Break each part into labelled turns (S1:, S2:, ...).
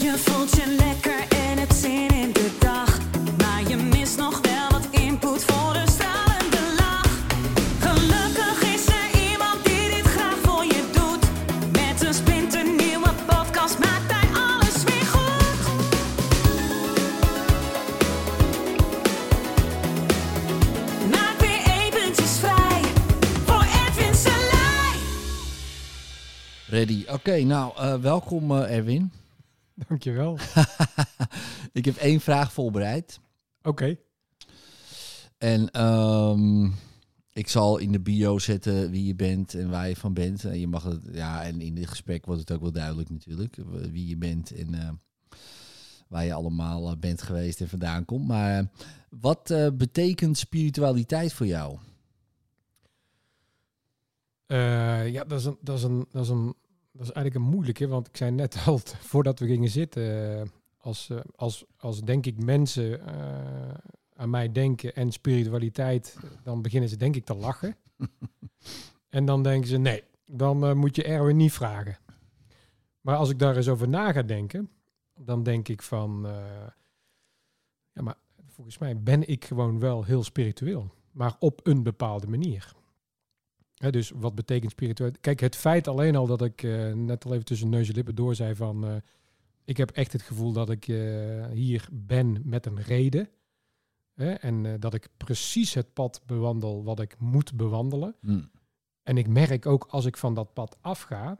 S1: Je voelt je lekker en hebt zin in de dag. Maar je mist nog wel wat input voor een stralende lach. Gelukkig is er iemand die dit graag voor je doet. Met een splinternieuwe podcast maakt hij alles weer goed. Maak weer eventjes vrij voor Edwin Selijn.
S2: Ready. Oké, nou, eh, welkom eh, Erwin.
S3: Dankjewel. Oké.
S2: Ik heb één vraag voorbereid. En ehm, ik zal in de bio zetten wie je bent en waar je van bent. En je mag het, ja, en in dit gesprek wordt het ook wel duidelijk natuurlijk. eh, Wie je bent en eh, waar je allemaal eh, bent geweest en vandaan komt. Maar eh, wat eh, betekent spiritualiteit voor jou?
S3: Eh, ja, dat is, een, dat, is een, dat, is een, dat is eigenlijk een moeilijke, want ik zei net al t- voordat we gingen zitten, eh, als, eh, als, als denk ik mensen eh, aan mij denken en spiritualiteit, dan beginnen ze denk ik te lachen. en dan denken ze, nee, dan eh, moet je Erwin niet vragen. Maar als ik daar eens over na ga denken, dan denk ik van, eh, ja, maar volgens mij ben ik gewoon wel heel spiritueel, maar op een bepaalde manier. Hè, dus wat betekent spiritualiteit? Kijk, het feit alleen al dat ik eh, net al even tussen neus en lippen door zei van... eh, ik heb echt het gevoel dat ik eh, hier ben met een reden. Hè, en eh, dat ik precies het pad bewandel wat ik moet bewandelen.
S2: Hm.
S3: En ik merk ook als ik van dat pad afga,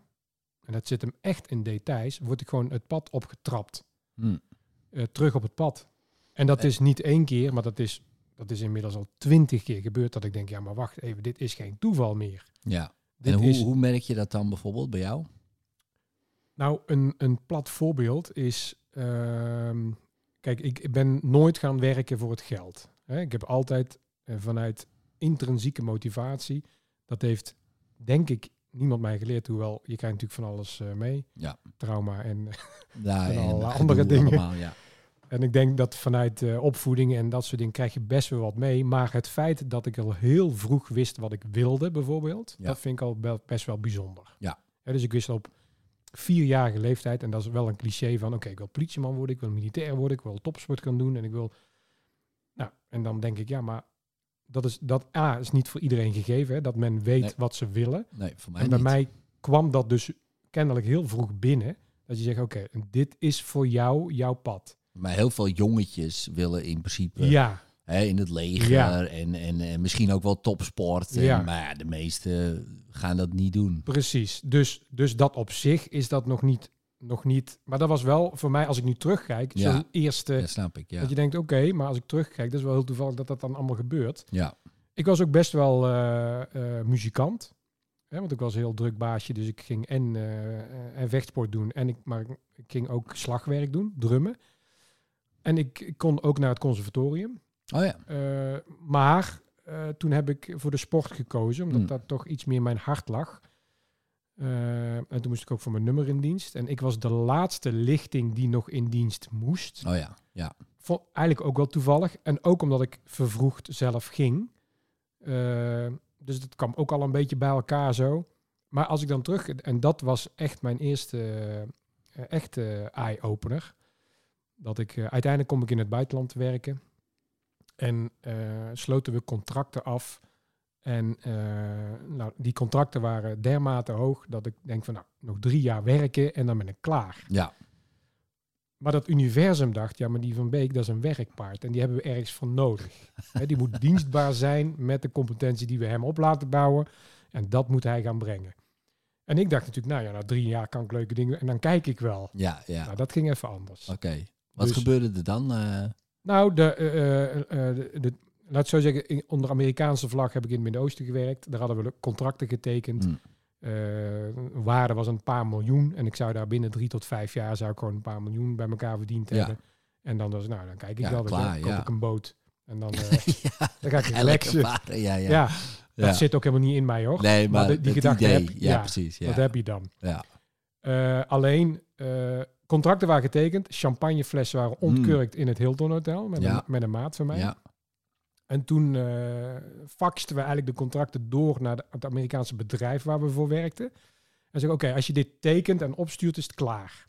S3: en dat zit hem echt in details, word ik gewoon het pad opgetrapt.
S2: Hm.
S3: Eh, terug op het pad. En dat
S2: Eh.
S3: is niet één keer, maar dat is, dat is inmiddels al twintig keer gebeurd. Dat ik denk, ja maar wacht even, dit is geen toeval meer.
S2: Ja.
S3: Dit
S2: en hoe,
S3: is-
S2: hoe merk je dat dan bijvoorbeeld bij jou?
S3: Nou, een, een plat voorbeeld is... ehm, kijk, ik ik ben nooit gaan werken voor het geld. Hè? Ik heb altijd eh, vanuit intrinsieke motivatie... Dat heeft, denk ik, niemand mij geleerd. Hoewel, je krijgt natuurlijk van alles eh, mee.
S2: Ja.
S3: Trauma. En,
S2: Ja,
S3: En alle
S2: gedoe
S3: andere dingen.
S2: allemaal, ja.
S3: en ik denk dat vanuit eh, opvoeding en dat soort dingen... krijg je best wel wat mee. Maar het feit dat ik al heel vroeg wist wat ik wilde, bijvoorbeeld...
S2: Ja.
S3: dat vind ik al wel- best wel bijzonder.
S2: Ja.
S3: Hè, dus ik wist op vierjarige leeftijd, en dat is wel een cliché van, oké, ik wil politieman worden, ik wil militair worden, ik wil topsport gaan doen en ik wil... Nou, en dan denk ik, ja, maar dat is, dat A is niet voor iedereen gegeven, hè, dat men weet
S2: Nee.
S3: wat ze willen.
S2: Nee, voor mij
S3: en bij
S2: niet.
S3: mij kwam dat dus kennelijk heel vroeg binnen, dat je zegt, oké, dit is voor jou jouw pad.
S2: Maar heel veel jongetjes willen in principe
S3: Ja,
S2: hè, in het leger
S3: Ja.
S2: en, en, en misschien ook wel topsport.
S3: Ja.
S2: En, maar ja, de meesten gaan dat niet doen.
S3: Precies. Dus, dus dat op zich is dat nog niet, nog niet. Maar dat was wel voor mij, als ik nu terugkijk,
S2: Ja.
S3: zo'n eerste.
S2: Dat snap ik, ja.
S3: Dat je denkt, oké, maar als ik terugkijk, dat is wel heel toevallig dat dat dan allemaal gebeurt.
S2: Ja,
S3: Ik was ook best wel eh, eh, muzikant. Hè, want ik was een heel druk baasje, dus ik ging en, eh, eh, en vechtsport doen. En ik, maar ik- ik ging ook slagwerk doen, drummen. En ik, ik kon ook naar het conservatorium.
S2: oh ja.
S3: Eh, maar eh, toen heb ik voor de sport gekozen, omdat
S2: Hmm.
S3: dat toch iets meer mijn hart lag. Eh, en toen moest ik ook voor mijn nummer in dienst. En ik was de laatste lichting die nog in dienst moest.
S2: Oh ja, ja.
S3: Vond eigenlijk ook wel toevallig. En ook omdat ik vervroegd zelf ging. Eh, dus dat kwam ook al een beetje bij elkaar zo. Maar als ik dan terug... En dat was echt mijn eerste eh, echte eye-opener. Dat ik... eh, uiteindelijk kom ik in het buitenland werken. En eh, sloten we contracten af. En eh, nou, die contracten waren dermate hoog... dat ik denk van nou, nog drie jaar werken en dan ben ik klaar.
S2: Ja,
S3: Maar dat universum dacht, ja, maar die Van Beek, dat is een werkpaard. En die hebben we ergens van nodig. Hè, die moet dienstbaar zijn met de competentie die we hem op laten bouwen. En dat moet hij gaan brengen. En ik dacht natuurlijk, nou ja, na drie jaar kan ik leuke dingen... En dan kijk ik wel.
S2: ja, ja.
S3: Nou, dat ging even anders.
S2: Oké. Wat
S3: Dus-
S2: gebeurde er dan? eh?
S3: Nou, de, eh, eh, eh, de, de- laat het zo zeggen, in- onder Amerikaanse vlag heb ik in het Midden-Oosten gewerkt. Daar hadden we contracten getekend.
S2: Hmm.
S3: Eh, waarde was een paar miljoen. En ik zou daar binnen drie tot vijf jaar zou ik gewoon een paar miljoen bij elkaar verdiend
S2: Ja.
S3: hebben. En dan was nou, dan kijk ik
S2: Ja,
S3: wel weer.
S2: klaar,
S3: Dan koop
S2: ja.
S3: ik een boot. En dan, eh,
S2: ja,
S3: dan ga ik
S2: elke
S3: relaxen.
S2: vader, ja, ja.
S3: Ja,
S2: ja.
S3: dat zit ook helemaal niet in mij hoor.
S2: Nee,
S3: maar
S2: maar,
S3: de- die
S2: dat
S3: gedachte
S2: idee.
S3: heb je.
S2: ja,
S3: Ja,
S2: precies. Ja.
S3: Dat heb je dan.
S2: Ja.
S3: Eh, alleen, eh, contracten waren getekend. Champagneflessen waren
S2: Hmm.
S3: ontkurkt in het Hilton Hotel. Met,
S2: Ja.
S3: een, met een maat van mij.
S2: ja.
S3: En toen eh faxten we eigenlijk de contracten door naar de- het Amerikaanse bedrijf waar we voor werkten. En zeggen, oké, als je dit tekent en opstuurt, is het klaar.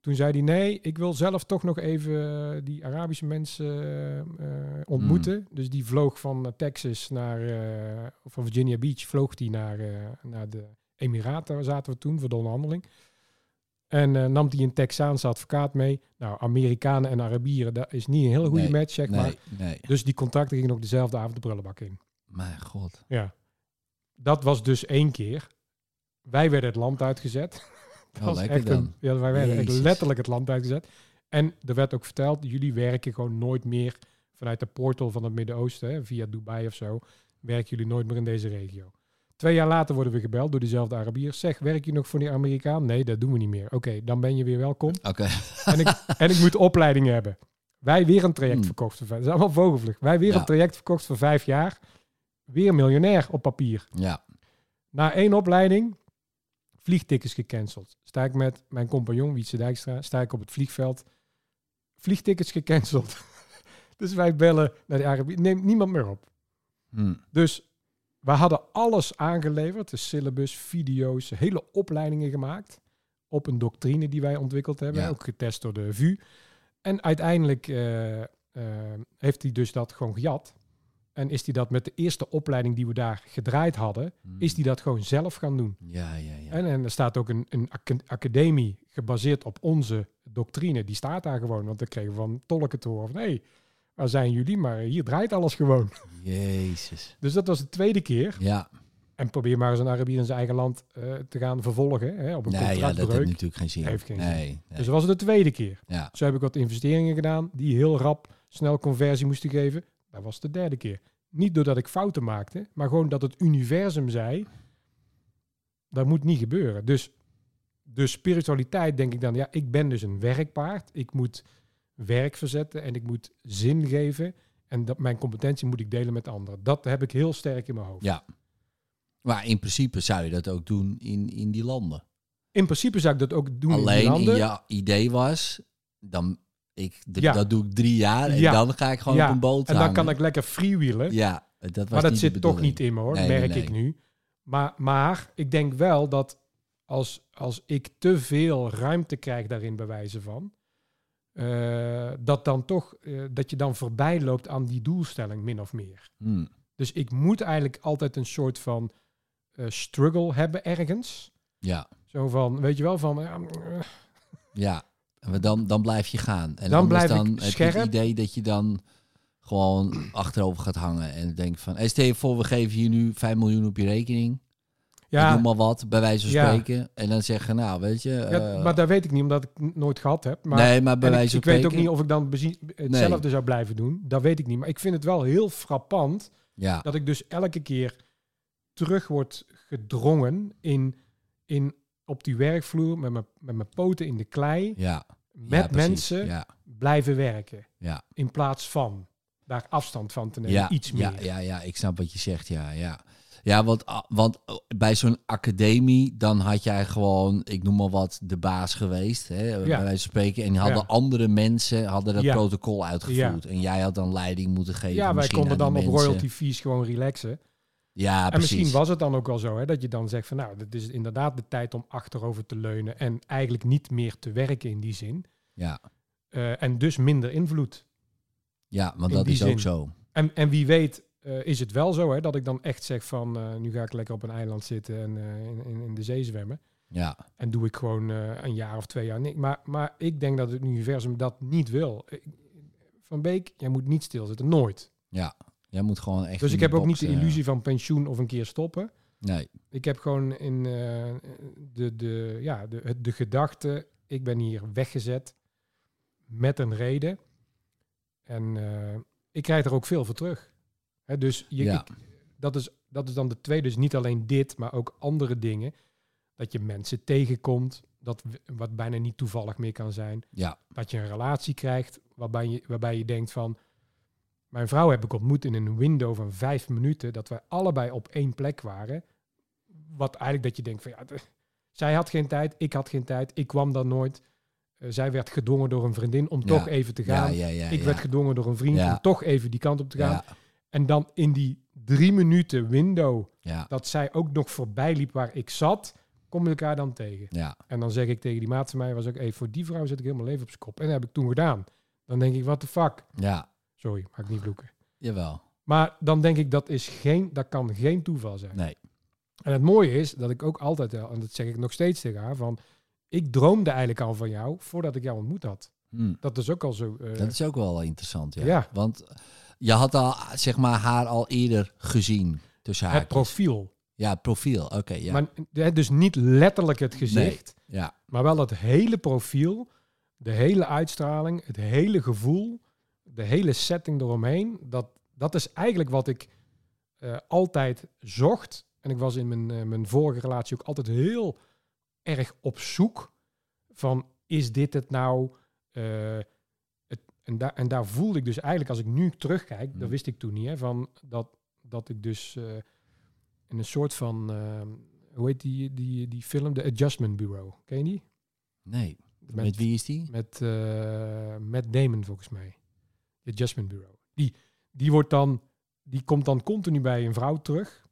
S3: Toen zei hij, nee, ik wil zelf toch nog even eh, die Arabische mensen eh, eh, ontmoeten.
S2: Hmm.
S3: Dus die vloog van eh, Texas naar, eh, of van Virginia Beach, vloog die naar, eh, naar de Emiraten, waar zaten we toen, voor de onderhandeling. En eh, nam die een Texaanse advocaat mee. Nou, Amerikanen en Arabieren, dat is niet een hele goede
S2: Nee,
S3: match, zeg maar.
S2: Nee, nee.
S3: Dus die contacten gingen ook dezelfde avond de prullenbak in.
S2: Mijn god.
S3: Ja. Dat was dus één keer. Wij werden het land uitgezet. Dat
S2: Oh,
S3: was
S2: lekker
S3: echt
S2: dan.
S3: Een, ja, wij werden echt
S2: Jezus.
S3: letterlijk het land uitgezet. En er werd ook verteld, jullie werken gewoon nooit meer vanuit de portal van het Midden-Oosten, hè, via Dubai of zo, werken jullie nooit meer in deze regio. Twee jaar later worden we gebeld door diezelfde Arabier. Zeg, werk je nog voor die Amerikaan? Nee, dat doen we niet meer. Oké, dan ben je weer welkom.
S2: Oké.
S3: En ik, en ik moet opleiding hebben. Wij weer een traject
S2: Hmm.
S3: verkocht. Voor, vijf- dat is allemaal vogelvlucht. Wij weer
S2: Ja.
S3: een traject verkocht voor vijf jaar. Weer miljonair op papier.
S2: Ja.
S3: Na één opleiding, vliegtickets gecanceld. Sta ik met mijn compagnon Wietse Dijkstra, sta ik op het vliegveld. Vliegtickets gecanceld. dus wij bellen naar de Arabië. Neemt niemand meer op.
S2: Hm.
S3: Dus we hadden alles aangeleverd. De syllabus, video's, hele opleidingen gemaakt. Op een doctrine die wij ontwikkeld hebben.
S2: Ja.
S3: Ook getest door de VU. En uiteindelijk eh, eh, heeft hij dus dat gewoon gejat. En is hij dat met de eerste opleiding die we daar gedraaid hadden...
S2: Hm.
S3: is hij dat gewoon zelf gaan doen.
S2: Ja, ja, ja.
S3: En, en er staat ook een, een aca- academie gebaseerd op onze doctrine. Die staat daar gewoon. Want dan kregen we van tolken te horen van... hé, hey, waar zijn jullie? Maar hier draait alles gewoon.
S2: Jezus.
S3: Dus dat was de tweede keer.
S2: Ja.
S3: En probeer maar eens een Arabier in zijn eigen land eh, te gaan vervolgen hè, op een
S2: Nee, ja, dat
S3: contractbreuk.
S2: heeft natuurlijk geen zin.
S3: Heeft geen zin.
S2: nee, nee.
S3: Dus dat was het de tweede keer.
S2: Ja.
S3: Zo heb ik wat investeringen gedaan die heel rap snel conversie moesten geven. Dat was de derde keer. Niet doordat ik fouten maakte, maar gewoon dat het universum zei, dat moet niet gebeuren. Dus de spiritualiteit denk ik dan, ja, ik ben dus een werkpaard. Ik moet werk verzetten en ik moet zin geven. En dat, mijn competentie moet ik delen met anderen. Dat heb ik heel sterk in mijn hoofd.
S2: Ja. Maar in principe zou je dat ook doen in, in die landen.
S3: In principe zou ik dat ook doen in die
S2: Alleen
S3: landen.
S2: in je idee was, dan, ik, d-
S3: Ja.
S2: dat doe ik drie jaar en
S3: Ja.
S2: dan ga ik gewoon
S3: Ja,
S2: op een boot
S3: En dan
S2: hangen.
S3: kan ik lekker freewheelen.
S2: Ja, dat was
S3: maar dat
S2: niet
S3: zit
S2: de
S3: toch
S2: bedoeling.
S3: niet in me hoor,
S2: Nee, nee,
S3: merk
S2: nee.
S3: ik nu. Maar, maar ik denk wel dat als, als ik te veel ruimte krijg daarin bij wijze van... eh, dat, dan toch, eh, dat je dan voorbij loopt aan die doelstelling min of meer.
S2: Hmm.
S3: Dus ik moet eigenlijk altijd een soort van eh, struggle hebben ergens.
S2: Ja,
S3: Zo van, weet je wel, van... ja, eh,
S2: ja. Maar dan, dan blijf je gaan. En
S3: Dan
S2: anders
S3: blijf ik
S2: dan heb je
S3: scherp.
S2: het idee dat je dan gewoon achterover gaat hangen en denkt van, hey, stel je voor, we geven je nu 5 miljoen op je rekening. Ja.
S3: ja,
S2: Doe maar wat, bij wijze van
S3: Ja.
S2: spreken. En dan zeggen, nou, weet je...
S3: ja,
S2: eh,
S3: maar dat weet ik niet, omdat ik n- nooit gehad heb. Maar
S2: nee, maar bij
S3: En ik-
S2: wijze van
S3: ik, weet ook
S2: spreken-
S3: niet of ik dan bezie- hetzelfde zou blijven doen. Dat weet ik niet. Maar ik vind het wel heel frappant
S2: Ja.
S3: dat ik dus elke keer terug word gedrongen in, in, op die werkvloer met mijn, met mijn poten in de klei.
S2: Ja,
S3: Met
S2: ja, precies.
S3: mensen
S2: Ja,
S3: blijven werken.
S2: Ja.
S3: In plaats van daar afstand van te nemen.
S2: ja,
S3: Iets
S2: ja,
S3: meer.
S2: ja, ja, ik snap wat je zegt. Ja, ja. ja want, ah, want bij zo'n academie, dan had jij gewoon, ik noem maar wat, de baas geweest. Hè, bij wijze van spreken. En hadden
S3: Ja.
S2: andere mensen hadden dat
S3: Ja.
S2: protocol uitgevoerd. En jij had dan leiding moeten geven.
S3: Ja, wij
S2: misschien
S3: konden
S2: aan
S3: dan op
S2: die mensen.
S3: royalty fees gewoon relaxen.
S2: Ja,
S3: en
S2: precies.
S3: misschien was het dan ook wel zo hè, dat je dan zegt van nou, dit is inderdaad de tijd om achterover te leunen en eigenlijk niet meer te werken in die zin.
S2: Ja,
S3: Eh, en dus minder invloed.
S2: ja want
S3: in
S2: dat
S3: die
S2: is ook
S3: zin.
S2: zo.
S3: En, en wie weet eh, is het wel zo hè, dat ik dan echt zeg van eh, nu ga ik lekker op een eiland zitten en eh, in, in, in de zee zwemmen.
S2: Ja,
S3: En doe ik gewoon eh, een jaar of twee jaar niks. Maar, maar ik denk dat het universum dat niet wil. Ik- Van Beek, jij moet niet stilzitten, nooit.
S2: jij moet gewoon echt.
S3: Dus
S2: in
S3: ik
S2: die
S3: heb ook niet
S2: box,
S3: de
S2: eh,
S3: illusie van pensioen of een keer stoppen.
S2: Nee,
S3: Ik heb gewoon in eh, de, de, ja, de, het- de gedachte, ik ben hier weggezet met een reden. En eh, ik krijg er ook veel voor terug. Hè, dus je,
S2: Ja.
S3: ik- dat, is, dat is dan de tweede. Dus niet alleen dit, maar ook andere dingen. Dat je mensen tegenkomt, dat, w- wat bijna niet toevallig meer kan zijn.
S2: Ja.
S3: Dat je een relatie krijgt waarbij je, waarbij je denkt van... Mijn vrouw heb ik ontmoet in een window van vijf minuten... dat wij allebei op één plek waren wat eigenlijk dat je denkt van ja, d- zij had geen tijd, ik had geen tijd, ik kwam dan nooit. Eh, zij werd gedwongen door een vriendin om
S2: Ja.
S3: toch even te
S2: ja,
S3: gaan.
S2: ja, ja.
S3: ik
S2: ja.
S3: werd gedwongen door een vriend
S2: Ja.
S3: om toch even die kant op te gaan.
S2: ja,
S3: En dan in die drie minuten window
S2: ja,
S3: dat zij ook nog voorbij liep waar ik zat, Kom je elkaar dan tegen.
S2: Ja,
S3: En dan zeg ik tegen die maat van mij, was ook, hey, voor die vrouw zet ik helemaal leven op zijn kop. En dat heb ik toen gedaan. Dan denk ik, what the fuck?
S2: ja,
S3: Sorry, mag ik niet vloeken.
S2: jawel.
S3: Maar dan denk ik, dat, is geen, dat kan geen toeval zijn.
S2: Nee.
S3: En het mooie is dat ik ook altijd, wel- en dat zeg ik nog steeds tegen haar, van ik droomde eigenlijk al van jou voordat ik jou ontmoet had.
S2: Hm.
S3: Dat is ook al zo. eh,
S2: Dat is ook wel interessant, ja.
S3: Ja.
S2: Want je had al, zeg maar, haar al eerder gezien. Tussen haar.
S3: het profiel.
S2: Ja, het profiel. Oké, ja.
S3: Maar, eh, dus niet letterlijk het gezicht,
S2: ja.
S3: maar wel het hele profiel, de hele uitstraling, het hele gevoel, de hele setting eromheen. Dat, dat is eigenlijk wat ik eh, altijd zocht. En ik was in mijn, eh, mijn vorige relatie ook altijd heel erg op zoek van is dit het nou? Eh, het, en, daar en daar voelde ik dus eigenlijk, als ik nu terugkijk,
S2: Hmm.
S3: dat wist ik toen niet, hè, van dat, dat ik dus eh, in een soort van, eh, hoe heet die, die, die film? The Adjustment Bureau. Ken je die?
S2: Nee. Met, wie is die?
S3: Met, eh met Damon volgens mij. The Adjustment Bureau. Die, die, wordt dan, die komt dan continu bij een vrouw terug.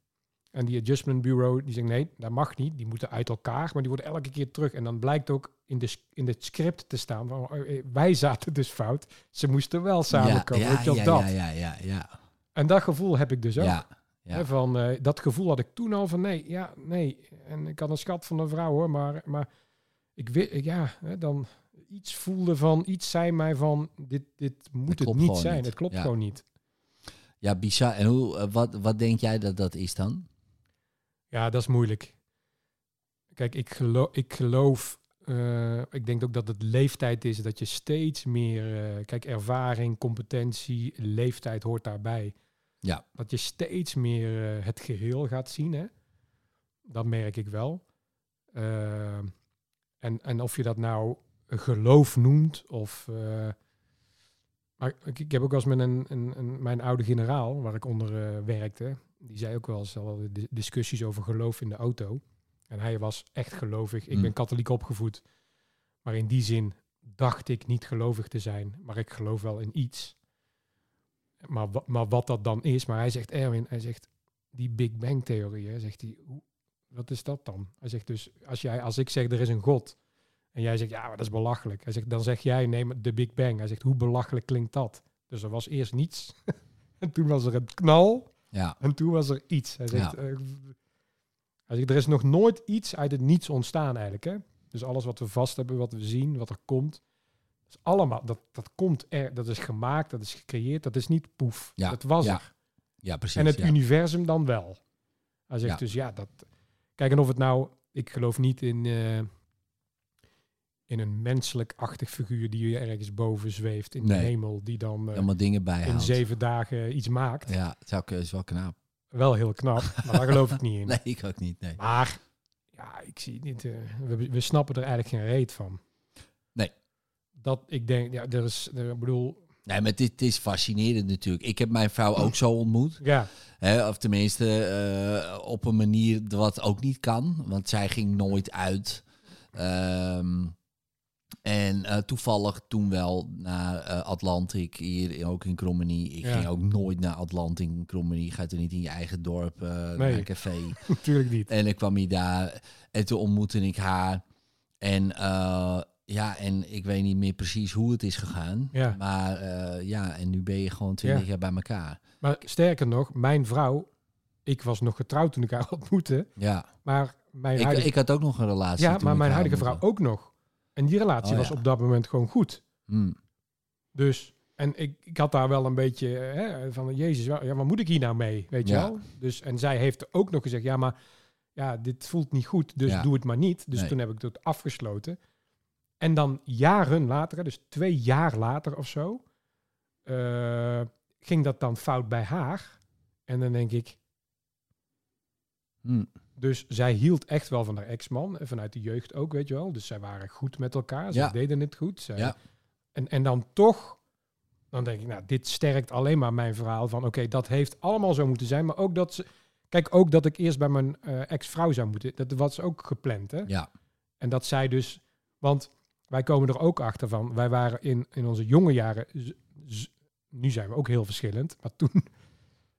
S3: En die Adjustment Bureau die zegt nee, dat mag niet. Die moeten uit elkaar, maar die worden elke keer terug. En dan blijkt ook in, de, s- in het script te staan van oh, eh, wij zaten dus fout. Ze moesten wel samenkomen.
S2: ja,
S3: weet je wel,
S2: ja,
S3: dat.
S2: ja, ja, ja, ja.
S3: En dat gevoel heb ik dus ook.
S2: Ja, ja.
S3: Hè, van, eh, dat gevoel had ik toen al van nee, ja, nee. En ik had een schat van een vrouw hoor, maar, maar ik weet, eh, ja, hè, dan iets voelde van, iets zei mij van, dit, dit moet het
S2: klopt
S3: niet
S2: gewoon
S3: zijn.
S2: niet.
S3: Het klopt
S2: Ja.
S3: gewoon niet.
S2: ja bizar. En hoe, eh, wat, wat denk jij dat dat is dan?
S3: Ja, dat is moeilijk. Kijk, ik geloof, ik, geloof eh, ik denk ook dat het leeftijd is dat je steeds meer, eh, kijk, ervaring, competentie, leeftijd hoort daarbij.
S2: Ja.
S3: Dat je steeds meer eh, het geheel gaat zien, hè? Dat merk ik wel. Eh, en, en of je dat nou geloof noemt of... eh, maar ik, ik heb ook wel eens met een, een, een- mijn oude generaal, waar ik onder eh, werkte, die zei ook wel eens al di- discussies over geloof in de auto. En hij was echt gelovig. Ik
S2: Hmm.
S3: ben katholiek opgevoed. Maar in die zin dacht ik niet gelovig te zijn. Maar ik geloof wel in iets. Maar, wa- maar wat dat dan is. Maar hij zegt, Erwin, hij zegt, die Big Bang theorie, hè, zegt hij, hoe- wat is dat dan? Hij zegt dus, als, jij, als ik zeg er is een god. En jij zegt, ja, maar dat is belachelijk. Hij zegt, dan zeg jij, neem de Big Bang. Hij zegt, hoe belachelijk klinkt dat? Dus er was eerst niets. en toen was er een knal.
S2: Ja,
S3: En toen was er iets. Hij zegt,
S2: Ja.
S3: eh, hij zegt, er is nog nooit iets uit het niets ontstaan eigenlijk. Hè? Dus alles wat we vast hebben, wat we zien, wat er komt. Dat is allemaal, dat, dat komt er, dat is gemaakt, dat is gecreëerd, dat is niet poef.
S2: Ja,
S3: Dat was
S2: ja,
S3: er.
S2: ja precies.
S3: En het
S2: ja.
S3: universum dan wel. Hij zegt
S2: Ja.
S3: dus, ja, dat... Kijk, en of het nou... Ik geloof niet in, eh, in een menselijk-achtig figuur die ergens boven zweeft in de
S2: Nee.
S3: hemel, die dan eh,
S2: Allemaal dingen
S3: in
S2: bijhoudt.
S3: zeven dagen iets maakt.
S2: Ja, het zou, is wel knap.
S3: Wel heel knap, maar daar geloof ik niet in.
S2: Nee, ik ook niet. Nee.
S3: Maar ja, ik zie het niet. eh, we, we snappen er eigenlijk geen reet van.
S2: Nee.
S3: Dat ik denk, ja, er is, er, ik bedoel,
S2: Nee, maar dit is fascinerend natuurlijk. Ik heb mijn vrouw ook zo ontmoet.
S3: ja,
S2: Hè, of tenminste, eh, op een manier wat ook niet kan. Want zij ging nooit uit. Ehm, en eh, toevallig toen wel naar eh, Atlantic, hier ook in Krommenie. Ik
S3: Ja.
S2: ging ook nooit naar Atlantic in Krommenie. Je Gaat er niet in je eigen dorp, eh, naar een café.
S3: natuurlijk niet.
S2: En ik kwam hier daar en toen ontmoette ik haar. En eh, ja, en ik weet niet meer precies hoe het is gegaan.
S3: Ja.
S2: Maar eh, ja, en nu ben je gewoon twintig
S3: Ja.
S2: jaar bij elkaar.
S3: Maar sterker nog, mijn vrouw, ik was nog getrouwd toen ik haar ontmoette,
S2: Ja.
S3: maar mijn
S2: Ik,
S3: huidige,
S2: ik had ook nog een relatie.
S3: ja,
S2: toen
S3: maar
S2: ik
S3: mijn
S2: haar
S3: huidige vrouw
S2: ontmoette.
S3: ook nog. En die relatie
S2: Oh,
S3: was
S2: ja.
S3: op dat moment gewoon goed.
S2: Hmm.
S3: Dus, en ik, ik had daar wel een beetje hè, van, jezus, wa- ja, wat moet ik hier nou mee? Weet je
S2: Ja.
S3: wel? Dus, en zij heeft ook nog gezegd, ja, maar ja, dit voelt niet goed, dus
S2: Ja.
S3: doe het maar niet. Dus
S2: Nee.
S3: toen heb ik dat afgesloten. En dan jaren later, hè, dus twee jaar later of zo, eh, ging dat dan fout bij haar. En dan denk ik,
S2: Hmm.
S3: dus zij hield echt wel van haar ex-man. En vanuit de jeugd ook, weet je wel. Dus zij waren goed met elkaar. Zij
S2: Ja.
S3: deden het goed. Zij...
S2: Ja.
S3: En, en dan toch, dan denk ik, nou, dit sterkt alleen maar mijn verhaal van... Oké, dat heeft allemaal zo moeten zijn. Maar ook dat ze... Kijk, ook dat ik eerst bij mijn eh, ex-vrouw zou moeten. Dat was ook gepland, hè?
S2: Ja.
S3: En dat zij dus... Want wij komen er ook achter van... Wij waren in, in onze jonge jaren... z- z- nu zijn we ook heel verschillend. Maar toen...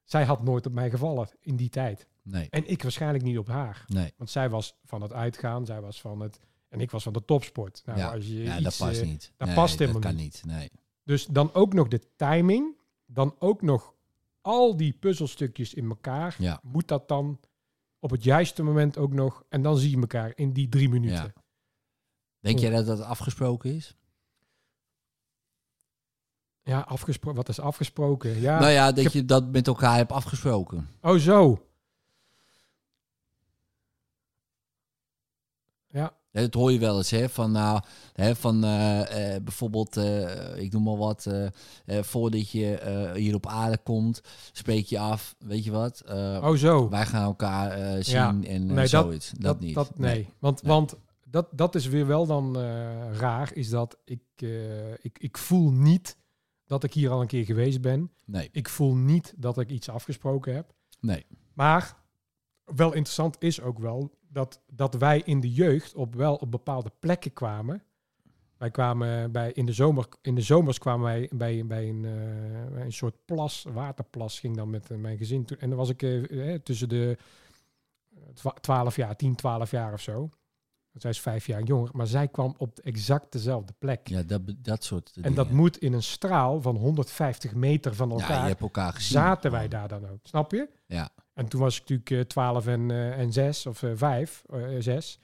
S3: Zij had nooit op mij gevallen in die tijd.
S2: Nee,
S3: En ik waarschijnlijk niet op haar.
S2: nee.
S3: Want zij was van het uitgaan, zij was van het... En ik was van de topsport. Nou, als je
S2: Ja,
S3: iets,
S2: dat past
S3: eh,
S2: niet.
S3: dat
S2: nee,
S3: past helemaal
S2: dat kan niet. Nee.
S3: Dus dan ook nog de timing. Dan ook nog al die puzzelstukjes in elkaar.
S2: Ja.
S3: Moet dat dan op het juiste moment ook nog. En dan zie je elkaar in die drie minuten.
S2: Denk
S3: Ja.
S2: jij dat dat afgesproken is?
S3: Ja, afgespro- wat is afgesproken? Ja.
S2: nou ja, dat
S3: heb-
S2: je dat met elkaar hebt afgesproken.
S3: Oh, zo. Ja,
S2: Hè, Dat hoor je wel eens, hè? Van, nou, hè, van eh, eh, bijvoorbeeld, eh, ik noem maar wat, eh, eh, voordat je eh, hier op aarde komt, spreek je af, weet je wat? eh,
S3: oh, zo.
S2: Wij gaan elkaar eh, zien
S3: Ja.
S2: en eh,
S3: Nee, dat-
S2: zoiets. Dat, niet.
S3: Dat, nee. want,
S2: Nee.
S3: want dat, dat is weer wel dan eh, raar. Is dat ik, eh, ik, ik voel niet dat ik hier al een keer geweest ben.
S2: Nee,
S3: Ik voel niet dat ik iets afgesproken heb.
S2: nee.
S3: Maar wel interessant is ook wel dat, dat wij in de jeugd op wel op bepaalde plekken kwamen. Wij kwamen bij, in, de zomer, in de zomers kwamen wij bij, bij, een, eh, bij een soort plas, waterplas, ging dan met eh, mijn gezin. toe. En dan was ik eh, eh, tussen de eh, twa- 12 jaar, 10, 12 jaar of zo. Want Zij is vijf jaar jonger, maar zij kwam op exact dezelfde plek.
S2: Ja, dat, be- dat soort
S3: en dat
S2: dingen.
S3: moet in een straal van 150 meter van elkaar
S2: Ja, je hebt elkaar gezien.
S3: zaten wij daar dan ook. Snap je?
S2: Ja.
S3: En toen was ik natuurlijk twaalf en, eh, en zes, of eh, vijf, eh, zes.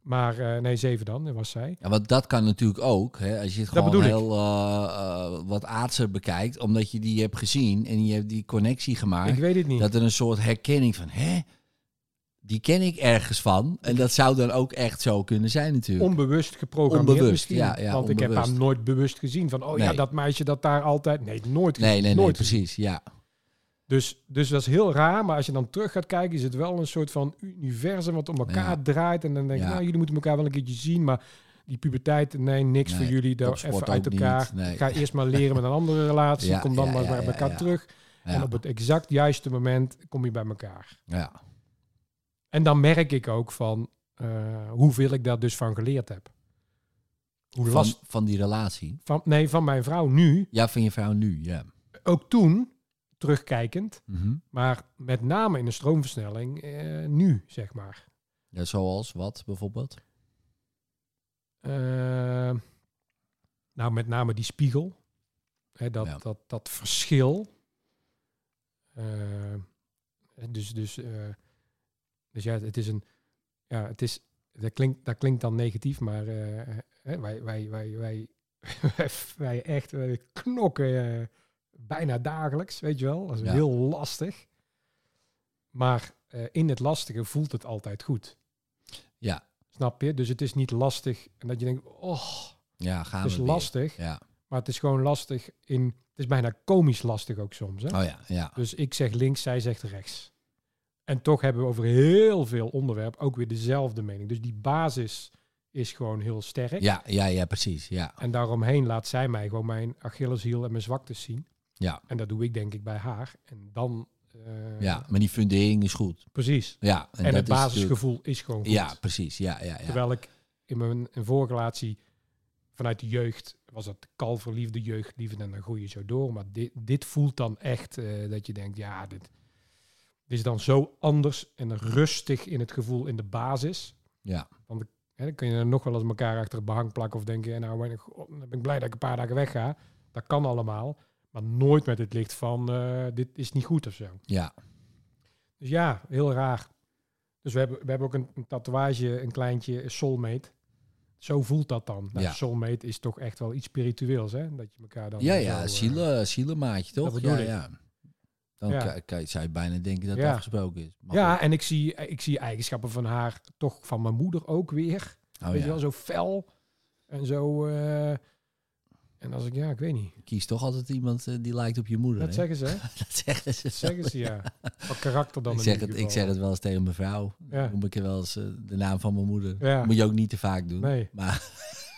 S3: Maar eh, nee, zeven dan, dat was zij.
S2: Ja, want dat kan natuurlijk ook, hè, als je het
S3: Dat
S2: gewoon
S3: bedoel ik.
S2: heel eh, eh, wat aardser bekijkt, omdat je die hebt gezien en je hebt die connectie gemaakt.
S3: ik weet het niet.
S2: Ah, Dat er een soort herkenning van, hè, die ken ik ergens van. En dat zou dan ook echt zo kunnen zijn natuurlijk.
S3: Onbewust geprogrammeerd
S2: Onbewust,
S3: misschien.
S2: ja, ja,
S3: Want ik heb
S2: onbewust.
S3: haar nooit bewust gezien. Van, oh ja,
S2: Nee.
S3: dat meisje dat daar altijd... Nee, nooit gezien.
S2: nee, nee, nee,
S3: nooit gezien.
S2: precies, ja.
S3: Dus, dus dat is heel raar. Maar als je dan terug gaat kijken, is het wel een soort van universum wat om elkaar
S2: Ja.
S3: draait. En dan denk je,
S2: Ja.
S3: nou, jullie moeten elkaar wel een keertje zien. Maar die puberteit, nee, niks
S2: Nee,
S3: voor jullie. Daar
S2: topsport
S3: even uit
S2: ook
S3: elkaar.
S2: niet, nee.
S3: Ik ga eerst maar leren met een andere relatie.
S2: Ja,
S3: kom dan
S2: ja,
S3: maar
S2: ja,
S3: bij
S2: ja,
S3: elkaar
S2: ja.
S3: terug. En
S2: Ja,
S3: op het exact juiste moment kom je bij elkaar.
S2: ja.
S3: En dan merk ik ook van eh, hoeveel ik daar dus van geleerd heb. Hoe
S2: Van,
S3: last
S2: van die relatie.
S3: van, nee, van mijn vrouw nu,
S2: Ja, van je vrouw nu, ja.
S3: ook toen, terugkijkend,
S2: Mhm.
S3: maar met name in de stroomversnelling eh, nu, zeg maar.
S2: ja. Zoals wat bijvoorbeeld?
S3: Eh, nou, met name die spiegel. Hè, dat,
S2: Ja.
S3: dat, dat verschil. Eh, dus, dus, eh, dus ja, het is een. Ja, het is. Dat klinkt, dat klinkt dan negatief, maar eh, hè, wij, wij, wij, wij, wij, wij echt wij knokken eh, bijna dagelijks, weet je wel. Dat is
S2: Ja.
S3: heel lastig. Maar eh, in het lastige voelt het altijd goed.
S2: Ja.
S3: Snap je? Dus het is niet lastig. En dat je denkt, oh,
S2: Ja, gaan
S3: het is
S2: we weer.
S3: lastig.
S2: Ja.
S3: Maar het is gewoon lastig in... Het is bijna komisch lastig ook soms. Hè?
S2: Oh ja, ja.
S3: Dus ik zeg links, zij zegt rechts. En toch hebben we over heel veel onderwerpen ook weer dezelfde mening. Dus die basis is gewoon heel sterk.
S2: Ja, ja, ja, precies. Ja,
S3: En daaromheen laat zij mij gewoon mijn Achilleshiel en mijn zwaktes zien.
S2: Ja.
S3: En dat doe ik denk ik bij haar. En dan... eh,
S2: ja. maar die fundering is goed.
S3: Precies.
S2: Ja, dat
S3: En, het
S2: is natuurlijk-
S3: basisgevoel is gewoon goed.
S2: Ja, precies. Ja, ja, ja.
S3: Terwijl ik in mijn in vorige relatie vanuit de jeugd was dat kalverliefde, jeugdliefde en dan groei je zo door. Maar dit, dit voelt dan echt eh, dat je denkt, ja, dit, dit is dan zo anders en rustig in het gevoel in de basis.
S2: Ja.
S3: Want hè, dan kun je dan nog wel eens elkaar achter het behang plakken of denken, ja, nou ben ik, god, dan ben ik blij dat ik een paar dagen wegga. Dat kan allemaal. Maar nooit met het licht van, eh, dit is niet goed of zo.
S2: ja.
S3: Dus ja, heel raar. Dus we hebben, we hebben ook een, een tatoeage, een kleintje, soulmate. Zo voelt dat dan. Nou,
S2: Ja.
S3: Soulmate is toch echt wel iets spiritueels, hè? Dat je elkaar dan...
S2: Ja,
S3: zo,
S2: ja,
S3: eh,
S2: zielen, zielenmaatje toch?
S3: bedoel
S2: ja,
S3: ik.
S2: ja. Dan
S3: Ja.
S2: ka- ka- zou je bijna denken dat het
S3: Ja.
S2: afgesproken is. Maar
S3: ja, en ik zie, ik zie eigenschappen van haar, toch van mijn moeder ook weer.
S2: goed. oh,
S3: weet je
S2: ja.
S3: wel, zo fel en zo... eh, en als ik, ja, ik weet niet.
S2: kies toch altijd iemand eh, die lijkt op je moeder.
S3: Dat
S2: hè?
S3: zeggen ze, hè?
S2: dat zeggen ze.
S3: Dat zeggen ze, ja. Van karakter dan
S2: ik,
S3: in
S2: zeg
S3: ieder
S2: het, ik
S3: geval.
S2: zeg het wel eens tegen mijn vrouw.
S3: Ja.
S2: Noem ik er wel eens eh, de naam van mijn moeder.
S3: Ja.
S2: Moet je ook niet te vaak doen.
S3: Nee,
S2: Maar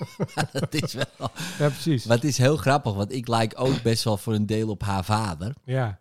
S2: dat is wel.
S3: ja, precies.
S2: Maar het is heel grappig, want ik lijk ook best wel voor een deel op haar vader.
S3: Ja,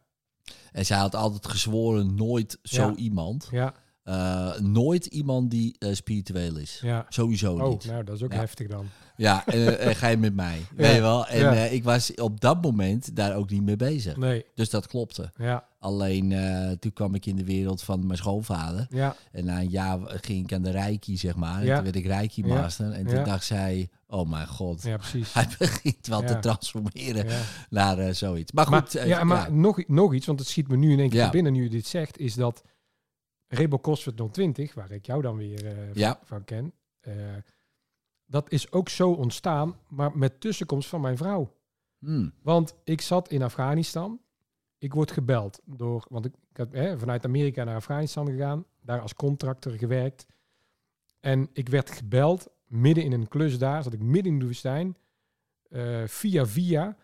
S2: En zij had altijd gezworen nooit zo
S3: Ja.
S2: iemand.
S3: ja,
S2: Eh, nooit iemand die eh, spiritueel is.
S3: ja.
S2: Sowieso
S3: Oh,
S2: niet.
S3: nou, dat is ook
S2: Ja.
S3: heftig dan.
S2: Ja, en eh, eh, ga je met mij. Weet je wel? En
S3: ja.
S2: eh, ik was op dat moment daar ook niet mee bezig.
S3: Nee,
S2: Dus dat klopte.
S3: ja,
S2: Alleen eh, toen kwam ik in de wereld van mijn schoonvader.
S3: Ja,
S2: En na een jaar ging ik aan de Reiki, zeg maar. En
S3: Ja.
S2: toen werd ik Reiki
S3: Ja.
S2: master. En toen
S3: Ja.
S2: dacht zij, oh mijn god,
S3: ja precies.
S2: hij begint wel te
S3: Ja.
S2: transformeren
S3: Ja.
S2: naar eh, zoiets. Maar goed,
S3: Maar,
S2: eh,
S3: ja, maar
S2: ja.
S3: Nog, nog iets, want het schiet me nu in één keer
S2: Ja.
S3: te binnen nu je dit zegt, is dat Rebel CrossFit 020, waar ik jou dan weer eh,
S2: Ja.
S3: van- van ken, eh, dat is ook zo ontstaan, maar met tussenkomst van mijn vrouw.
S2: Hmm,
S3: Want ik zat in Afghanistan. Ik word gebeld door, want ik, ik had hè, vanuit Amerika naar Afghanistan gegaan, daar als contractor gewerkt. En ik werd gebeld midden in een klus daar, zat ik midden in de woestijn, eh, via via.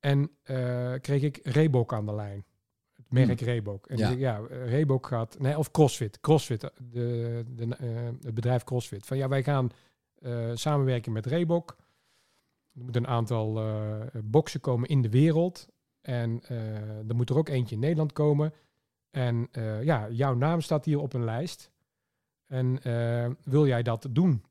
S3: En eh, kreeg ik Reebok aan de lijn. Het merk Reebok. En
S2: Hmm. Ja.
S3: ja, ja eh, Reebok gaat, nee, of CrossFit. CrossFit, eh, de, de, eh, het bedrijf CrossFit. Van ja, wij gaan eh, samenwerken met Reebok. Er moeten een aantal eh boksen komen in de wereld. En eh, er moet er ook eentje in Nederland komen. En eh, ja, jouw naam staat hier op een lijst. En eh, wil jij dat doen?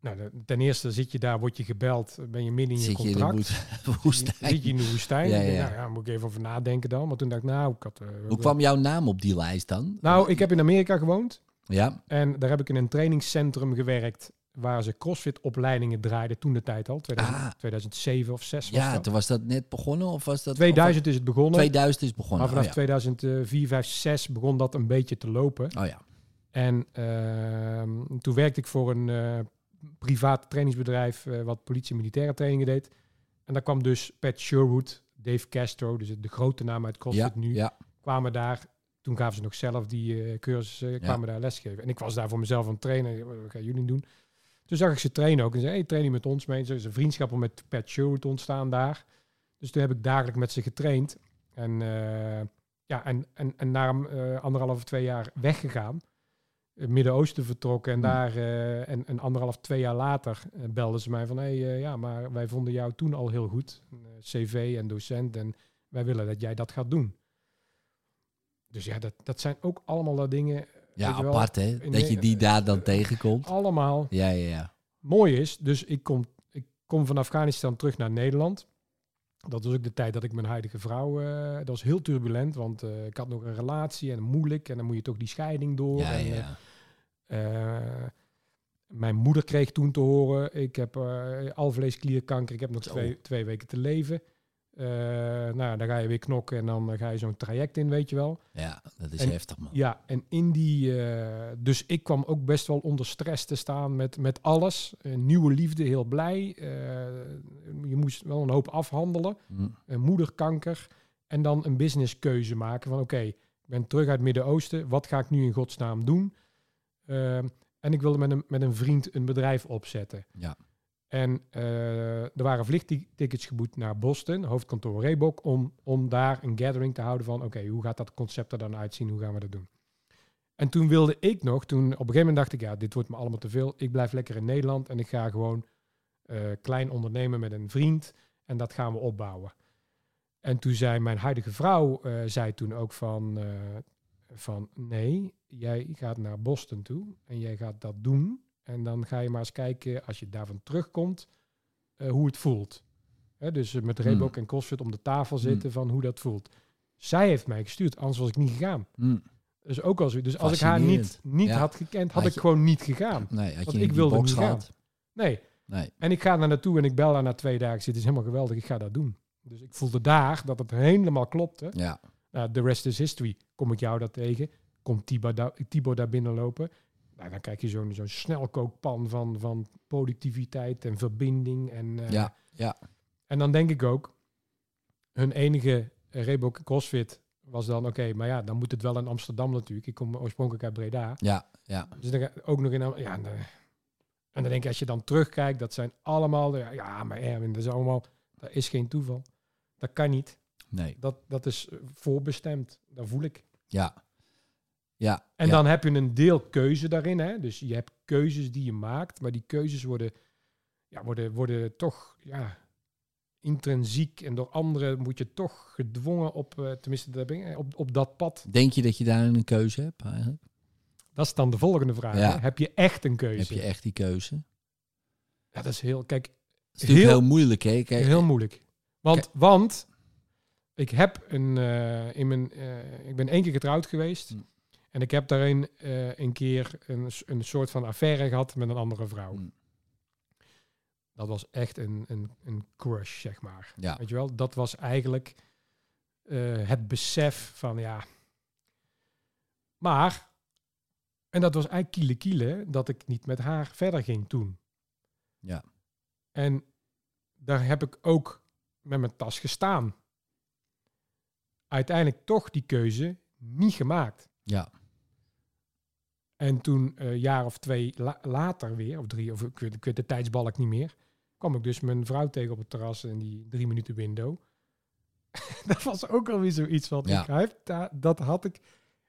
S3: Nou, de- ten eerste zit je daar, word je gebeld, ben je midden in je
S2: zit je in
S3: contract.
S2: de woest-
S3: Zit je
S2: woestijn.
S3: in de woestijn?
S2: Ja,
S3: Ik denk,
S2: ja.
S3: nou ja, moet ik even over nadenken dan. Maar toen dacht ik, nou, ik had... eh,
S2: Hoe kwam jouw naam op die lijst dan?
S3: Nou, ik heb in Amerika gewoond.
S2: Ja,
S3: En daar heb ik in een trainingscentrum gewerkt. Waar ze CrossFit-opleidingen draaiden toen de tijd al. 2000,
S2: Ah.
S3: 2007 of 6 was
S2: ja
S3: dat.
S2: toen was dat net begonnen of was dat...
S3: 2000 is het
S2: of-
S3: begonnen.
S2: 2000 is begonnen.
S3: maar vanaf
S2: oh, ja.
S3: 2004, 5, 6 begon dat een beetje te lopen.
S2: Oh ja.
S3: En ehm, toen werkte ik voor een eh, privaat trainingsbedrijf eh, wat politie- en militaire trainingen deed. En daar kwam dus Pat Sherwood, Dave Castro, dus de grote naam uit CrossFit
S2: Ja,
S3: nu,
S2: ja.
S3: kwamen daar. Toen gaven ze nog zelf die eh, cursussen, kwamen daar lesgeven. En ik was daar voor mezelf aan het trainen. Wat gaan jullie doen? Toen zag ik ze trainen ook. En zei, hey, train je met ons mee? Zo is een vriendschap met Pat Sherwood ontstaan daar. Dus toen heb ik dagelijks met ze getraind. En, eh, ja, en, en, en na een, eh, anderhalf of twee jaar weggegaan. in Het Midden-Oosten vertrokken. En
S2: Hmm.
S3: daar eh, en, en anderhalf, twee jaar later eh, belden ze mij van... hey, eh, ja, maar wij vonden jou toen al heel goed. Eh, CV en docent. En wij willen dat jij dat gaat doen. Dus ja, dat, dat zijn ook allemaal eh, dingen.
S2: Ja,
S3: Weet je wel,
S2: apart hè,
S3: in
S2: dat
S3: de-
S2: je die daar dan
S3: eh,
S2: tegenkomt.
S3: Allemaal
S2: Ja, ja, ja.
S3: mooi is, dus ik kom, ik kom van Afghanistan terug naar Nederland. Dat was ook de tijd dat ik mijn huidige vrouw... eh, dat was heel turbulent, want eh, ik had nog een relatie en moeilijk. En dan moet je toch die scheiding door.
S2: Ja,
S3: en,
S2: ja,
S3: eh,
S2: ja.
S3: eh, mijn moeder kreeg toen te horen, ik heb eh alvleesklierkanker, ik heb nog
S2: Zo.
S3: twee, twee weken te leven. Eh, nou, dan ga je weer knokken en dan eh, ga je zo'n traject in, weet je wel.
S2: Ja, dat is
S3: en-
S2: heftig man.
S3: Ja, en in die. eh, dus ik kwam ook best wel onder stress te staan met, met alles. Een nieuwe liefde, heel blij. Eh, je moest wel een hoop afhandelen.
S2: Hm.
S3: Een moederkanker. En dan een businesskeuze maken van: oké, ik ben terug uit het Midden-Oosten. Wat ga ik nu in godsnaam doen? Eh, en ik wilde met een, met een vriend een bedrijf opzetten.
S2: Ja.
S3: En eh, er waren vliegtickets geboekt naar Boston, hoofdkantoor Reebok, om, om daar een gathering te houden van, oké, hoe gaat dat concept er dan uitzien? Hoe gaan we dat doen? En toen wilde ik nog, toen op een gegeven moment dacht ik, ja, dit wordt me allemaal te veel. Ik blijf lekker in Nederland en ik ga gewoon eh, klein ondernemen met een vriend en dat gaan we opbouwen. En toen zei mijn huidige vrouw, eh, zei toen ook van, eh, van nee, jij gaat naar Boston toe en jij gaat dat doen. En dan ga je maar eens kijken, als je daarvan terugkomt, eh, hoe het voelt. Hè, dus eh, met Reebok en CrossFit om de tafel zitten van hoe dat voelt. Zij heeft mij gestuurd, anders was ik niet gegaan.
S2: Hm.
S3: Dus ook als dus als ik haar niet, niet
S2: Ja.
S3: had gekend, had,
S2: Had je-
S3: ik gewoon niet gegaan.
S2: Nee, had
S3: Want
S2: je
S3: ik
S2: ik
S3: wilde
S2: box
S3: niet gaan.
S2: gehad?
S3: Nee.
S2: Nee.
S3: En ik ga daar naartoe en ik bel haar na twee dagen. Ik zeg, Het is helemaal geweldig, ik ga dat doen. Dus ik voelde daar dat het helemaal klopte.
S2: Ja,
S3: Nou, the rest is history. Kom ik jou daar tegen? Komt Thibaut daar, Thibaut daar binnenlopen? Nou, dan krijg je zo'n zo'n snelkookpan van, van productiviteit en verbinding. En, eh,
S2: ja, ja.
S3: en dan denk ik ook, hun enige eh, Reebok CrossFit was dan... Oké, maar ja, dan moet het wel in Amsterdam natuurlijk. Ik kom oorspronkelijk uit Breda.
S2: Ja, ja.
S3: Dus dan ga- ook nog in... Am- Ja, en dan- en dan denk ik, als je dan terugkijkt, dat zijn allemaal... de- Ja, maar Erwin, dat is allemaal... Dat is geen toeval. Dat kan niet.
S2: Nee.
S3: Dat, dat is eh, voorbestemd. Dat voel ik.
S2: Ja. Ja.
S3: En
S2: ja.
S3: dan heb je een deel keuze daarin. Hè? Dus je hebt keuzes die je maakt, maar die keuzes worden, ja, worden, worden toch ja, intrinsiek. En door anderen moet je toch gedwongen op, eh, tenminste, dat heb ik, eh, op, op dat pad.
S2: Denk je dat je daar een keuze hebt eigenlijk?
S3: Dat is dan de volgende vraag.
S2: Ja.
S3: hè. Heb je echt een keuze?
S2: Heb je e- echt die keuze? Het
S3: Ja, dat is heel, kijk,
S2: is natuurlijk
S3: Heel-
S2: heel moeilijk hè? Kijk,
S3: heel moeilijk. Want, want Ik heb een, eh, in mijn, eh, ik ben één keer getrouwd geweest.
S2: Mm.
S3: En ik heb daarin eh, een keer een, s- een soort van affaire gehad met een andere vrouw.
S2: Mm.
S3: Dat was echt een, een, een crush, zeg maar.
S2: Ja.
S3: Weet je wel, dat was eigenlijk eh, het besef van ja. Maar, en dat was eigenlijk kiele kiele, dat ik niet met haar verder ging toen.
S2: Ja.
S3: En daar heb ik ook met mijn tas gestaan. Uiteindelijk toch die keuze niet gemaakt.
S2: Ja.
S3: En toen, eh, een jaar of twee la- later weer, of drie, of ik weet, ik weet de tijdsbalk niet meer, kwam ik dus mijn vrouw tegen op het terras in die drie minuten window. dat was ook alweer zoiets wat
S2: Ja.
S3: ik heb, da- dat had ik.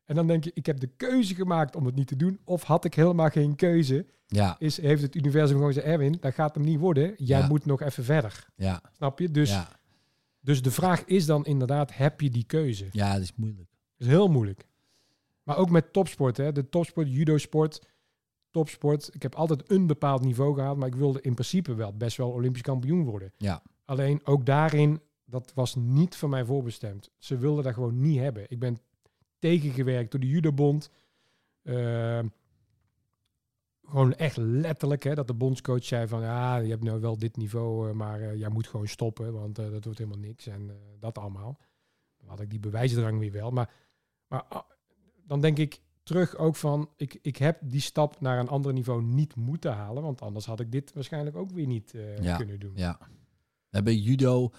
S3: En dan denk je, ik heb de keuze gemaakt om het niet te doen, of had ik helemaal geen keuze.
S2: Ja.
S3: Is, heeft het universum gewoon gezegd, Erwin, dat gaat hem niet worden, jij
S2: Ja.
S3: moet nog even verder.
S2: Ja.
S3: Snap je? Dus,
S2: ja.
S3: dus de vraag is dan inderdaad, heb je die keuze?
S2: Ja, dat is moeilijk.
S3: is heel moeilijk. Maar ook met topsport, hè? de topsport, judo-sport, topsport. Ik heb altijd een bepaald niveau gehaald, maar ik wilde in principe wel best wel Olympisch kampioen worden.
S2: Ja.
S3: Alleen ook daarin, dat was niet voor mij voorbestemd. Ze wilden dat gewoon niet hebben. Ik ben tegengewerkt door de judobond. Eh, gewoon echt letterlijk, hè, dat de bondscoach zei van, ja, je hebt nou wel dit niveau, eh, maar eh, jij moet gewoon stoppen, want eh, dat wordt helemaal niks en eh, dat allemaal. Dan had ik die bewijsdrang weer wel, maar maar ah, dan denk ik terug ook van, ik, ik heb die stap naar een ander niveau niet moeten halen, want anders had ik dit waarschijnlijk ook weer niet eh,
S2: Ja,
S3: kunnen doen.
S2: Ja. En bij judo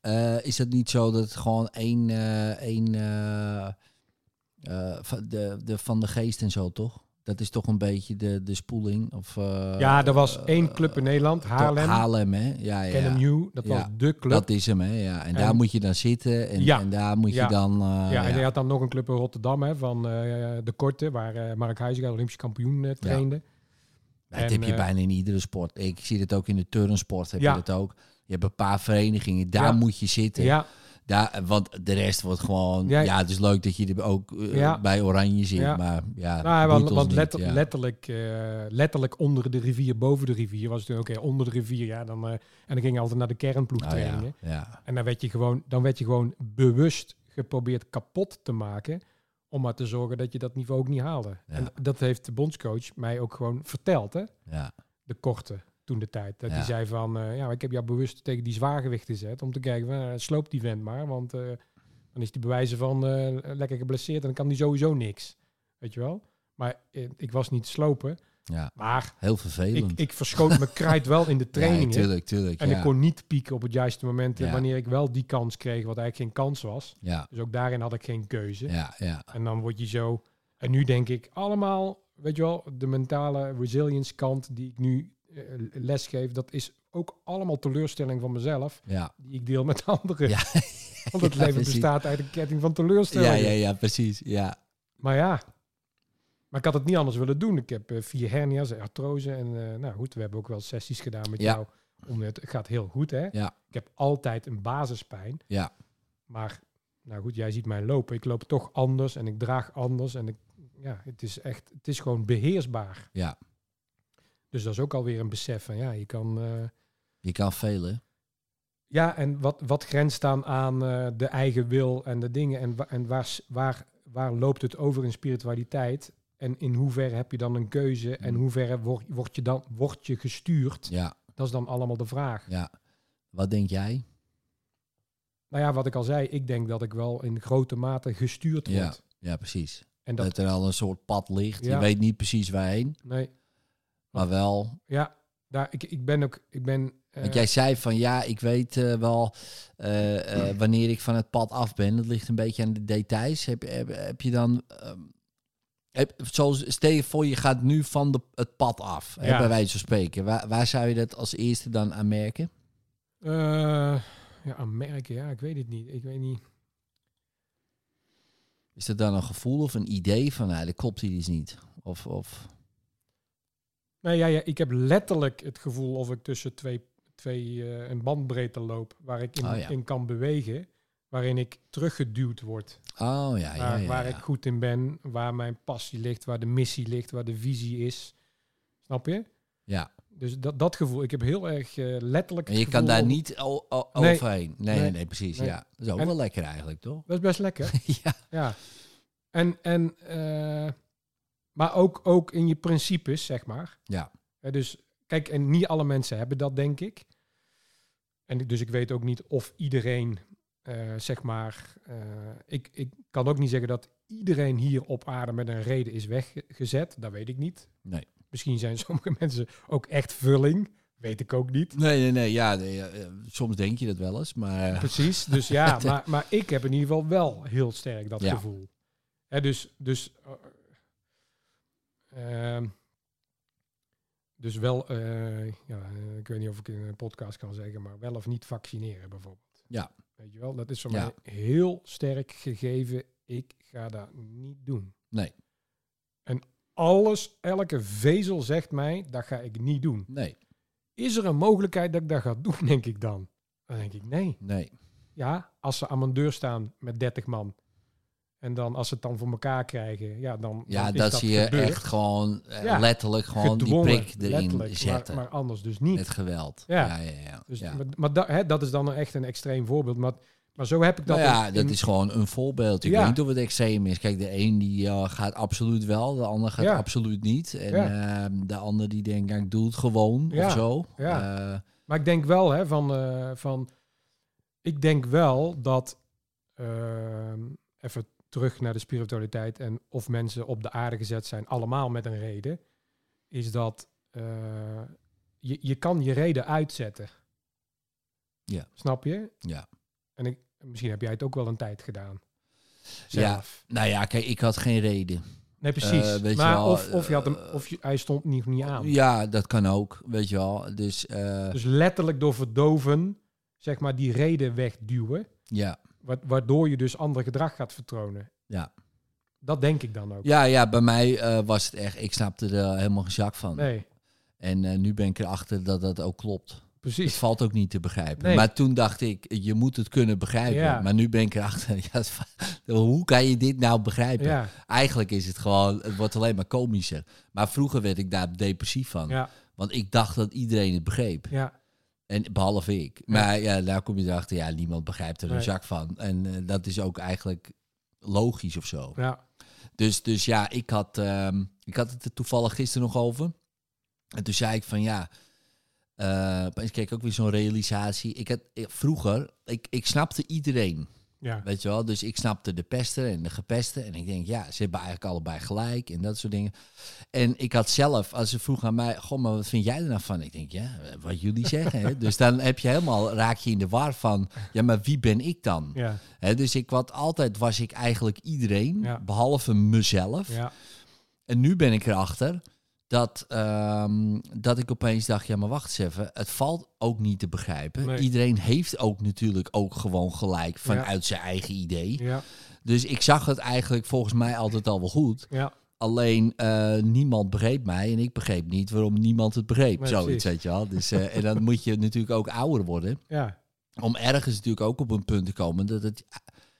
S2: eh, is het niet zo dat het gewoon één, eh, één eh, eh, van de, de van de geest en zo, toch? Dat is toch een beetje de, de spoeling? Of, eh,
S3: Ja, er was
S2: eh,
S3: één club in Nederland,
S2: eh,
S3: Haarlem,
S2: Haarlem, hè? Ja, ja.
S3: Kennen New, dat was
S2: Ja,
S3: de club.
S2: Dat is hem, hè? Ja. En, daar
S3: En-
S2: moet je dan zitten en,
S3: Ja.
S2: en daar moet je
S3: Ja.
S2: dan... eh,
S3: ja, en je had dan nog een club in Rotterdam hè, van eh, de Korte, waar eh, Mark Huizinga Olympisch kampioen eh, trainde.
S2: Maar dat
S3: En,
S2: heb je
S3: eh,
S2: bijna in iedere sport. Ik zie dat ook in de turnsport, heb
S3: Ja.
S2: je dat ook. Je hebt een paar verenigingen, daar
S3: Ja.
S2: moet je zitten.
S3: Ja, nou,
S2: Daar, want de rest wordt gewoon... Ja,
S3: Ja.
S2: het is leuk dat je er ook eh,
S3: Ja.
S2: bij Oranje zit,
S3: Ja.
S2: maar ja...
S3: nou,
S2: boeit
S3: want,
S2: ons
S3: want
S2: niet,
S3: letter-
S2: ja.
S3: letterlijk, eh, letterlijk onder de rivier, boven de rivier was het toen, oké, onder de rivier, ja, dan, eh, en dan ging je altijd naar de
S2: Nou,
S3: kernploegtrainingen.
S2: ja, ja.
S3: En dan werd je gewoon, dan werd je gewoon bewust geprobeerd kapot te maken. Om maar te zorgen dat je dat niveau ook niet haalde. En dat heeft de bondscoach mij ook gewoon verteld, hè?
S2: ja.
S3: De korte toen de tijd. Dat
S2: Ja.
S3: die zei van, eh, ja, ik heb jou bewust tegen die zwaargewicht gezet. Om te kijken, van, eh, sloop die vent maar. Want eh, dan is die bewijzen van eh, lekker geblesseerd. En dan kan die sowieso niks. Weet je wel? Maar eh, ik was niet slopen.
S2: Ja.
S3: Maar
S2: Heel
S3: ik,
S2: vervelend.
S3: ik verschoot mijn kruid wel in de trainingen.
S2: Ja, tuurlijk, tuurlijk.
S3: En
S2: ja.
S3: ik kon niet pieken op het juiste moment eh,
S2: Ja.
S3: wanneer ik wel die kans kreeg, wat eigenlijk geen kans was.
S2: Ja,
S3: Dus ook daarin had ik geen keuze.
S2: ja, ja.
S3: En dan word je zo. En nu denk ik allemaal, weet je wel, de mentale resilience kant die ik nu eh, lesgeef, dat is ook allemaal teleurstelling van mezelf,
S2: Ja,
S3: die ik deel met anderen.
S2: Ja.
S3: Want het
S2: Ja,
S3: leven
S2: precies.
S3: bestaat uit een ketting van
S2: ja,
S3: teleurstellingen.
S2: ja, ja, precies. Ja,
S3: Maar ja, maar ik had het niet anders willen doen. Ik heb eh, vier hernia's, artrose en eh, nou goed, we hebben ook wel sessies gedaan met
S2: Ja.
S3: jou. Om het het gaat heel goed, hè?
S2: Ja.
S3: Ik heb altijd een basispijn.
S2: Ja.
S3: Maar nou goed, jij ziet mij lopen. Ik loop toch anders en ik draag anders en ik, ja, het is echt, het is gewoon beheersbaar.
S2: Ja.
S3: Dus dat is ook alweer een besef van ja, je kan. eh,
S2: je kan velen.
S3: ja, en wat, wat grenst dan aan eh, de eigen wil en de dingen? En, wa- en waar, s- waar, waar loopt het over in spiritualiteit? En in hoeverre heb je dan een keuze? En
S2: Hmm.
S3: hoeverre word, word, je dan, word je gestuurd?
S2: Ja,
S3: Dat is dan allemaal de vraag.
S2: ja. Wat denk jij?
S3: Nou ja, wat ik al zei, ik denk dat ik wel in grote mate gestuurd word.
S2: Ja, precies.
S3: En
S2: Dat,
S3: dat,
S2: er al een soort pad ligt. Je
S3: Ja.
S2: weet niet precies waarheen,
S3: nee,
S2: maar wel.
S3: ja, daar, ik, ik ben ook, ik ben... eh,
S2: Want jij zei van ja, ik weet eh, wel eh, eh, wanneer ik van het pad af ben. Dat ligt een beetje aan de details. Heb, heb, heb je dan. ehm, heb, zoals, stel je voor, je gaat nu van de, het pad af, hè,
S3: Ja.
S2: bij wijze van spreken. Waar, waar zou je dat als eerste dan aan merken?
S3: eh, ja, aan merken, ja, ik weet het niet. Ik weet niet.
S2: Is dat dan een gevoel of een idee van, nou, dat klopt hier iets niet? Of, of
S3: Nou ja, ja, ik heb letterlijk het gevoel of ik tussen twee, twee eh, een bandbreedte loop waar ik in,
S2: Oh ja.
S3: in kan bewegen, waarin ik teruggeduwd word.
S2: oh ja, ja,
S3: waar
S2: ja,
S3: waar
S2: ja.
S3: ik goed in ben, waar mijn passie ligt, waar de missie ligt, waar de visie is. Snap je?
S2: Ja.
S3: Dus dat, dat gevoel, ik heb heel erg eh, letterlijk.
S2: En
S3: het
S2: je kan
S3: gevoel
S2: daar
S3: om-
S2: niet o- o-
S3: Nee.
S2: overheen. Nee, nee,
S3: Nee.
S2: nee, precies.
S3: Nee.
S2: Ja. Dat is ook
S3: En-
S2: wel lekker eigenlijk, toch?
S3: Dat is best lekker.
S2: ja.
S3: Ja. En, en eh, maar ook, ook in je principes, zeg maar.
S2: Ja.
S3: Hè, dus kijk, en niet alle mensen hebben dat, denk ik. En ik- dus ik weet ook niet of iedereen, eh, zeg maar, eh, ik, ik kan ook niet zeggen dat iedereen hier op aarde met een reden is weggezet. Dat weet ik niet.
S2: Nee.
S3: Misschien zijn sommige mensen ook echt vulling. Weet ik ook niet.
S2: Nee, nee, nee. Ja, nee, ja, eh, soms denk je dat wel eens, maar... eh,
S3: Precies, dus ja, maar, maar ik heb in ieder geval wel heel sterk dat
S2: Ja.
S3: gevoel. Hè, dus, dus, eh, ehm, dus wel, eh, ja, eh, ik weet niet of ik in een podcast kan zeggen, maar wel of niet vaccineren bijvoorbeeld.
S2: Ja.
S3: Weet je wel, dat is voor
S2: Ja.
S3: mij heel sterk gegeven. Ik ga dat niet doen.
S2: Nee.
S3: En alles, elke vezel zegt mij, dat ga ik niet doen.
S2: nee,
S3: Is er een mogelijkheid dat ik dat ga doen, denk ik dan? Dan denk ik, nee.
S2: nee.
S3: Ja, als ze aan mijn deur staan met 30 man. En dan als ze het dan voor elkaar krijgen, ja, dan.
S2: Ja,
S3: dan is
S2: dat zie je
S3: gebeurd.
S2: echt gewoon eh,
S3: Ja.
S2: letterlijk gewoon die
S3: Gedwongen,
S2: prik erin
S3: letterlijk,
S2: zetten.
S3: Maar, maar anders dus niet.
S2: Met geweld.
S3: Ja.
S2: ja, ja. ja,
S3: dus,
S2: ja.
S3: Maar, maar dat- hè, dat is dan echt een extreem voorbeeld. Maar, maar zo heb ik dat.
S2: Nou ja,
S3: in-
S2: dat
S3: in-
S2: is gewoon een voorbeeld. Ik
S3: Ja.
S2: weet niet of het extreem is. Kijk, de een die eh, gaat absoluut wel, de ander gaat
S3: Ja.
S2: absoluut niet. En
S3: Ja.
S2: ehm, de ander die denkt, nou, ik doe het gewoon
S3: Ja.
S2: of zo.
S3: Ja.
S2: Eh,
S3: Maar ik denk wel, hè, van, eh, van. Ik denk wel dat. ehm, even terug naar de spiritualiteit en of mensen op de aarde gezet zijn, allemaal met een reden. Is dat. eh, je, je kan je reden uitzetten.
S2: Ja.
S3: Snap je?
S2: Ja.
S3: En ik, misschien heb jij het ook wel een tijd gedaan.
S2: ja.
S3: Zelf.
S2: Nou ja, kijk, ik had geen reden.
S3: Nee, precies.
S2: Eh, weet je
S3: maar
S2: wel,
S3: of, of, je had hem,
S2: eh,
S3: of je, hij stond niet, niet aan.
S2: Ja, dat kan ook, weet je wel. Dus eh,
S3: Dus letterlijk door verdoven, zeg maar, die reden wegduwen.
S2: ja.
S3: Wa- waardoor je dus ander gedrag gaat vertonen.
S2: Ja.
S3: Dat denk ik dan ook.
S2: Ja, ja, bij mij eh, was het echt, ik snapte er helemaal geen zak van.
S3: Nee,
S2: En eh, nu ben ik erachter dat dat ook klopt. Het
S3: precies.
S2: valt ook niet te begrijpen.
S3: Nee.
S2: Maar toen dacht ik, je moet het kunnen begrijpen.
S3: Ja.
S2: Maar nu ben ik erachter, ja, het va- hoe kan je dit nou begrijpen?
S3: Ja,
S2: Eigenlijk is het gewoon, het wordt alleen maar komischer. Maar vroeger werd ik daar depressief van.
S3: ja,
S2: Want ik dacht dat iedereen het begreep.
S3: ja,
S2: En behalve ik. Maar ja, daar kom je erachter, ja, niemand begrijpt er een
S3: Nee.
S2: zak van. En eh, dat is ook eigenlijk logisch of zo.
S3: ja,
S2: Dus, dus ja, ik had, ehm, ik had het er toevallig gisteren nog over. En toen zei ik van ja. eh opeens kreeg ik ook weer zo'n realisatie. Ik had, eh, vroeger, ik, ik snapte iedereen.
S3: ja,
S2: Weet je wel? Dus ik snapte de pester en de gepeste. En ik denk, ja, ze hebben eigenlijk allebei gelijk en dat soort dingen. En ik had zelf, als ze vroeg aan mij, goh, maar wat vind jij er nou van? Ik denk, ja, wat jullie zeggen. Hè? Dus dan heb je helemaal, raak je in de war van, ja, maar wie ben ik dan?
S3: ja,
S2: Hè, dus ik wat altijd was ik eigenlijk iedereen,
S3: Ja.
S2: behalve mezelf.
S3: ja,
S2: En nu ben ik erachter dat, ehm, dat ik opeens dacht, ja maar wacht eens even, het valt ook niet te begrijpen.
S3: Nee.
S2: Iedereen heeft ook natuurlijk ook gewoon gelijk vanuit zijn eigen idee.
S3: ja,
S2: Dus ik zag het eigenlijk volgens mij altijd al wel goed.
S3: ja,
S2: Alleen eh, niemand begreep mij en ik begreep niet waarom niemand het begreep.
S3: Nee,
S2: Zoiets,
S3: precies.
S2: weet je wel. Dus, eh, en dan moet je natuurlijk ook ouder worden.
S3: ja.
S2: Om ergens natuurlijk ook op een punt te komen dat het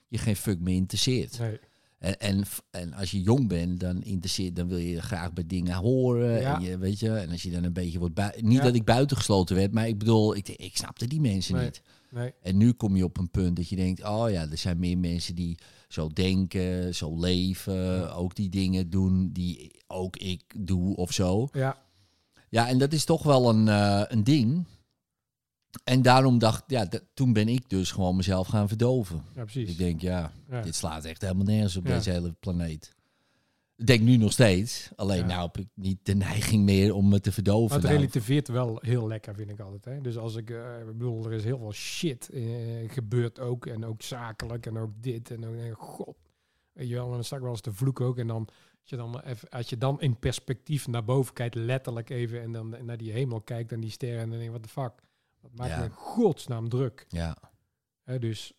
S2: je geen fuck meer interesseert.
S3: Nee,
S2: En, en, f- en als je jong bent, dan interesseert, dan wil je graag bij dingen horen.
S3: Ja.
S2: En, je, weet je, en als je dan een beetje wordt bui- Niet
S3: Ja.
S2: dat ik buitengesloten werd, maar ik bedoel, ik, denk, ik snapte die mensen
S3: Nee.
S2: niet.
S3: nee,
S2: En nu kom je op een punt dat je denkt, oh ja, er zijn meer mensen die zo denken, zo leven, ook die dingen doen die ook ik doe of zo.
S3: ja,
S2: Ja, en dat is toch wel een, eh, een ding. En daarom dacht, ja, dat- toen ben ik dus gewoon mezelf gaan verdoven.
S3: ja, precies.
S2: Ik denk, ja,
S3: Ja.
S2: dit slaat echt helemaal nergens op
S3: Ja.
S2: deze hele planeet. Ik denk nu nog steeds. Alleen
S3: Ja.
S2: nou heb ik niet de neiging meer om me te verdoven.
S3: Maar het
S2: Nou,
S3: relativeert wel heel lekker, vind ik altijd. Hè? Dus als ik, eh, ik bedoel, er is heel veel shit eh, gebeurt ook. En ook zakelijk en ook dit. En ook, eh, god. Weet je wel, en dan sta ik wel eens te vloek ook. En dan, als je dan, even, als je dan in perspectief naar boven kijkt, letterlijk even. En dan naar die hemel kijkt en die sterren. En dan denk je, what the fuck. Dat maakt
S2: Ja.
S3: me in godsnaam druk.
S2: ja,
S3: Hè, dus.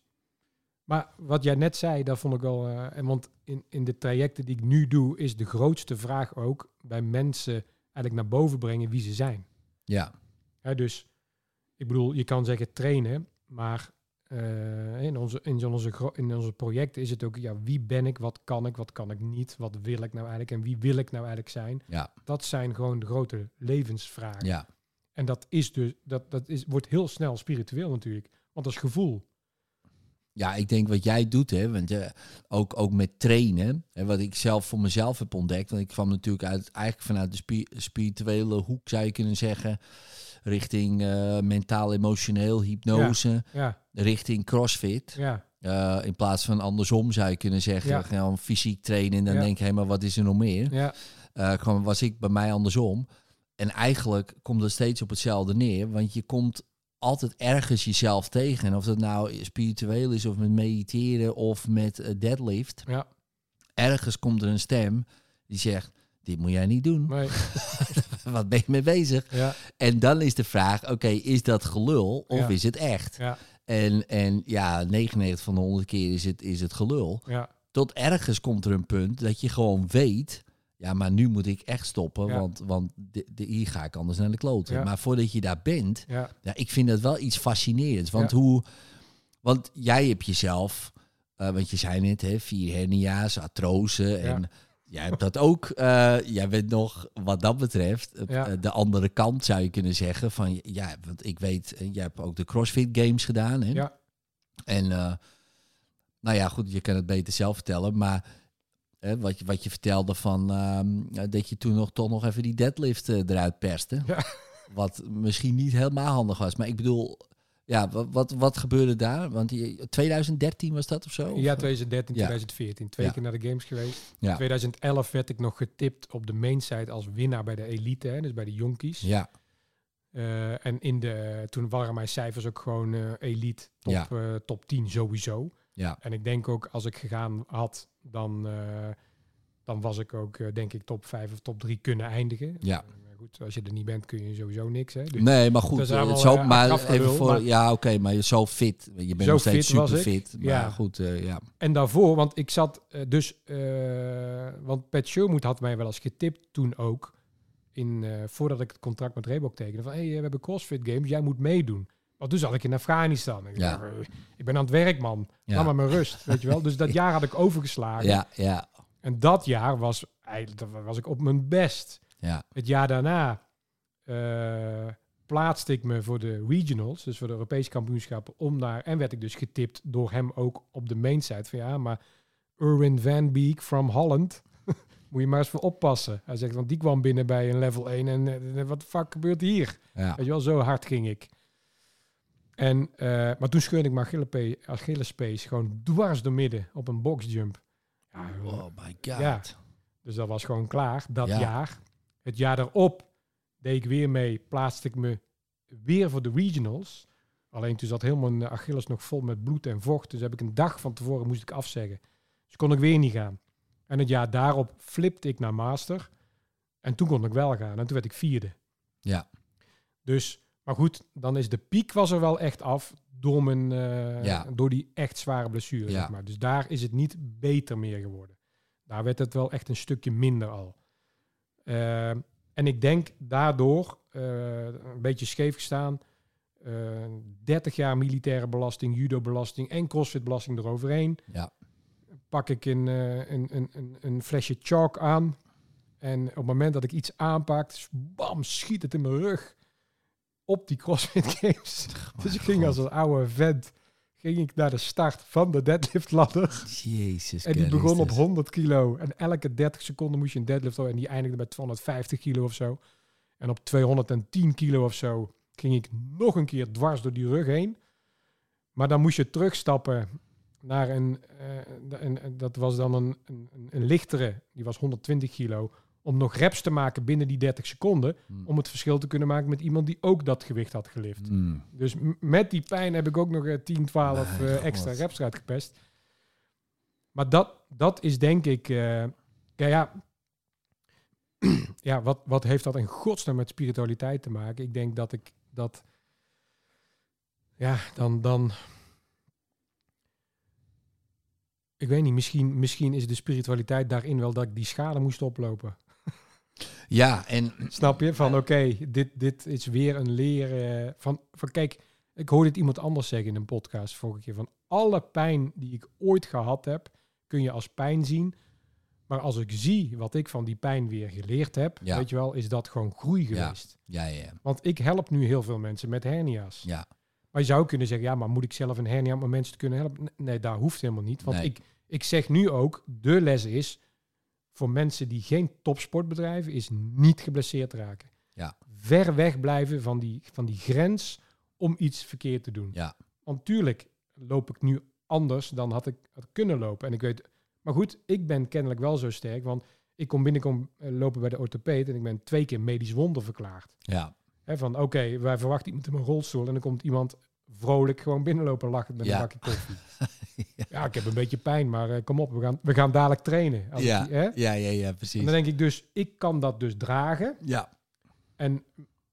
S3: Maar wat jij net zei, dat vond ik wel. eh, en want in, in de trajecten die ik nu doe, is de grootste vraag ook bij mensen eigenlijk naar boven brengen wie ze zijn.
S2: ja,
S3: Hè, dus ik bedoel, je kan zeggen trainen, maar eh, in, onze, in, zo'n- onze, gro- in onze projecten is het ook, ja, wie ben ik, wat kan ik, wat kan ik niet, wat wil ik nou eigenlijk en wie wil ik nou eigenlijk zijn.
S2: Ja.
S3: Dat zijn gewoon de grote levensvragen.
S2: ja,
S3: En dat, is dus, dat, dat is, wordt heel snel spiritueel natuurlijk. Want dat is gevoel.
S2: Ja, ik denk wat jij doet, hè, want eh, ook, ook met trainen, hè, wat ik zelf voor mezelf heb ontdekt, want ik kwam natuurlijk uit, eigenlijk vanuit de spi- spirituele hoek, zou je kunnen zeggen, richting eh, mentaal-emotioneel, hypnose,
S3: Ja,
S2: richting crossfit.
S3: ja,
S2: Eh, in plaats van andersom zou je kunnen zeggen,
S3: Ja.
S2: gewoon fysiek trainen en dan
S3: Ja.
S2: denk je, hé, maar wat is er nog meer?
S3: ja,
S2: Eh, kwam, was ik bij mij andersom. En eigenlijk komt dat steeds op hetzelfde neer. Want je komt altijd ergens jezelf tegen. En of dat nou spiritueel is, of met mediteren, of met eh, deadlift.
S3: ja.
S2: Ergens komt er een stem die zegt, dit moet jij niet doen.
S3: Nee,
S2: Wat ben je mee bezig?
S3: ja,
S2: En dan is de vraag, oké, is dat gelul of
S3: Ja.
S2: is het echt?
S3: ja,
S2: En, en ja, 99 van de 100 keer is het, is het gelul.
S3: ja,
S2: Tot ergens komt er een punt dat je gewoon weet... Ja, maar nu moet ik echt stoppen,
S3: Ja.
S2: want, want de, de, hier ga ik anders naar de kloten.
S3: Ja.
S2: Maar voordat je daar bent,
S3: ja,
S2: ja, ik vind dat wel iets fascinerends. Want hoe... Want jij hebt jezelf... eh, want je zei net, hè, vier hernia's, artrose en... Jij hebt dat ook. eh, jij bent nog, wat dat betreft, eh,
S3: Ja.
S2: de andere kant zou je kunnen zeggen. Van ja, want ik weet, eh, jij hebt ook de CrossFit Games gedaan. Hè?
S3: ja,
S2: En eh, nou ja, goed, je kan het beter zelf vertellen, maar eh, wat, je, wat je vertelde van ehm, dat je toen nog toch nog even die deadlift eh, eruit perste.
S3: Ja.
S2: Wat misschien niet helemaal handig was. Maar ik bedoel, ja, wat, wat, wat gebeurde daar? Want je- 2013 was dat of zo?
S3: ja, 2013,
S2: Ja.
S3: 2014. Twee
S2: Ja.
S3: keer naar de games geweest.
S2: Ja.
S3: 2011 werd ik nog getipt op de mainsite als winnaar bij de elite, hè, dus bij de jonkies.
S2: Ja,
S3: Eh, en in de, toen waren mijn cijfers ook gewoon eh, elite, top,
S2: Ja.
S3: eh, top 10 sowieso.
S2: ja,
S3: En ik denk ook als ik gegaan had, dan, eh, dan was ik ook eh, denk ik top 5 of top 3 kunnen eindigen.
S2: ja.
S3: Maar goed, als je er niet bent kun je sowieso niks. Hè? Dus
S2: Nee, maar
S3: dat
S2: goed.
S3: is
S2: eh,
S3: allemaal,
S2: zo,
S3: eh,
S2: maar
S3: achteraf
S2: even
S3: gelul,
S2: voor,
S3: maar-
S2: ja, oké, maar je zo fit. Je bent
S3: Zo
S2: nog steeds
S3: fit was
S2: super
S3: ik,
S2: fit. Maar
S3: ja.
S2: goed, eh, ja.
S3: En daarvoor, want ik zat eh, dus, eh, want Pat Sherwood had mij wel eens getipt toen ook, in, eh, voordat ik het contract met Reebok tekende, van hé, hey, we hebben CrossFit Games, jij moet meedoen. Want toen zat ik in Afghanistan. Ik,
S2: Ja.
S3: dacht, eh, ik ben aan het werk, man.
S2: Ja.
S3: Laat maar mijn rust, weet je wel. Dus dat jaar had ik overgeslagen.
S2: ja, ja,
S3: En dat jaar was, eigenlijk, dat was ik op mijn best.
S2: ja,
S3: Het jaar daarna eh, plaatste ik me voor de regionals, dus voor de Europese kampioenschappen, om naar. En werd ik dus getipt door hem ook op de mainsite. Van ja, maar Erwin Van Beek from Holland. Moet je maar eens voor oppassen. Hij zegt, want die kwam binnen bij een level 1 en eh, wat de fuck gebeurt hier?
S2: ja.
S3: Weet je wel, zo hard ging ik. En, eh, maar toen scheurde ik mijn Achillepe- Achillespees gewoon dwars door midden op een boxjump. Ja, joh.
S2: Oh my god.
S3: Ja. Dus dat was gewoon klaar, dat
S2: Ja.
S3: jaar. Het jaar daarop deed ik weer mee, plaatste ik me weer voor de regionals. Alleen toen zat heel mijn Achilles nog vol met bloed en vocht. Dus heb ik een dag van tevoren moest ik afzeggen. Dus kon ik weer niet gaan. En het jaar daarop flipte ik naar master. En toen kon ik wel gaan. En toen werd ik vierde.
S2: Ja.
S3: Dus, maar goed, dan is de piek was er wel echt af door, mijn, eh,
S2: Ja.
S3: door die echt zware blessure.
S2: Ja.
S3: Zeg maar. Dus daar is het niet beter meer geworden. Daar werd het wel echt een stukje minder al. Ehm, en ik denk daardoor, eh, een beetje scheef gestaan, eh, 30 jaar militaire belasting, judo-belasting en crossfit-belasting eroverheen.
S2: Ja.
S3: Pak ik een, eh, een, een, een, een flesje chalk aan. En op het moment dat ik iets aanpak, s- bam, schiet het in mijn rug. Op die CrossFit Games. Dus ik ging als een oude vent ging ik naar de start van de deadlift ladder.
S2: Jezus
S3: En die
S2: Christus.
S3: begon op 100 kilo. En elke 30 seconden moest je een deadlift houden. En die eindigde bij 250 kilo of zo. En op 210 kilo of zo ging ik nog een keer dwars door die rug heen. Maar dan moest je terugstappen naar een... eh, een- een- dat was dan een, een, een lichtere. Die was 120 kilo. Om nog reps te maken binnen die 30 seconden.
S2: Hmm.
S3: Om het verschil te kunnen maken met iemand die ook dat gewicht had gelift.
S2: Mm.
S3: Dus m- met die pijn heb ik ook nog eh, 10, 12
S2: Mijn
S3: eh,
S2: god.
S3: extra reps eruit gepest. Maar dat, dat is denk ik... eh, ja, ja. ja wat, wat heeft dat in godsnaam met spiritualiteit te maken? Ik denk dat ik dat... Ja, dan... dan ik weet niet, misschien, misschien is de spiritualiteit daarin wel dat ik die schade moest oplopen.
S2: Ja, en
S3: Snap je? Van oké, dit, dit is weer een leren. Van, van kijk, ik hoorde het iemand anders zeggen in een podcast vorige keer. Van alle pijn die ik ooit gehad heb, kun je als pijn zien. Maar als ik zie wat ik van die pijn weer geleerd heb,
S2: Ja.
S3: weet je wel, is dat gewoon groei
S2: Ja.
S3: geweest.
S2: Ja, ja, ja.
S3: Want ik help nu heel veel mensen met hernia's.
S2: Ja.
S3: Maar je zou kunnen zeggen, ja, maar moet ik zelf een hernia om mensen te kunnen helpen? N- Nee, daar hoeft helemaal niet. Want
S2: Nee.
S3: ik, ik zeg nu ook, de les is, voor mensen die geen topsport bedrijven, is niet geblesseerd raken.
S2: Ja.
S3: Ver weg blijven van die, van die grens om iets verkeerd te doen.
S2: Ja.
S3: Want tuurlijk loop ik nu anders dan had ik had kunnen lopen. En ik weet, maar goed, ik ben kennelijk wel zo sterk, want ik kom binnenkom eh, lopen bij de orthopeet en ik ben twee keer medisch wonder verklaard.
S2: Ja,
S3: Hè, van oké, wij verwachten iemand in een rolstoel en dan komt iemand vrolijk gewoon binnenlopen lachen met
S2: Ja.
S3: een bakje koffie. ja. ik heb een beetje pijn, maar eh, kom op, we gaan, we gaan dadelijk trainen. Als
S2: ja,
S3: ik die- hè?
S2: ja, ja, ja,
S3: En
S2: precies.
S3: dan denk ik dus, ik kan dat dus dragen.
S2: Ja,
S3: En,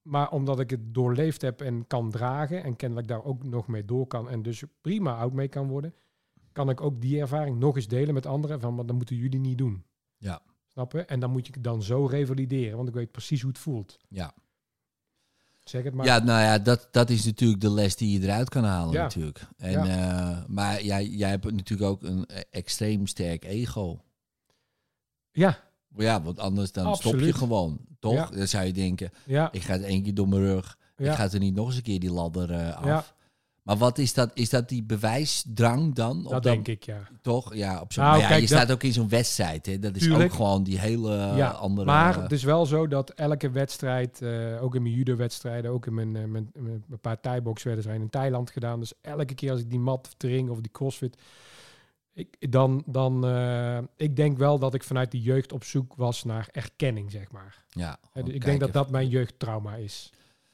S3: maar omdat ik het doorleefd heb en kan dragen en kennelijk daar ook nog mee door kan en dus prima oud mee kan worden, kan ik ook die ervaring nog eens delen met anderen van, maar dat moeten jullie niet doen.
S2: Ja.
S3: Snap je? En dan moet je het dan zo revalideren, want ik weet precies hoe het voelt.
S2: Ja.
S3: Zeg het maar.
S2: ja nou ja, dat, dat is natuurlijk de les die je eruit kan halen
S3: Ja.
S2: natuurlijk. En,
S3: Ja.
S2: eh, maar jij, jij hebt natuurlijk ook een eh, extreem sterk ego.
S3: Ja,
S2: Ja, want anders dan stop je
S3: Absoluut.
S2: gewoon, toch?
S3: Ja.
S2: Dan zou je denken,
S3: ja,
S2: ik ga het één keer door mijn rug.
S3: Ja.
S2: Ik ga er niet nog eens een keer die ladder eh, af.
S3: Ja.
S2: Maar wat is dat? Is dat die bewijsdrang dan?
S3: dat denk ik, ja.
S2: Toch? Ja, op zo'n...
S3: Nou,
S2: maar ja,
S3: kijk,
S2: je
S3: dat-
S2: staat ook in zo'n wedstrijd, hè? Dat is
S3: Tuurlijk.
S2: ook gewoon die hele eh,
S3: ja.
S2: andere...
S3: maar het is wel zo dat elke wedstrijd, eh, ook in mijn judo-wedstrijden, ook in mijn, eh, mijn, mijn- een paar thai-boxwedstrijden in Thailand gedaan. Dus elke keer als ik die mat tring of die crossfit, ik, dan, dan eh, ik denk wel dat ik vanuit de jeugd op zoek was naar erkenning, zeg maar.
S2: ja,
S3: Hè,
S2: gewoon
S3: dus ik denk
S2: kijken
S3: dat dat mijn jeugdtrauma is.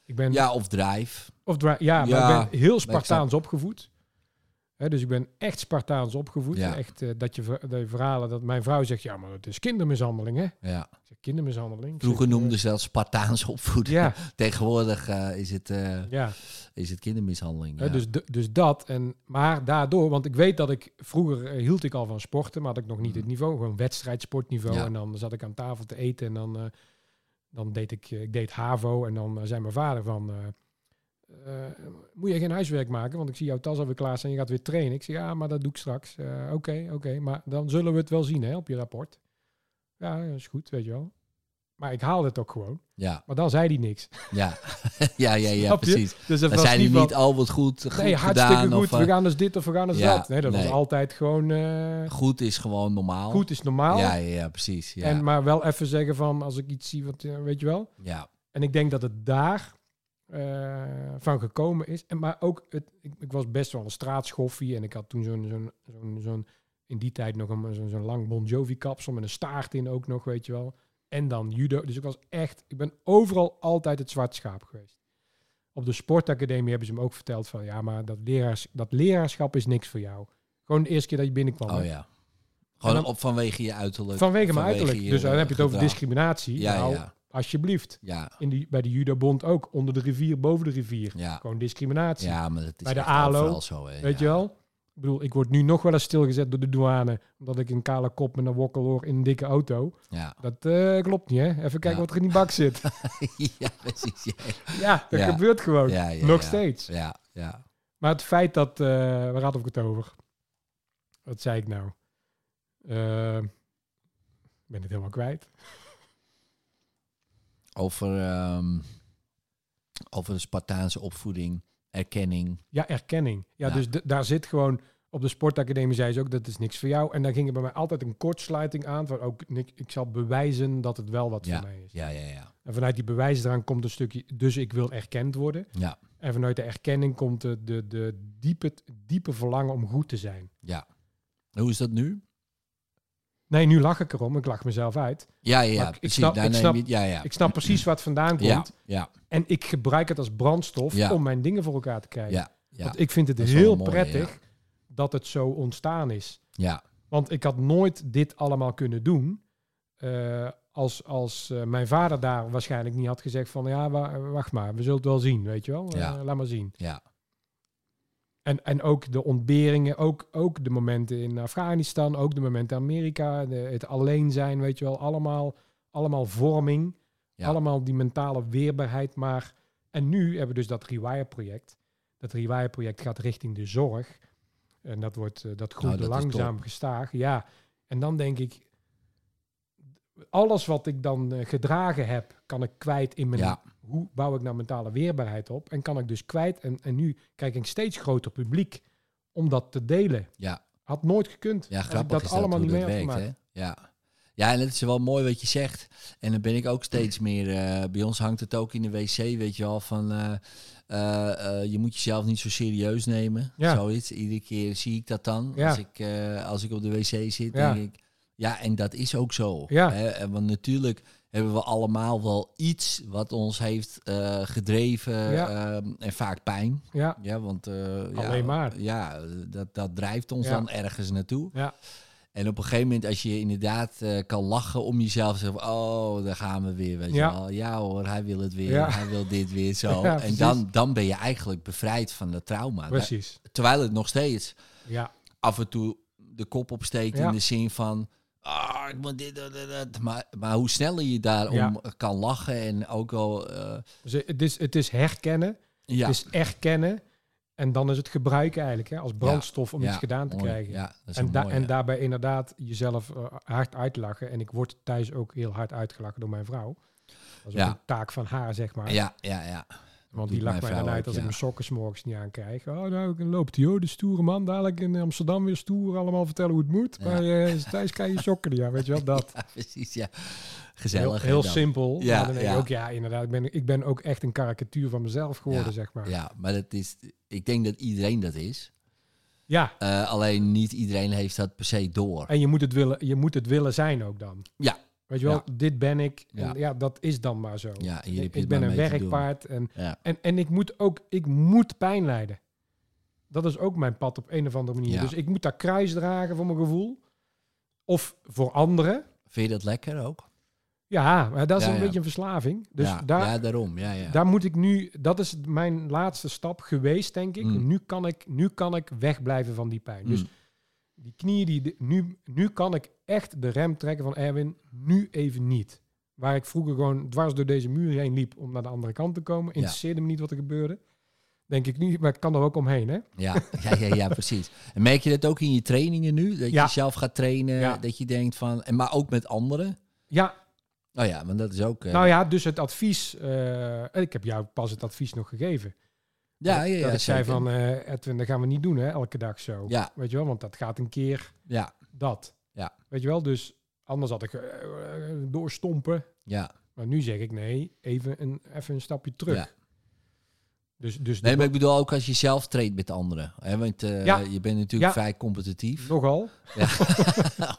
S3: Ik ben,
S2: Ja, of drive.
S3: of dra- ja, maar
S2: Ja,
S3: ik ben heel
S2: snap.
S3: Spartaans opgevoed. Hè, dus ik ben echt Spartaans opgevoed.
S2: Ja.
S3: Echt eh, dat je ver- de verhalen dat mijn vrouw zegt, ja, maar het is kindermishandeling, hè?
S2: Ja.
S3: Ik zeg, kindermishandeling. Ik
S2: Vroeger
S3: zeg, eh,
S2: noemden ze dat Spartaans opvoeden.
S3: Ja,
S2: Tegenwoordig eh, is, het, eh,
S3: ja.
S2: is het kindermishandeling.
S3: Hè,
S2: ja.
S3: Dus, d- dus dat. En, maar daardoor, want ik weet dat ik vroeger eh, hield ik al van sporten, maar had ik nog niet het niveau, gewoon wedstrijdsportniveau.
S2: Ja.
S3: En dan zat ik aan tafel te eten en dan, eh, dan deed ik, eh, ik deed HAVO en dan eh, zei mijn vader van, eh, eh, moet je geen huiswerk maken, want ik zie jouw tas alweer klaar staan en je gaat weer trainen. Ik zeg, ja, maar dat doe ik straks. Eh, Oké, oké, maar dan zullen we het wel zien hè, op je rapport. Ja, is goed, weet je wel. Maar ik haalde het ook gewoon.
S2: ja,
S3: Maar dan zei hij niks.
S2: ja. ja, ja, ja,
S3: Snap je?
S2: precies.
S3: Dus dat
S2: Dan
S3: was
S2: zijn die
S3: niet wat-
S2: niet al wat goed, goed
S3: nee, hartstikke
S2: gedaan.
S3: goed.
S2: Of, eh,
S3: we gaan dus dit of we gaan dus
S2: ja,
S3: dat. Nee, dat
S2: nee.
S3: was altijd gewoon... eh,
S2: Goed is gewoon normaal.
S3: goed is normaal.
S2: Ja, ja, ja, precies. Ja,
S3: En, maar wel even zeggen van, als ik iets zie, wat, eh, weet je wel.
S2: ja.
S3: En ik denk dat het daar eh, van gekomen is. En, maar ook, het, ik, ik was best wel een straatschoffie. En ik had toen zo'n, zo'n, zo'n, zo'n in die tijd nog een, zo'n, zo'n lang Bon Jovi kapsel met een staart in ook nog, weet je wel. En dan judo. Dus ik was echt, ik ben overal altijd het zwart schaap geweest. Op de sportacademie hebben ze me ook verteld van, ja, maar dat, leraars, dat leraarschap is niks voor jou. Gewoon de eerste keer dat je binnenkwam. hè?
S2: Oh ja. Gewoon
S3: En dan-
S2: op vanwege je uiterlijk.
S3: Vanwege mijn uiterlijk.
S2: je,
S3: dus dan
S2: eh,
S3: heb je het over
S2: gedrag.
S3: discriminatie.
S2: Ja,
S3: nou,
S2: ja,
S3: alsjeblieft.
S2: ja,
S3: In de, bij de Judobond ook. Onder de rivier, boven de rivier.
S2: ja.
S3: Gewoon discriminatie.
S2: Ja, maar dat is
S3: Bij de
S2: echt
S3: ALO,
S2: overal zo. Hè.
S3: Weet
S2: ja.
S3: je wel? Ik bedoel, ik word nu nog wel eens stilgezet door de douane. Omdat ik een kale kop met een wokkel hoor in een dikke auto.
S2: Ja,
S3: Dat eh, klopt niet, hè? Even kijken
S2: Ja.
S3: wat er in die bak zit.
S2: ja precies. Ja,
S3: ja, dat
S2: Ja.
S3: gebeurt gewoon.
S2: ja, ja,
S3: nog
S2: ja.
S3: steeds.
S2: Ja, ja.
S3: Maar het feit dat... eh waar had ik het over? Wat zei ik nou? Eh, ik ben het helemaal kwijt.
S2: Over, ehm, over de Spartaanse opvoeding, erkenning.
S3: Ja, erkenning. Ja,
S2: Ja.
S3: dus d- daar zit gewoon... Op de sportacademie zei ze ook, dat is niks voor jou. En dan ging er bij mij altijd een kortsluiting aan. Van ook, ik, ik zal bewijzen dat het wel wat voor mij is.
S2: Ja, ja, ja.
S3: En vanuit die bewijsdrang komt een stukje, dus ik wil erkend worden.
S2: Ja,
S3: En vanuit de erkenning komt de, de, de diepe, diepe verlangen om goed te zijn.
S2: ja. Hoe is dat nu?
S3: Nee, nu lach ik erom. Ik lach mezelf uit.
S2: Ja, ja,
S3: Maar ik- ik
S2: precies.
S3: snap-
S2: Daar
S3: ik
S2: neem
S3: snap-
S2: je het- ja, ja.
S3: Ik snap precies wat vandaan komt.
S2: ja, ja,
S3: En ik gebruik het als brandstof
S2: Ja.
S3: om mijn dingen voor elkaar te krijgen.
S2: ja, ja,
S3: Want ik vind het
S2: Dat is wel
S3: heel
S2: een mooie,
S3: prettig dat het zo ontstaan is.
S2: ja,
S3: Want ik had nooit dit allemaal kunnen doen. eh, als als eh, mijn vader daar waarschijnlijk niet had gezegd van ja, wa- wacht maar, we zullen het wel zien, weet je wel.
S2: Ja.
S3: Eh, laat maar zien.
S2: ja,
S3: En, en ook de ontberingen, ook, ook de momenten in Afghanistan, ook de momenten in Amerika, de- het alleen zijn, weet je wel, allemaal, allemaal vorming,
S2: Ja.
S3: allemaal die mentale weerbaarheid. Maar en nu hebben we dus dat Rewire-project. Dat Rewire-project gaat richting de zorg. En dat, wordt, eh, dat groeit
S2: Nou, dat is
S3: langzaam gestaag. Ja, en dan denk ik, alles wat ik dan eh, gedragen heb, kan ik kwijt in mijn...
S2: Ja.
S3: Hoe bouw ik nou mentale weerbaarheid op? En kan ik dus kwijt. En, en nu krijg ik een steeds groter publiek om dat te delen.
S2: Ja.
S3: Had nooit gekund.
S2: Ja,
S3: als ik
S2: grappig
S3: dat
S2: is dat
S3: allemaal
S2: hoe
S3: niet
S2: dat
S3: mee had
S2: werkt,
S3: gemaakt.
S2: hè? Ja. Ja, en het is wel mooi wat je zegt. En dan ben ik ook steeds meer... eh, bij ons hangt het ook in de wc, weet je wel, van... eh, eh, eh, je moet jezelf niet zo serieus nemen.
S3: Ja.
S2: Zoiets. Iedere keer zie ik dat dan.
S3: Ja.
S2: Als, ik, eh, als ik op de wc zit,
S3: Ja.
S2: denk ik... Ja, en dat is ook zo.
S3: Ja.
S2: Hè? En Want natuurlijk hebben we allemaal wel iets wat ons heeft eh, gedreven.
S3: Ja.
S2: ehm, en vaak pijn.
S3: Ja,
S2: Ja, want... eh, ja,
S3: Alleen maar.
S2: Ja, dat, dat drijft ons
S3: Ja.
S2: dan ergens naartoe.
S3: ja,
S2: En op een gegeven moment, als je inderdaad eh, kan lachen om jezelf, zeg van, oh, daar gaan we weer, weet
S3: Ja.
S2: je wel. Ja hoor, hij wil het weer,
S3: Ja.
S2: hij wil dit weer, zo.
S3: Ja,
S2: en
S3: precies.
S2: dan, dan ben je eigenlijk bevrijd van dat trauma. Daar-
S3: precies.
S2: terwijl het nog steeds
S3: Ja,
S2: af en toe de kop opsteekt
S3: Ja.
S2: in de zin van, ah, ik moet dit, dat, dat, dat. Maar, maar hoe sneller je daarom
S3: Ja.
S2: kan lachen en ook al... eh,
S3: dus het is, het is herkennen.
S2: ja,
S3: Het is erkennen. Dus En dan is het gebruiken eigenlijk hè, als brandstof om
S2: ja,
S3: iets gedaan te
S2: mooi.
S3: krijgen.
S2: Ja, dat is
S3: En,
S2: een
S3: da-
S2: mooie.
S3: en daarbij inderdaad jezelf eh, hard uitlachen. En ik word thuis ook heel hard uitgelachen door mijn vrouw. Dat is
S2: Ja.
S3: ook een taak van haar, zeg maar.
S2: ja, ja, ja.
S3: Want
S2: doet
S3: die lacht
S2: mijn
S3: mij dan
S2: vrouw
S3: uit
S2: ook,
S3: als
S2: ja.
S3: ik mijn sokken 's morgens niet aan krijg. Oh, nou dan loopt hij, oh, de stoere man. Dadelijk in Amsterdam weer stoer, allemaal vertellen hoe het moet.
S2: Ja.
S3: Maar eh, thuis krijg je sokken niet aan, weet je wel, dat.
S2: Ja, precies, ja.
S3: Heel,
S2: Gezellig. hè,
S3: heel
S2: dan.
S3: simpel.
S2: Ja,
S3: Ja, maar dan denk
S2: ja.
S3: je ook, ja, inderdaad. Ik ben, ik ben ook echt een karikatuur van mezelf geworden,
S2: Ja,
S3: zeg maar. Ja,
S2: Ja, maar dat is, ik denk dat iedereen dat is. Eh, alleen niet iedereen heeft dat per se door.
S3: en je moet, het willen, je moet het willen zijn ook dan.
S2: Ja.
S3: Weet je wel,
S2: Ja.
S3: dit ben ik. En
S2: Ja.
S3: ja. dat is dan maar zo.
S2: Ja, hier heb
S3: Ik,
S2: je
S3: ik
S2: het
S3: ben
S2: maar
S3: een
S2: mee te doen.
S3: werkpaard en,
S2: Ja.
S3: en, en ik moet ook ik moet pijn lijden. Dat is ook mijn pad op een of andere manier.
S2: Ja.
S3: Dus ik moet daar kruis dragen voor mijn gevoel. Of voor anderen.
S2: Vind je dat lekker ook?
S3: Ja, maar dat is
S2: Ja,
S3: een
S2: ja.
S3: beetje een verslaving. Dus
S2: ja,
S3: daar,
S2: ja, daarom. Ja, ja.
S3: daar moet ik nu... Dat is mijn laatste stap geweest, denk ik.
S2: Mm.
S3: Nu, kan ik nu kan ik wegblijven van die pijn. Dus
S2: Mm.
S3: die knieën, die, de- nu, nu kan ik echt de rem trekken van Erwin. Nu even niet. Waar ik vroeger gewoon dwars door deze muur heen liep om naar de andere kant te komen. Interesseerde me niet wat er gebeurde. Denk ik niet, maar ik kan er ook omheen. Hè?
S2: Ja, ja, ja, ja, precies. En merk je dat ook in je trainingen nu? Dat
S3: Ja.
S2: je zelf gaat trainen,
S3: Ja.
S2: dat je denkt van... En maar ook met anderen?
S3: Ja,
S2: Nou ja, want dat is ook... eh,
S3: nou ja, dus het advies. eh, en ik heb jou pas het advies nog gegeven.
S2: ja,
S3: dat,
S2: ja, ja,
S3: dat ik zei
S2: zeker.
S3: van eh, Edwin, dat gaan we niet doen hè, elke dag zo.
S2: Ja,
S3: Weet je wel, want dat gaat een keer
S2: ja,
S3: dat.
S2: Ja.
S3: Weet je wel, dus anders had ik eh, eh, doorstompen.
S2: ja.
S3: Maar nu zeg ik nee, even een, even een stapje terug.
S2: Ja.
S3: Dus, dus
S2: Nee,
S3: de-
S2: maar ik bedoel ook als je zelf traint met anderen. Hè? Want eh,
S3: Ja.
S2: je bent natuurlijk
S3: Ja.
S2: vrij competitief.
S3: nogal.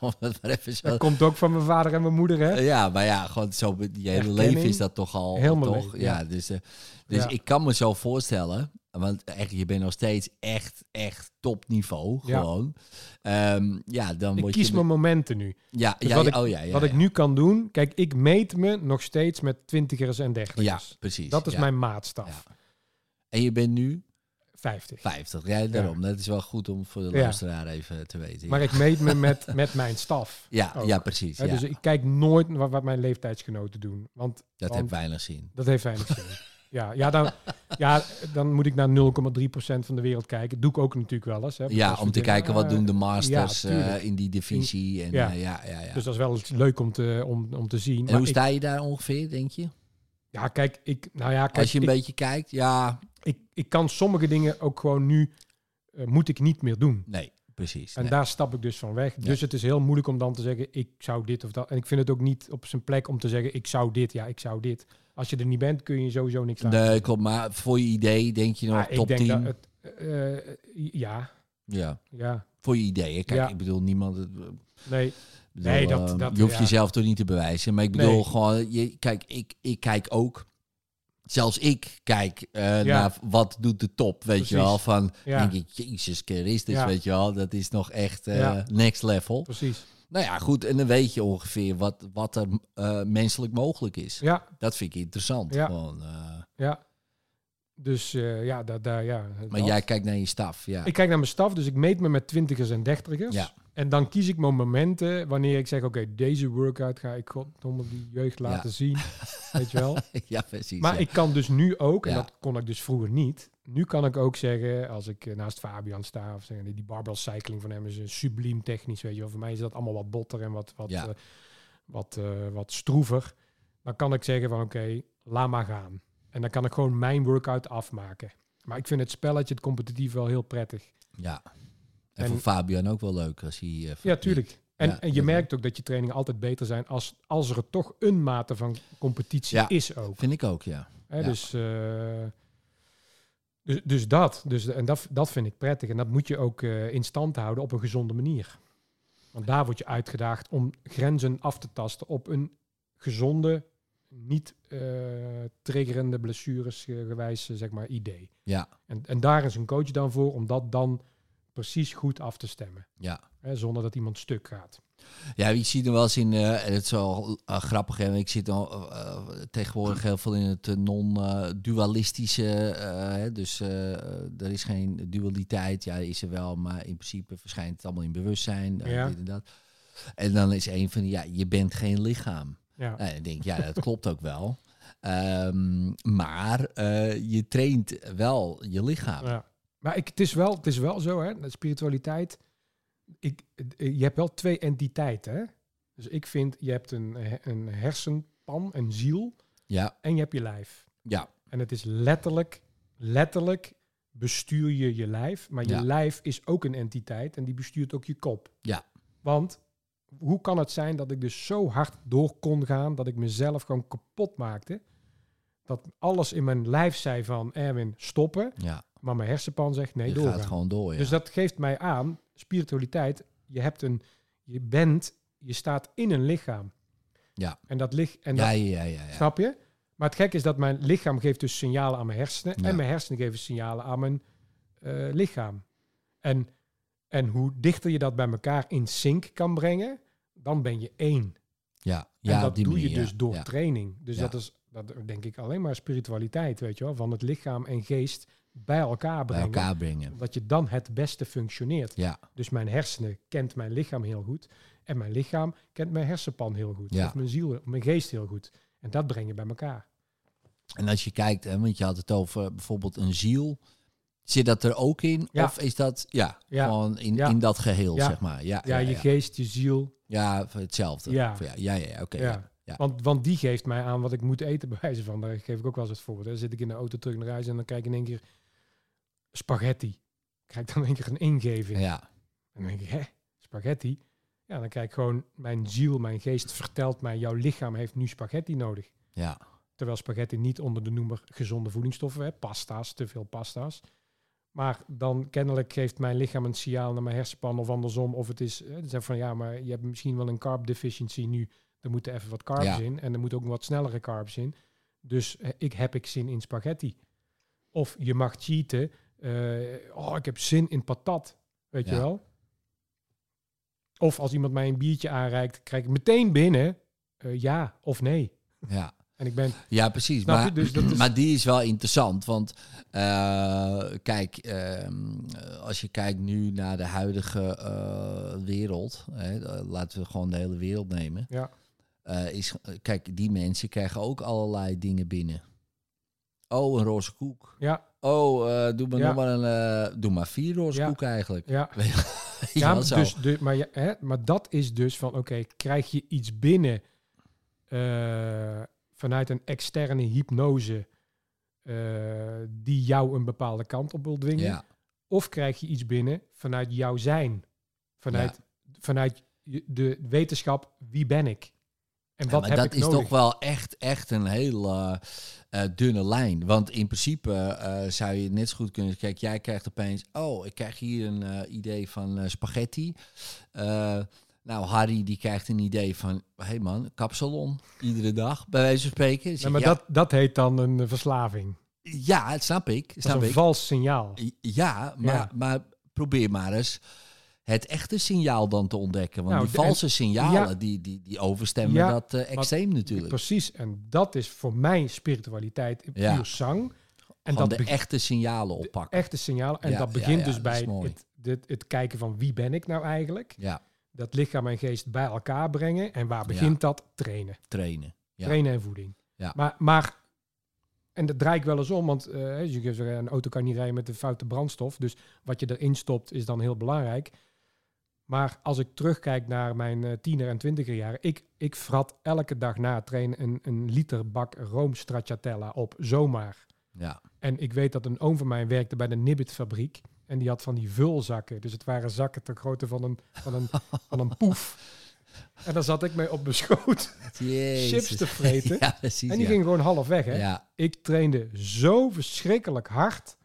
S2: Om het maar even zo
S3: Dat komt ook van mijn vader en mijn moeder, hè?
S2: Eh, Ja, maar ja, gewoon zo, je hele
S3: Erkenning.
S2: leven is dat toch al,
S3: Helemaal
S2: toch?
S3: leuk,
S2: ja.
S3: ja.
S2: dus, eh, dus
S3: Ja.
S2: ik kan me zo voorstellen, want echt, je bent nog steeds echt, echt topniveau,
S3: Ja.
S2: gewoon. Ehm, ja, dan
S3: Ik
S2: word
S3: kies
S2: je...
S3: mijn momenten nu.
S2: ja,
S3: dus
S2: ja,
S3: wat
S2: ja,
S3: ik-
S2: oh ja, ja.
S3: Wat ik
S2: ja.
S3: nu kan doen, kijk, ik meet me nog steeds met twintigers en
S2: Ja,
S3: dertigers.
S2: precies.
S3: dat is
S2: ja.
S3: mijn maatstaf.
S2: En je bent nu
S3: 50.
S2: 50, ja, daarom. Dat is wel goed om voor de
S3: Ja.
S2: luisteraar even te weten.
S3: Maar ik meet me met, met mijn staf.
S2: ja,
S3: ook.
S2: ja, precies.
S3: Hè,
S2: Ja.
S3: Dus ik kijk nooit naar wat, wat mijn leeftijdsgenoten doen. Want
S2: dat
S3: want-
S2: heeft weinig zin.
S3: dat heeft weinig zin. Ja, ja, dan, ja, dan moet ik naar 0,3% van de wereld kijken. doe ik ook natuurlijk wel eens. Hè, Want
S2: Ja,
S3: als
S2: om
S3: we
S2: te
S3: denken,
S2: kijken wat
S3: eh,
S2: doen de masters
S3: ja,
S2: eh,
S3: tuurlijk.
S2: in die divisie. En,
S3: Ja.
S2: eh, ja, ja, ja.
S3: Dus dat is wel eens leuk om te, om, om te zien.
S2: en
S3: Maar
S2: hoe
S3: ik-
S2: sta je daar ongeveer, denk je?
S3: ja, kijk, ik, nou ja, kijk,
S2: Als je een
S3: ik-
S2: beetje kijkt, ja,
S3: ik, ik kan sommige dingen ook gewoon nu, eh, moet ik niet meer doen.
S2: nee, precies.
S3: En
S2: nee.
S3: daar stap ik dus van weg.
S2: Ja.
S3: Dus het is heel moeilijk om dan te zeggen, ik zou dit of dat. En ik vind het ook niet op zijn plek om te zeggen, ik zou dit, ja, ik zou dit. Als je er niet bent, kun je sowieso niks aan. Ah,
S2: Nee, klopt. Maar voor je idee denk je nog
S3: Maar
S2: top 10.
S3: het, eh, eh, ja,
S2: Ja,
S3: ja,
S2: voor je idee. hè. Kijk,
S3: Ja.
S2: ik bedoel, niemand... het- ik
S3: nee,
S2: bedoel,
S3: Nee, dat-
S2: eh,
S3: dat-
S2: je hoeft
S3: ja.
S2: jezelf toch niet te bewijzen. Maar ik bedoel
S3: Nee.
S2: gewoon... Je, kijk, ik, ik kijk ook... Zelfs ik kijk eh,
S3: Ja.
S2: naar wat doet de top, weet je
S3: Precies.
S2: wel. Van,
S3: Ja.
S2: denk ik, Jezus Christus,
S3: Ja.
S2: weet je wel. Dat is nog echt eh,
S3: Ja.
S2: next level.
S3: precies.
S2: Nou ja, goed. En dan weet je ongeveer wat, wat er eh, menselijk mogelijk is.
S3: Ja,
S2: Dat vind ik interessant.
S3: Ja.
S2: Gewoon, eh.
S3: ja. Dus eh, ja, daar, daar, ja.
S2: maar
S3: dat.
S2: jij kijkt naar je staf, ja.
S3: Ik kijk naar mijn staf, dus ik meet me met twintigers en dertigers.
S2: Ja.
S3: En dan kies ik mijn momenten wanneer ik zeg, oké, deze workout ga ik goddomme die jeugd laten zien. Weet je wel?
S2: ja, precies.
S3: Maar
S2: ja.
S3: ik kan dus nu ook, en
S2: Ja.
S3: dat kon ik dus vroeger niet. Nu kan ik ook zeggen, als ik eh, naast Fabian sta, of zeggen, eh, die barbell cycling van hem is een subliem technisch, weet je wel. Voor mij is dat allemaal wat botter en wat, wat,
S2: Ja.
S3: eh, wat, eh, wat stroever, dan kan ik zeggen van oké, laat maar gaan. En dan kan ik gewoon mijn workout afmaken. Maar ik vind het spelletje, het competitief wel heel prettig.
S2: Ja. En,
S3: En-
S2: voor Fabian ook wel leuk als hij... eh,
S3: Ja,
S2: van-
S3: tuurlijk. En,
S2: Ja,
S3: en je
S2: dat wel.
S3: merkt ook dat je trainingen altijd beter zijn als, als er toch een mate van competitie
S2: Ja.
S3: is ook.
S2: Vind ik ook, ja.
S3: Hè,
S2: Ja.
S3: Dus, eh, dus, dus dat. Dus, en dat, dat vind ik prettig. En dat moet je ook eh, in stand houden op een gezonde manier. Want daar word je uitgedaagd om grenzen af te tasten op een gezonde, niet eh, triggerende blessures eh, gewijs, eh, zeg maar, idee.
S2: Ja.
S3: En, en daar is een coach dan voor om dat dan precies goed af te stemmen.
S2: Ja.
S3: Hè, zonder dat iemand stuk gaat.
S2: Ja, je ziet hem wel eens in, eh, en het is wel eh, grappig, hè, want ik zit al, eh, eh, tegenwoordig heel veel in het eh, non-dualistische, eh, hè, dus eh, er is geen dualiteit, ja, is er wel, maar in principe verschijnt het allemaal in bewustzijn, eh,
S3: Ja.
S2: dit en dat. En dan is een van, die, ja, je bent geen lichaam.
S3: Ja.
S2: Nou, ik denk, ja, dat klopt ook wel. Ehm, maar eh, je traint wel je lichaam.
S3: Ja. Maar ik, het, is wel, het is wel zo, hè? dat Spiritualiteit. Ik, het- je hebt wel twee entiteiten. Hè? Dus ik vind, je hebt een, he- een hersenpan, een ziel.
S2: Ja,
S3: En je hebt je lijf.
S2: ja,
S3: En het is letterlijk, letterlijk bestuur je je lijf. Maar je
S2: Ja.
S3: lijf is ook een entiteit en die bestuurt ook je kop.
S2: Ja.
S3: Want hoe kan het zijn dat ik dus zo hard door kon gaan dat ik mezelf gewoon kapot maakte? Dat alles in mijn lijf zei van Erwin, stoppen.
S2: ja.
S3: Maar mijn hersenpan zegt nee,
S2: je
S3: doorgaan.
S2: gaat gewoon door, ja.
S3: Dus dat geeft mij aan, spiritualiteit, je hebt een, je bent, je staat in een lichaam.
S2: Ja.
S3: En dat ligt, en
S2: ja,
S3: dat,
S2: ja, ja, ja, ja.
S3: snap je? Maar het gek is dat mijn lichaam geeft dus signalen aan mijn hersenen
S2: Ja.
S3: en mijn hersenen geven signalen aan mijn eh, lichaam. En, en hoe dichter je dat bij elkaar in sync kan brengen, dan ben je één.
S2: Ja,
S3: en
S2: ja, op
S3: dat
S2: die
S3: doe je
S2: manier, ja.
S3: dus door
S2: Ja.
S3: training. Dus
S2: Ja.
S3: dat is dat denk ik alleen maar spiritualiteit, weet je wel, van het lichaam en geest bij
S2: bij
S3: elkaar brengen.
S2: elkaar brengen.
S3: Omdat je dan het beste functioneert.
S2: Ja,
S3: Dus mijn hersenen kent mijn lichaam heel goed. En mijn lichaam kent mijn hersenpan heel goed.
S2: Ja.
S3: Of mijn ziel, mijn geest heel goed. En dat breng je bij elkaar.
S2: en als je kijkt, hè, want je had het over bijvoorbeeld een ziel. Zit dat er ook in?
S3: Ja.
S2: Of is dat ja,
S3: Ja.
S2: gewoon in,
S3: Ja.
S2: in dat geheel,
S3: Ja.
S2: zeg maar? Ja,
S3: Ja,
S2: ja,
S3: je
S2: ja.
S3: geest, je ziel.
S2: Ja, voor hetzelfde.
S3: Ja.
S2: Voor- Ja, ja, ja, oké.
S3: ja.
S2: ja. ja.
S3: Want, want die geeft mij aan wat ik moet eten, bij wijze van. Daar geef ik ook wel eens het voorbeeld. Dan zit ik in de auto terug naar huis en dan kijk ik in één keer spaghetti. Krijg ik dan in één keer een ingeving.
S2: Ja,
S3: En dan denk ik, hè, spaghetti? Ja, dan kijk ik gewoon, mijn ziel, mijn geest vertelt mij, jouw lichaam heeft nu spaghetti nodig.
S2: ja,
S3: Terwijl spaghetti niet onder de noemer gezonde voedingsstoffen, hè, pasta's, te veel pasta's. Maar dan kennelijk geeft mijn lichaam een signaal naar mijn hersenpan of andersom. Of het is, hè, dan zeg ik van ja, maar je hebt misschien wel een carb deficiency nu. Er moeten even wat carbs
S2: Ja.
S3: in en er moeten ook wat snellere carbs in. Dus eh, ik heb ik zin in spaghetti. Of je mag cheaten. eh, oh, ik heb zin in patat. Weet je
S2: Ja.
S3: wel? Of als iemand mij een biertje aanreikt, krijg ik meteen binnen eh, ja of nee.
S2: ja.
S3: En ik ben
S2: Ja, precies.
S3: Snap je?
S2: maar,
S3: Dus dat is-
S2: maar die is wel interessant. Want eh, kijk, ehm, als je kijkt nu naar de huidige eh, wereld, hè, eh, laten we gewoon de hele wereld nemen.
S3: Ja.
S2: eh, is, kijk, die mensen krijgen ook allerlei dingen binnen. Oh, een roze koek.
S3: Ja,
S2: Oh, eh, doe maar
S3: Ja.
S2: nog maar een, eh, doe maar vier roze
S3: Ja.
S2: koeken eigenlijk.
S3: ja.
S2: Weet je
S3: ja
S2: wel zo.
S3: dus, de, maar, ja, hè, maar dat is dus van, oké, krijg je iets binnen eh, vanuit een externe hypnose eh, die jou een bepaalde kant op wil dwingen?
S2: ja,
S3: Of krijg je iets binnen vanuit jouw zijn? Vanuit, vanuit je- de wetenschap, wie ben ik? En
S2: Ja,
S3: wat
S2: maar
S3: heb
S2: dat
S3: ik
S2: is
S3: nodig?
S2: toch wel echt, echt een heel eh, eh, dunne lijn. Want in principe eh, zou je net zo goed kunnen... Kijk, jij krijgt opeens... Oh, ik krijg hier een eh, idee van eh, spaghetti. Eh, nou, Harry die krijgt een idee van... Hé hey man, kapsalon. Iedere dag, bij wijze van spreken. Dus
S3: Nee, maar
S2: ja,
S3: dat, dat heet dan een eh, verslaving.
S2: ja, het snap ik.
S3: Dat is
S2: Snap
S3: een
S2: ik.
S3: vals signaal.
S2: Ja, maar,
S3: Ja.
S2: maar probeer maar eens het echte signaal dan te ontdekken. Want
S3: Nou,
S2: die
S3: de- en-
S2: valse signalen,
S3: ja.
S2: die, die, die overstemmen
S3: Ja,
S2: dat eh, extreem natuurlijk.
S3: Precies, en dat is voor mij spiritualiteit in
S2: Ja.
S3: puur zang. En
S2: Gewoon
S3: dat
S2: de
S3: begint
S2: echte signalen oppakken.
S3: echte signalen. En
S2: Ja,
S3: dat
S2: ja,
S3: begint
S2: ja,
S3: dus
S2: dat
S3: bij
S2: is mooi.
S3: het, dit- het kijken van wie ben ik nou eigenlijk.
S2: Ja,
S3: Dat lichaam en geest bij elkaar brengen. En waar begint dat? Trainen.
S2: trainen. Ja.
S3: Trainen en voeding.
S2: Ja.
S3: Maar, maar, en dat draai ik wel eens om, want eh, hè, je kunt Dus zeggen, een auto kan niet rijden met de foute brandstof. Dus wat je erin stopt is dan heel belangrijk. Maar als ik terugkijk naar mijn eh, tiener en twintiger jaren, ik, ik frat elke dag na het trainen een, een liter bak room stracciatella op, zomaar.
S2: Ja.
S3: En ik weet dat een oom van mij werkte bij de Nibbit-fabriek. En die had van die vulzakken. Dus het waren zakken ter grootte van een, van een, van een poef. En daar zat ik mee op mijn schoot.
S2: Jezus.
S3: te vreten.
S2: ja, precies.
S3: En die
S2: ja.
S3: ging gewoon half weg, hè?
S2: Ja,
S3: Ik trainde zo verschrikkelijk hard.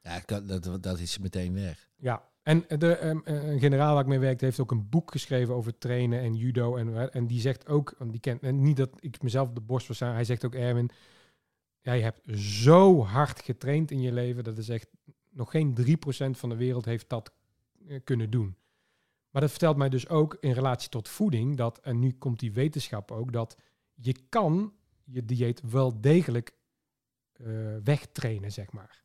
S2: ja kan- dat, dat is meteen weg.
S3: Ja. En de, ehm, eh, een generaal waar ik mee werkte heeft ook een boek geschreven over trainen en judo. En, en die zegt ook, want die kent, en niet dat ik mezelf op de borst wil staan, hij zegt ook, Erwin, jij hebt zo hard getraind in je leven, dat is echt, nog geen 3% van de wereld heeft dat eh, kunnen doen. Maar dat vertelt mij dus ook in relatie tot voeding, dat, en nu komt die wetenschap ook, dat je kan je dieet wel degelijk eh, wegtrainen, zeg maar.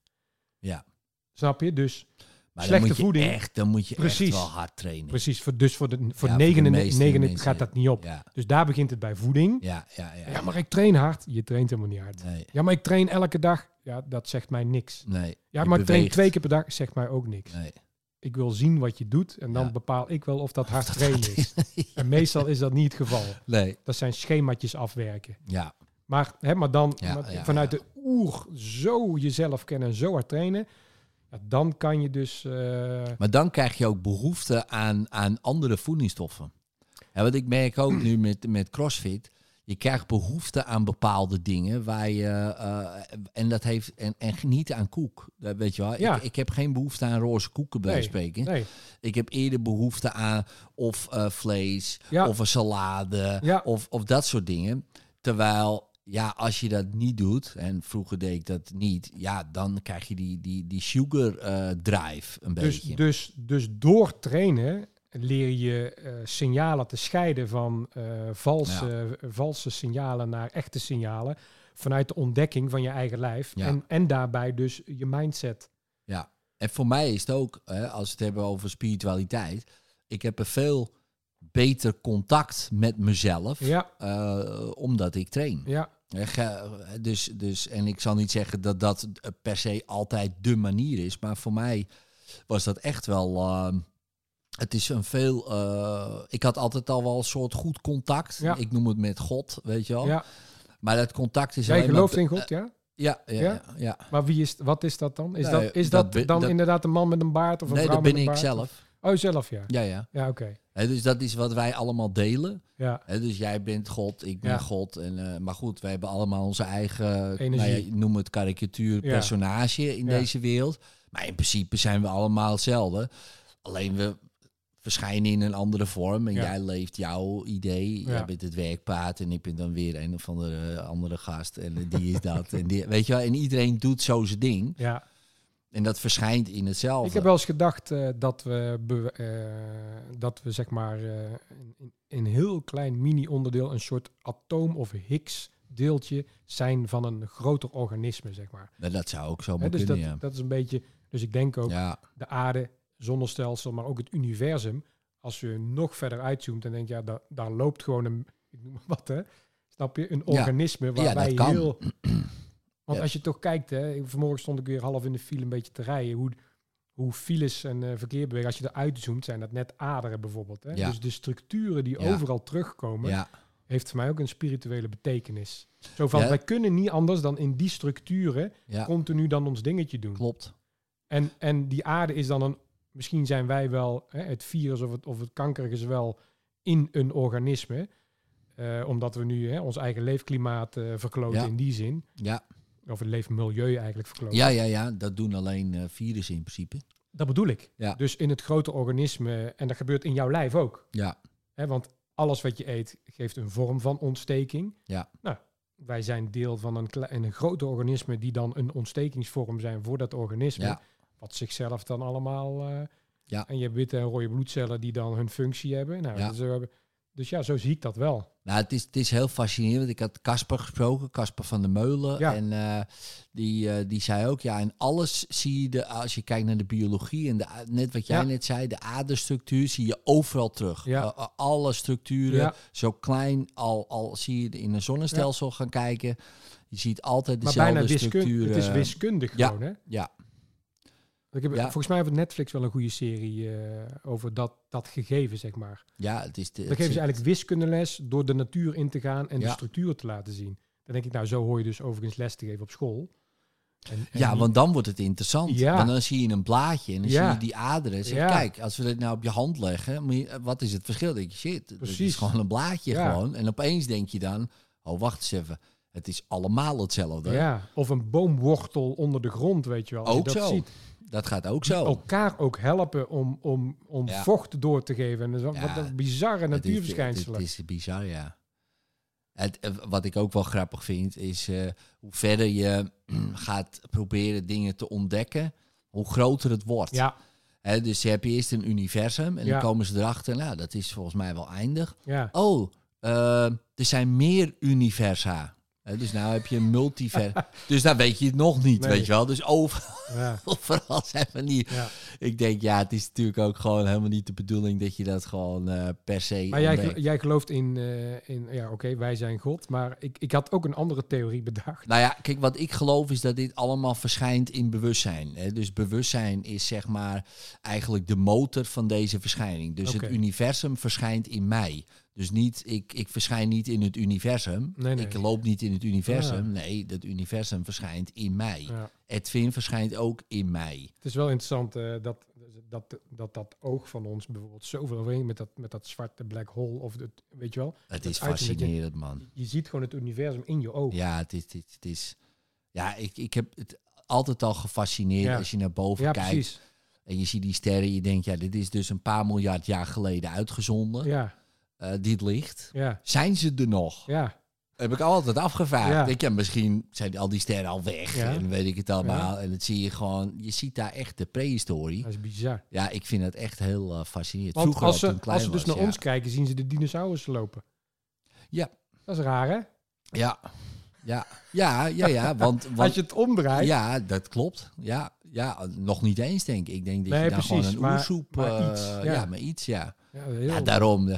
S2: Ja.
S3: Snap je? Dus
S2: Maar
S3: Slechte
S2: dan moet je
S3: voeding.
S2: Echt, dan moet je
S3: Precies.
S2: echt wel hard trainen.
S3: Precies, voor, dus voor, de, voor
S2: Ja,
S3: 99
S2: meeste
S3: 99
S2: mensen.
S3: gaat dat niet op.
S2: Ja,
S3: Dus daar begint het bij voeding.
S2: ja, ja. ja,
S3: Ja, maar ik train hard. Je traint helemaal niet hard.
S2: Nee,
S3: Ja, maar ik train elke dag. Ja, dat zegt mij niks.
S2: nee.
S3: Ja,
S2: je
S3: maar ik train
S2: beweegt.
S3: twee keer per dag. Zegt mij ook niks.
S2: Nee.
S3: Ik wil zien wat je doet en dan
S2: Ja.
S3: bepaal ik wel of dat hard
S2: dat
S3: trainen
S2: hard
S3: is. En meestal is dat niet het geval.
S2: Nee.
S3: Dat zijn schemaatjes afwerken.
S2: Ja,
S3: Maar, hè, maar dan
S2: Ja,
S3: maar
S2: ja,
S3: vanuit
S2: ja.
S3: de oer zo jezelf kennen en zo hard trainen. Ja, dan kan je dus... eh,
S2: maar dan krijg je ook behoefte aan, aan andere voedingsstoffen. Ja, want ik merk ook nu met, met CrossFit. Je krijgt behoefte aan bepaalde dingen waar je. eh, en dat heeft. En, en geniet aan koek. Dat weet je wel.
S3: Ja.
S2: Ik, ik heb geen behoefte aan roze koeken bij wijze van spreken.
S3: nee.
S2: Ik heb eerder behoefte aan of eh, vlees,
S3: Ja.
S2: of een salade,
S3: Ja.
S2: of, of dat soort dingen. Terwijl, ja, als je dat niet doet, en vroeger deed ik dat niet, ja, dan krijg je die, die, die sugar eh, drive een
S3: Dus,
S2: beetje.
S3: dus, dus door trainen leer je eh, signalen te scheiden van eh, valse, valse signalen naar echte signalen. Vanuit de ontdekking van je eigen lijf.
S2: Ja.
S3: En, en daarbij dus je mindset.
S2: En voor mij is het ook, hè, als we het hebben over spiritualiteit, ik heb een veel beter contact met mezelf,
S3: Ja,
S2: eh, omdat ik train.
S3: ja,
S2: Hè, ge- Dus, dus, en ik zal niet zeggen dat dat eh, per se altijd de manier is, maar voor mij was dat echt wel. ehm, het is een veel. eh, ik had altijd al wel een soort goed contact.
S3: Ja.
S2: Ik noem het met God, weet je wel.
S3: ja.
S2: Maar dat contact is.
S3: Jij
S2: alleen maar
S3: gelooft
S2: be-
S3: in God, ja?
S2: Ja, ja,
S3: Ja?
S2: ja. ja.
S3: Maar wie is, wat is dat dan? Is
S2: Nee,
S3: dat, is
S2: dat
S3: dat,
S2: ben-
S3: dan
S2: dat-
S3: inderdaad een man met een baard of een
S2: Nee,
S3: vrouw
S2: dat
S3: met
S2: ben
S3: een
S2: ik
S3: baard?
S2: zelf.
S3: Oh, zelf ja.
S2: Ja, ja.
S3: Ja, oké.
S2: Hè, dus dat is wat wij allemaal delen.
S3: Ja,
S2: Hè, dus jij bent God, ik ben
S3: Ja.
S2: God. En, eh, maar goed, wij hebben allemaal onze eigen,
S3: Energie.
S2: Nou ja, noem het karikatuur,
S3: Ja.
S2: personage in
S3: Ja.
S2: deze wereld. Maar in principe zijn we allemaal hetzelfde. Alleen we verschijnen in een andere vorm. En
S3: Ja.
S2: jij leeft jouw idee.
S3: Ja.
S2: Jij bent het werkpaard en ik ben dan weer een of andere, andere gast. En eh, die is dat. en die, weet je wel, en iedereen doet zo zijn ding.
S3: ja.
S2: En dat verschijnt in hetzelfde.
S3: Ik heb wel eens gedacht eh, dat we, be- eh, dat we zeg maar eh, in in een heel klein mini-onderdeel een soort atoom of Higgs deeltje zijn van een groter organisme, zeg maar.
S2: Nou, dat zou ook zo
S3: Hè,
S2: moeten
S3: dus dat,
S2: kunnen,
S3: dat is een beetje. Dus ik denk ook
S2: ja. ja.
S3: de aarde, zonnestelsel, maar ook het universum. Als je nog verder uitzoomt, dan denk je, ja, da- daar loopt gewoon een, ik noem maar wat, hè? Snap je? Een
S2: Ja.
S3: organisme
S2: dat
S3: waarbij
S2: kan.
S3: heel. Want
S2: Ja.
S3: als je toch kijkt, hè, vanmorgen stond ik weer half in de file een beetje te rijden. Hoe, hoe files en eh, verkeer bewegen, als je eruit zoomt, zijn dat net aderen bijvoorbeeld. Hè?
S2: Ja.
S3: Dus de structuren die
S2: Ja.
S3: overal terugkomen,
S2: ja.
S3: heeft voor mij ook een spirituele betekenis. Zo van,
S2: Ja.
S3: wij kunnen niet anders dan in die structuren
S2: Ja.
S3: continu dan ons dingetje doen.
S2: Klopt.
S3: En, en die aarde is dan een. Misschien zijn wij wel hè, het virus of het, of het kankerige wel in een organisme. Eh, omdat we nu hè, ons eigen leefklimaat eh, verkloten
S2: Ja.
S3: in die zin.
S2: Ja.
S3: Of het leefmilieu eigenlijk verkloten.
S2: Ja, ja, ja. Dat doen alleen eh, virussen in principe.
S3: Dat bedoel ik.
S2: Ja.
S3: Dus in het grote organisme. En dat gebeurt in jouw lijf ook.
S2: Ja.
S3: Hè, want alles wat je eet geeft een vorm van ontsteking.
S2: Ja.
S3: Nou, wij zijn deel van een, kle- een grote organisme die dan een ontstekingsvorm zijn voor dat organisme.
S2: Ja.
S3: Wat zichzelf dan allemaal... eh,
S2: Ja.
S3: En je hebt witte en rode bloedcellen die dan hun functie hebben. Nou,
S2: Ja.
S3: dus, eh, dus ja, zo zie ik dat wel.
S2: Nou, het is, het is heel fascinerend. want Ik had Casper gesproken, Casper van der Meulen.
S3: Ja.
S2: En eh, die, eh, die zei ook, ja, in alles zie je, de, als je kijkt naar de biologie en de, a- net wat jij
S3: Ja.
S2: net zei, de aderstructuur zie je overal terug.
S3: Ja.
S2: Eh, eh, alle structuren,
S3: Ja.
S2: zo klein al, al zie je in een zonnestelsel gaan kijken. Je ziet altijd
S3: Maar
S2: dezelfde
S3: bijna wiskundig.
S2: structuren.
S3: Het is wiskundig
S2: eh, Ja.
S3: gewoon, hè?
S2: Ja.
S3: Ik heb,
S2: Ja.
S3: Volgens mij heeft Netflix wel een goede serie eh, over dat, dat gegeven, zeg maar.
S2: Ja, het is... De,
S3: Dan geven ze eigenlijk wiskundeles door de natuur in te gaan en de
S2: Ja.
S3: structuur te laten zien. Dan denk ik, nou, zo hoor je dus overigens les te geven op school. En- en
S2: Ja,
S3: niet-
S2: want dan wordt het interessant.
S3: Ja.
S2: Want dan zie je een blaadje en dan
S3: Ja.
S2: zie je die aderen. Zeg,
S3: Ja.
S2: Kijk, als we dit nou op je hand leggen, moet je- eh, wat is het verschil? Denk je, shit, het
S3: Precies.
S2: is gewoon een blaadje
S3: Ja.
S2: gewoon. En opeens denk je dan, oh wacht eens even, het is allemaal hetzelfde.
S3: Ja, of een boomwortel onder de grond, weet je wel. Als je
S2: Ook
S3: dat
S2: zo.
S3: ziet.
S2: Dat gaat ook zo.
S3: Elkaar ook helpen om, om, om
S2: Ja.
S3: vocht door te geven. En dat is wel-
S2: Ja.
S3: wat een bizarre
S2: Het is-
S3: natuurverschijnselen.
S2: Het is, bizar, ja. Het, eh, wat ik ook wel grappig vind, is eh, hoe verder je gaat proberen dingen te ontdekken, hoe groter het wordt.
S3: ja,
S2: Hè, dus je hebt eerst een universum en
S3: Ja.
S2: dan komen ze erachter, nou, dat is volgens mij wel eindig.
S3: ja.
S2: Oh, eh, er zijn meer universa. Hè, dus nou heb je een multiver. dus daar weet je het nog niet,
S3: Nee.
S2: weet je wel. Dus over-
S3: ja.
S2: overal zijn we niet.
S3: Ja.
S2: Ik denk, ja, het is natuurlijk ook gewoon helemaal niet de bedoeling dat je dat gewoon eh, per se.
S3: Maar jij,
S2: ontdekt.
S3: gel- jij gelooft in, eh, in ja, oké, wij zijn God. Maar ik, ik had ook een andere theorie bedacht.
S2: Nou ja, kijk, wat ik geloof is dat dit allemaal verschijnt in bewustzijn. Hè? Dus bewustzijn is zeg maar eigenlijk de motor van deze verschijning. Dus
S3: Oké.
S2: het universum verschijnt in mij. Dus niet, ik, ik verschijn niet in het universum.
S3: Nee, nee.
S2: Ik loop niet in het universum.
S3: Ah.
S2: Nee, dat universum verschijnt in mij.
S3: Ja.
S2: Edwin verschijnt ook in mij.
S3: Het is wel interessant eh, dat, dat, dat dat oog van ons bijvoorbeeld zoveel overeen met dat, met dat zwarte black hole. Of het, weet je wel,
S2: Het
S3: Dat
S2: is
S3: uiterlijk, hè?
S2: fascinerend, man.
S3: je ziet gewoon het universum in je oog.
S2: Ja, het is. Het is, het is ja, ik, ik heb het altijd al gefascineerd
S3: Ja.
S2: als je naar boven
S3: Ja,
S2: kijkt.
S3: precies.
S2: En je ziet die sterren, je denkt, ja, dit is dus een paar miljard jaar geleden uitgezonden,
S3: Ja,
S2: eh, dit licht.
S3: ja,
S2: Zijn ze er nog?
S3: ja.
S2: Heb ik altijd afgevraagd.
S3: Ja.
S2: Denk, ja, misschien zijn al die sterren al weg
S3: Ja.
S2: en weet ik het allemaal. En dat zie je gewoon, je ziet daar echt de prehistorie.
S3: Dat is bizar.
S2: Ja, ik vind dat echt heel eh, fascinerend.
S3: Want
S2: Vroeger
S3: als
S2: al
S3: ze,
S2: toen ik klein
S3: als ze dus
S2: was,
S3: naar
S2: ja.
S3: ons kijken, zien ze de dinosaurussen lopen.
S2: Ja.
S3: Dat is raar, hè?
S2: Ja, ja, ja, ja, ja, want... want
S3: Als je het omdraait.
S2: Ja, dat klopt. Ja, ja, nog niet eens denk ik. Ik denk dat
S3: Nee,
S2: je daar gewoon
S3: precies,
S2: een
S3: maar-
S2: oersoep...
S3: maar
S2: eh,
S3: iets, ja.
S2: ja. maar iets, ja.
S3: Ja, heel-
S2: Ja, daarom. eh,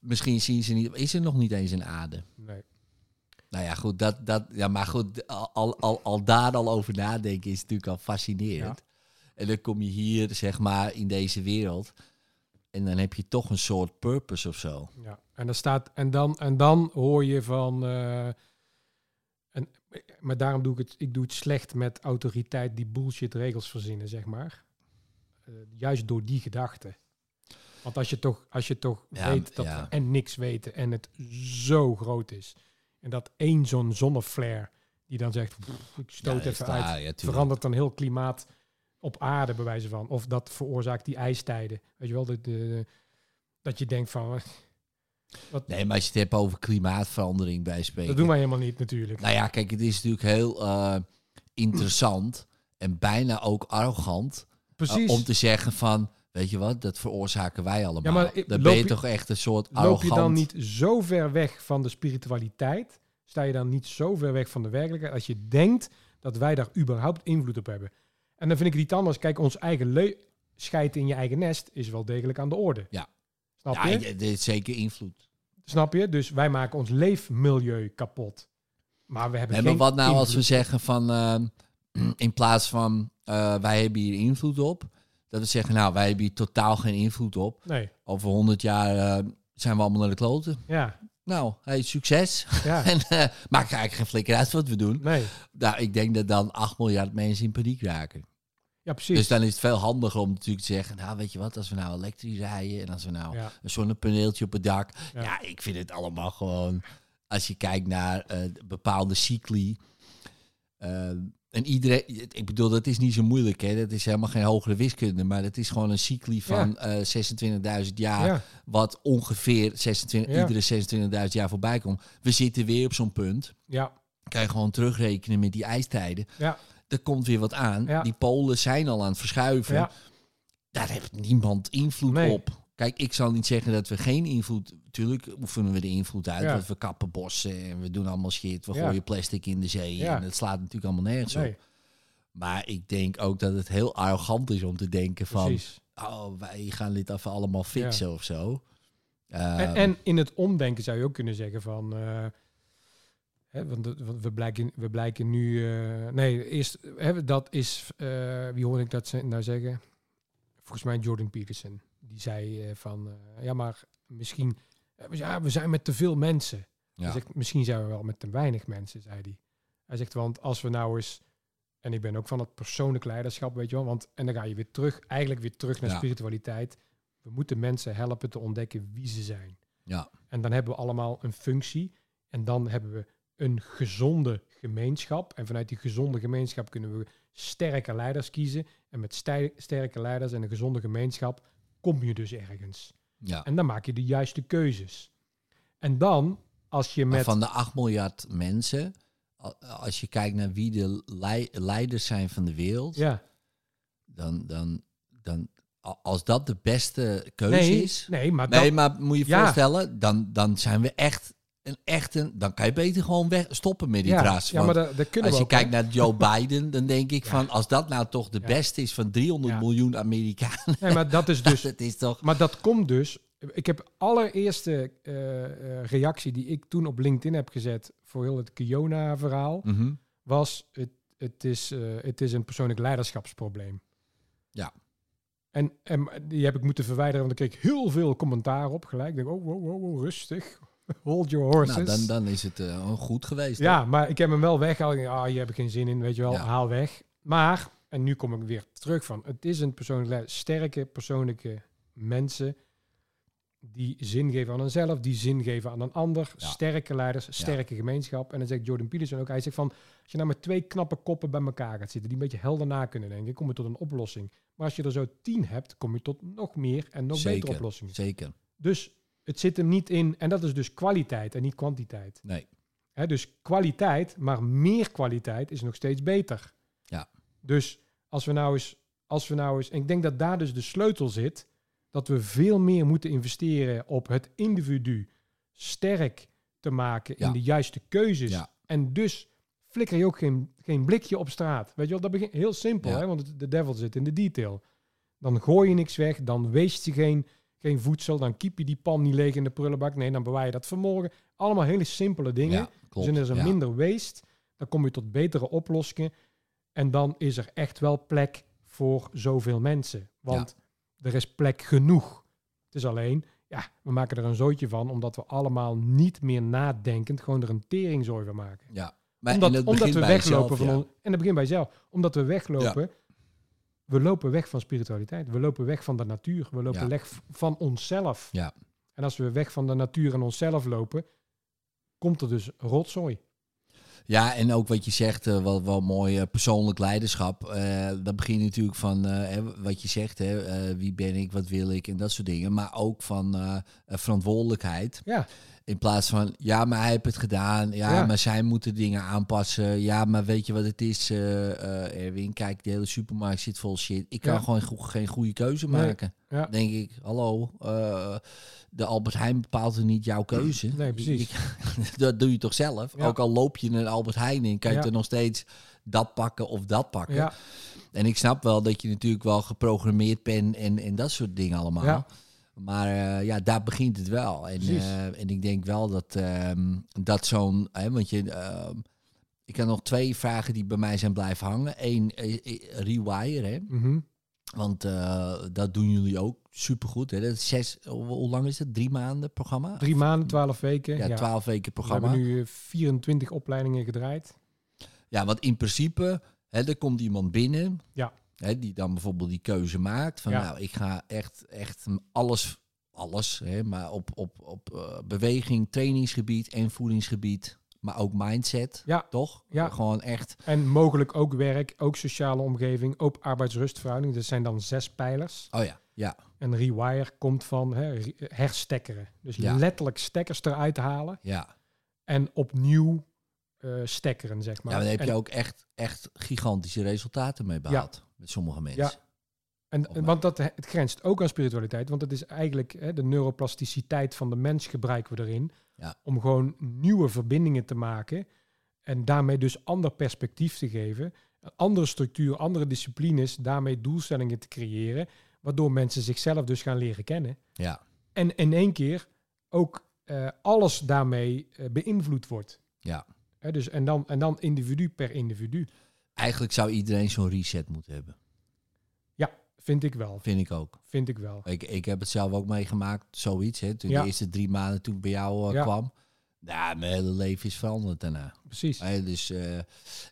S2: Misschien zien ze niet... Is er nog niet eens een aarde?
S3: nee.
S2: Nou ja, goed, dat, dat, ja, maar goed, al, al, al daar al over nadenken is natuurlijk al fascinerend. En dan kom je hier, zeg maar, in deze wereld. En dan heb je toch een soort purpose of zo.
S3: ja. En, dan staat, en, dan, en dan hoor je van... eh, en, maar daarom doe ik het, ik doe het slecht met autoriteit die bullshit regels verzinnen, zeg maar. Eh, juist door die gedachte. Want als je toch, als je toch
S2: Ja,
S3: weet dat
S2: ja.
S3: we en niks weten en het zo groot is. En dat één zo'n zonneflare die dan zegt, "Pff, ik stoot
S2: Ja,
S3: even
S2: ja,
S3: uit.
S2: ja, tuurlijk.
S3: verandert dan heel klimaat op aarde, bij wijze van. Of dat veroorzaakt die ijstijden. Weet je wel, dat, eh, dat je denkt van... eh, Wat,
S2: Nee, maar als je het hebt over klimaatverandering bij spreken.
S3: dat doen wij helemaal niet natuurlijk.
S2: Nou ja, kijk, het is natuurlijk heel eh, interessant en bijna ook arrogant eh,
S3: Precies.
S2: om te zeggen van, weet je wat, dat veroorzaken wij allemaal.
S3: Ja, maar, eh,
S2: dan
S3: loop
S2: ben je
S3: je-
S2: toch echt een soort
S3: Loop je
S2: arrogant...
S3: dan niet zo ver weg van de spiritualiteit? Sta je dan niet zo ver weg van de werkelijkheid als je denkt dat wij daar überhaupt invloed op hebben? En dan vind ik het iets anders. Kijk, ons eigen le- scheid in je eigen nest is wel degelijk aan de orde.
S2: Ja.
S3: Snap
S2: Ja,
S3: je?
S2: dit is zeker invloed.
S3: Snap je? Dus wij maken ons leefmilieu kapot. Maar we hebben
S2: Nee, maar
S3: geen
S2: wat nou als we
S3: invloed.
S2: zeggen van, eh, in plaats van, eh, wij hebben hier invloed op, dat we zeggen, nou, wij hebben hier totaal geen invloed op.
S3: Nee,
S2: Over honderd jaar eh, zijn we allemaal naar de kloten.
S3: ja,
S2: Nou, hey, succes.
S3: ja,
S2: en eh, maakt eigenlijk geen flikker uit wat we doen.
S3: nee.
S2: Nou, ik denk dat dan 8 miljard mensen in paniek raken.
S3: Ja, precies.
S2: Dus dan is het veel handiger om natuurlijk te zeggen, nou weet je wat, als we nou elektrisch rijden en als we nou
S3: Ja.
S2: een zonnepaneeltje op het dak.
S3: Ja.
S2: Ja. ik vind het allemaal gewoon, als je kijkt naar eh, bepaalde cycli. eh, en iedereen, ik bedoel, dat is niet zo moeilijk, hè? dat is helemaal geen hogere wiskunde, maar dat is gewoon een cycli van eh 26.000 jaar,
S3: ja,
S2: wat ongeveer 26,
S3: Ja.
S2: iedere 26.000 jaar voorbij komt. We zitten weer op zo'n punt
S3: ja,
S2: kan je gewoon terugrekenen met die ijstijden.
S3: Ja.
S2: Er komt weer wat aan.
S3: Ja.
S2: Die polen zijn al aan het verschuiven.
S3: ja,
S2: Daar heeft niemand invloed
S3: Nee.
S2: op. Kijk, ik zal niet zeggen dat we geen invloed... Tuurlijk oefenen we de invloed uit.
S3: Ja.
S2: Want we kappen bossen en we doen allemaal shit. We
S3: Ja.
S2: gooien plastic in de zee.
S3: Ja.
S2: En het slaat natuurlijk allemaal nergens
S3: nee,
S2: op. Maar ik denk ook dat het heel arrogant is om te denken van...
S3: precies.
S2: Oh, wij gaan dit even allemaal fixen of zo.
S3: En,
S2: Ehm,
S3: en in het omdenken zou je ook kunnen zeggen van... eh, Hè, want dat- want we blijken, we blijken nu. eh, nee, eerst, hè, dat is. eh, wie hoor ik dat ze- nou zeggen? Volgens mij Jordan Peterson. Die zei eh, van. eh, ja, maar misschien. eh, we- ja, we zijn met te veel mensen.
S2: Ja.
S3: Hij zegt, misschien zijn we wel met te weinig mensen, zei hij. Hij zegt, want als we nou eens. En ik ben ook van dat persoonlijk leiderschap, weet je wel. Want, en dan ga je weer terug, eigenlijk weer terug naar
S2: Ja.
S3: spiritualiteit. We moeten mensen helpen te ontdekken wie ze zijn.
S2: Ja.
S3: En dan hebben we allemaal een functie. En dan hebben we een gezonde gemeenschap. En vanuit die gezonde gemeenschap kunnen we sterke leiders kiezen. En met stij- sterke leiders en een gezonde gemeenschap kom je dus ergens.
S2: ja.
S3: En dan maak je de juiste keuzes. En dan, als je
S2: Maar
S3: met...
S2: Van de 8 miljard mensen, a- als je kijkt naar wie de lei- leiders zijn van de wereld,
S3: Ja.
S2: dan, dan, dan, a- als dat de beste keuze
S3: Nee,
S2: is,
S3: nee, maar
S2: nee,
S3: dat,
S2: maar moet je je
S3: Ja.
S2: voorstellen, dan, dan zijn we echt een echt een, dan kan je beter gewoon weg stoppen met die
S3: ja,
S2: draas.
S3: ja, maar
S2: Want
S3: dat, dat kunnen
S2: als
S3: we
S2: je
S3: ook.
S2: kijkt
S3: hè.
S2: naar Joe Biden, dan denk ik
S3: Ja.
S2: van als dat nou toch de
S3: Ja.
S2: beste is van 300
S3: Ja.
S2: miljoen Amerikanen,
S3: Nee, maar dat is dus...
S2: dat is toch
S3: Maar dat komt dus. Ik heb allereerste eh, eh, reactie die ik toen op LinkedIn heb gezet voor heel het Kiona-verhaal,
S2: Mhm.
S3: was het, het, is, eh, het is een persoonlijk leiderschapsprobleem.
S2: Ja.
S3: En, en die heb ik moeten verwijderen, want dan kreeg ik heel veel commentaar op gelijk. Ik denk, oh, wow, wow, wow, rustig. Hold your horses.
S2: Nou, dan, dan is het eh, goed geweest. hè?
S3: Ja, maar ik heb hem wel weggehaald. Ik denk, Ah, je hebt er geen zin in, weet je wel,
S2: Ja.
S3: haal weg. Maar, en nu kom ik weer terug van, het is een persoonlijk leider. Sterke persoonlijke mensen die zin geven aan hunzelf, die zin geven aan een ander.
S2: Ja.
S3: Sterke leiders, sterke gemeenschap. En dan zegt Jordan Peterson ook, hij zegt van, als je nou met twee knappe koppen bij elkaar gaat zitten, die een beetje helder na kunnen denken, kom je tot een oplossing. Maar als je er zo tien hebt, kom je tot nog meer en nog
S2: Zeker.
S3: betere oplossingen.
S2: Zeker.
S3: Dus het zit hem niet in, en dat is dus kwaliteit en niet kwantiteit.
S2: Nee.
S3: Hè, dus kwaliteit, maar meer kwaliteit is nog steeds beter.
S2: Ja.
S3: Dus als we nou eens, als we nou eens, en ik denk dat daar dus de sleutel zit, dat we veel meer moeten investeren op het individu sterk te maken
S2: Ja.
S3: in de juiste keuzes.
S2: Ja.
S3: En dus flikker je ook geen, geen blikje op straat. Weet je wel, dat begint heel simpel,
S2: Ja.
S3: hè, want het- de devil zit in de detail. Dan gooi je niks weg, dan weest je geen, geen voedsel, dan kiep je die pan niet leeg in de prullenbak. Nee, dan bewaar je dat vermogen. Allemaal hele simpele dingen.
S2: Ja, klopt.
S3: Dus dan is er
S2: Ja.
S3: minder waste. Dan kom je tot betere oplossingen. En dan is er echt wel plek voor zoveel mensen. Want er is plek genoeg. Het is alleen, ja, we maken er een zootje van... omdat we allemaal niet meer nadenkend... gewoon er een teringzooi van maken.
S2: Ja. Maar en
S3: omdat
S2: dat
S3: omdat
S2: begint
S3: we
S2: bij
S3: weglopen
S2: jezelf,
S3: van...
S2: ja.
S3: on- en dat begint bij zelf. Omdat we weglopen... We lopen weg van spiritualiteit. We lopen weg van de natuur. We lopen
S2: Ja.
S3: weg van onszelf.
S2: Ja.
S3: En als we weg van de natuur en onszelf lopen... komt er dus rotzooi.
S2: Ja, en ook wat je zegt, eh, wel, wel mooi eh, persoonlijk leiderschap. Eh dat begint natuurlijk van eh, hè, wat je zegt, hè, eh, wie ben ik, wat wil ik en dat soort dingen. Maar ook van eh, eh, verantwoordelijkheid.
S3: Ja.
S2: In plaats van, ja, maar hij heeft het gedaan. Ja,
S3: Ja.
S2: maar zij moeten dingen aanpassen. Ja, maar weet je wat het is, eh, eh, Erwin? Kijk, de hele supermarkt zit vol shit. Ik kan
S3: Ja.
S2: gewoon go- geen goede keuze
S3: Nee.
S2: maken.
S3: Ja.
S2: Denk ik, hallo, eh, de Albert Heijn bepaalt er niet jouw keuze.
S3: Nee, precies.
S2: dat doe je toch zelf?
S3: Ja.
S2: Ook al loop je naar Albert Heijn in, kan je
S3: Ja.
S2: er nog steeds dat pakken of dat pakken.
S3: Ja,
S2: En ik snap wel dat je natuurlijk wel geprogrammeerd bent en, en dat soort dingen allemaal.
S3: Ja.
S2: Maar eh, ja, daar begint het wel. En,
S3: Precies.
S2: eh, en ik denk wel dat, ehm, dat zo'n... Hè, want je, ehm, ik heb nog twee vragen die bij mij zijn blijven hangen. Eén, eh, eh, rewire, hè?
S3: mhm.
S2: want eh, dat doen jullie ook supergoed. Hè? Dat is zes, hoe, hoe lang is het? Drie maanden programma?
S3: drie maanden, twaalf weken.
S2: ja, twaalf weken
S3: We
S2: programma.
S3: hebben nu eh, 24 opleidingen gedraaid.
S2: Ja, want in principe, hè, er komt iemand binnen.
S3: Ja.
S2: Hè, die dan bijvoorbeeld die keuze maakt. Van
S3: Ja.
S2: nou, ik ga echt, echt alles, alles hè, maar op, op, op eh, beweging, trainingsgebied en voedingsgebied. Maar ook mindset,
S3: Ja.
S2: toch?
S3: Ja.
S2: Gewoon echt,
S3: En mogelijk ook werk, ook sociale omgeving, ook arbeidsrustverhouding. Dat zijn dan zes pijlers.
S2: oh ja, ja,
S3: En rewire komt van hè, re- herstekkeren. Dus
S2: Ja.
S3: letterlijk stekkers eruit halen
S2: ja.
S3: en opnieuw eh, stekkeren, zeg maar.
S2: ja dan heb je
S3: En-
S2: ook echt, echt gigantische resultaten mee behaald. Met sommige mensen.
S3: Ja. En,
S2: Of maar.
S3: want dat, eh, het grenst ook aan spiritualiteit, want het is eigenlijk hè, de neuroplasticiteit van de mens gebruiken we erin.
S2: Ja.
S3: Om gewoon nieuwe verbindingen te maken en daarmee dus ander perspectief te geven. Een Andere structuur, andere disciplines, daarmee doelstellingen te creëren. Waardoor mensen zichzelf dus gaan leren kennen.
S2: Ja.
S3: En in één keer ook eh, alles daarmee eh, beïnvloed wordt.
S2: Ja.
S3: Hè, dus, en, dan, en dan individu per individu,
S2: Eigenlijk zou iedereen zo'n reset moeten hebben.
S3: vind ik wel.
S2: Vind ik ook.
S3: Vind ik wel.
S2: Ik, ik heb het zelf ook meegemaakt, zoiets. Hè, toen
S3: Ja.
S2: de eerste drie maanden toen ik bij jou eh,
S3: Ja.
S2: kwam. Nou, mijn hele leven is veranderd daarna.
S3: Precies.
S2: Hè, dus, eh,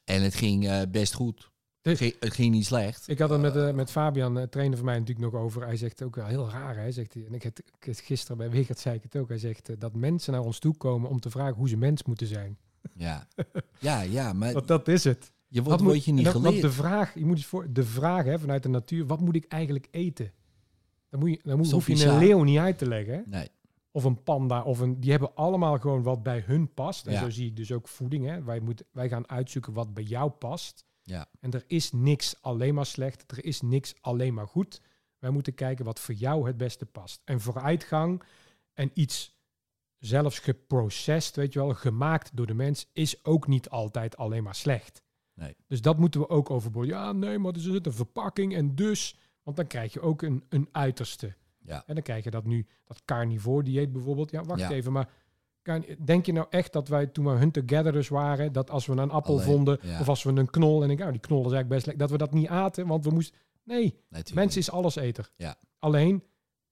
S2: en het ging eh, best goed.
S3: Dus-
S2: Het ging, het ging niet slecht.
S3: Ik had het met, eh, met Fabian, eh, trainer van mij, natuurlijk nog over. Hij zegt ook wel heel raar. Hij zegt, hij- en ik had, ik had gisteren bij Wegert zei ik het ook. Hij zegt eh, dat mensen naar ons toe komen om te vragen hoe ze mens moeten zijn.
S2: Ja, ja, ja maar
S3: Dat, dat is het.
S2: je
S3: Wat
S2: wordt,
S3: moet-
S2: wordt Eh, je niet
S3: en dat- want
S2: geleerd.
S3: de vraag, je moet eens voor, de vraag hè, vanuit de natuur, wat moet ik eigenlijk eten? Dan, moet je, dan moet,
S2: Zo
S3: hoef je een
S2: bizar.
S3: leeuw niet uit te leggen. hè?
S2: Nee,
S3: Of een panda. Of een, die hebben allemaal gewoon wat bij hun past. En
S2: Ja.
S3: zo zie ik dus ook voeding. Hè. Wij, moeten wij gaan uitzoeken wat bij jou past.
S2: Ja.
S3: En er is niks alleen maar slecht. Er is niks alleen maar goed. Wij moeten kijken wat voor jou het beste past. En vooruitgang en iets zelfs geprocessed, weet je wel, gemaakt door de mens, is ook niet altijd alleen maar slecht.
S2: Nee.
S3: Dus dat moeten we ook overboord. Ja, nee, maar er zit een verpakking en dus. Want dan krijg je ook een, een uiterste.
S2: Ja.
S3: En dan krijg je dat nu, dat carnivore dieet bijvoorbeeld. Ja, wacht
S2: Ja.
S3: even, maar kan- denk je nou echt dat wij toen we hunter-gatherers waren, dat als we een appel
S2: Alleen,
S3: vonden,
S2: ja.
S3: of als we een knol, en ik, nou die knol is eigenlijk best lekker, dat we dat niet aten, want we moesten... Nee,
S2: natuurlijk.
S3: Mens is alleseter.
S2: Ja.
S3: Alleen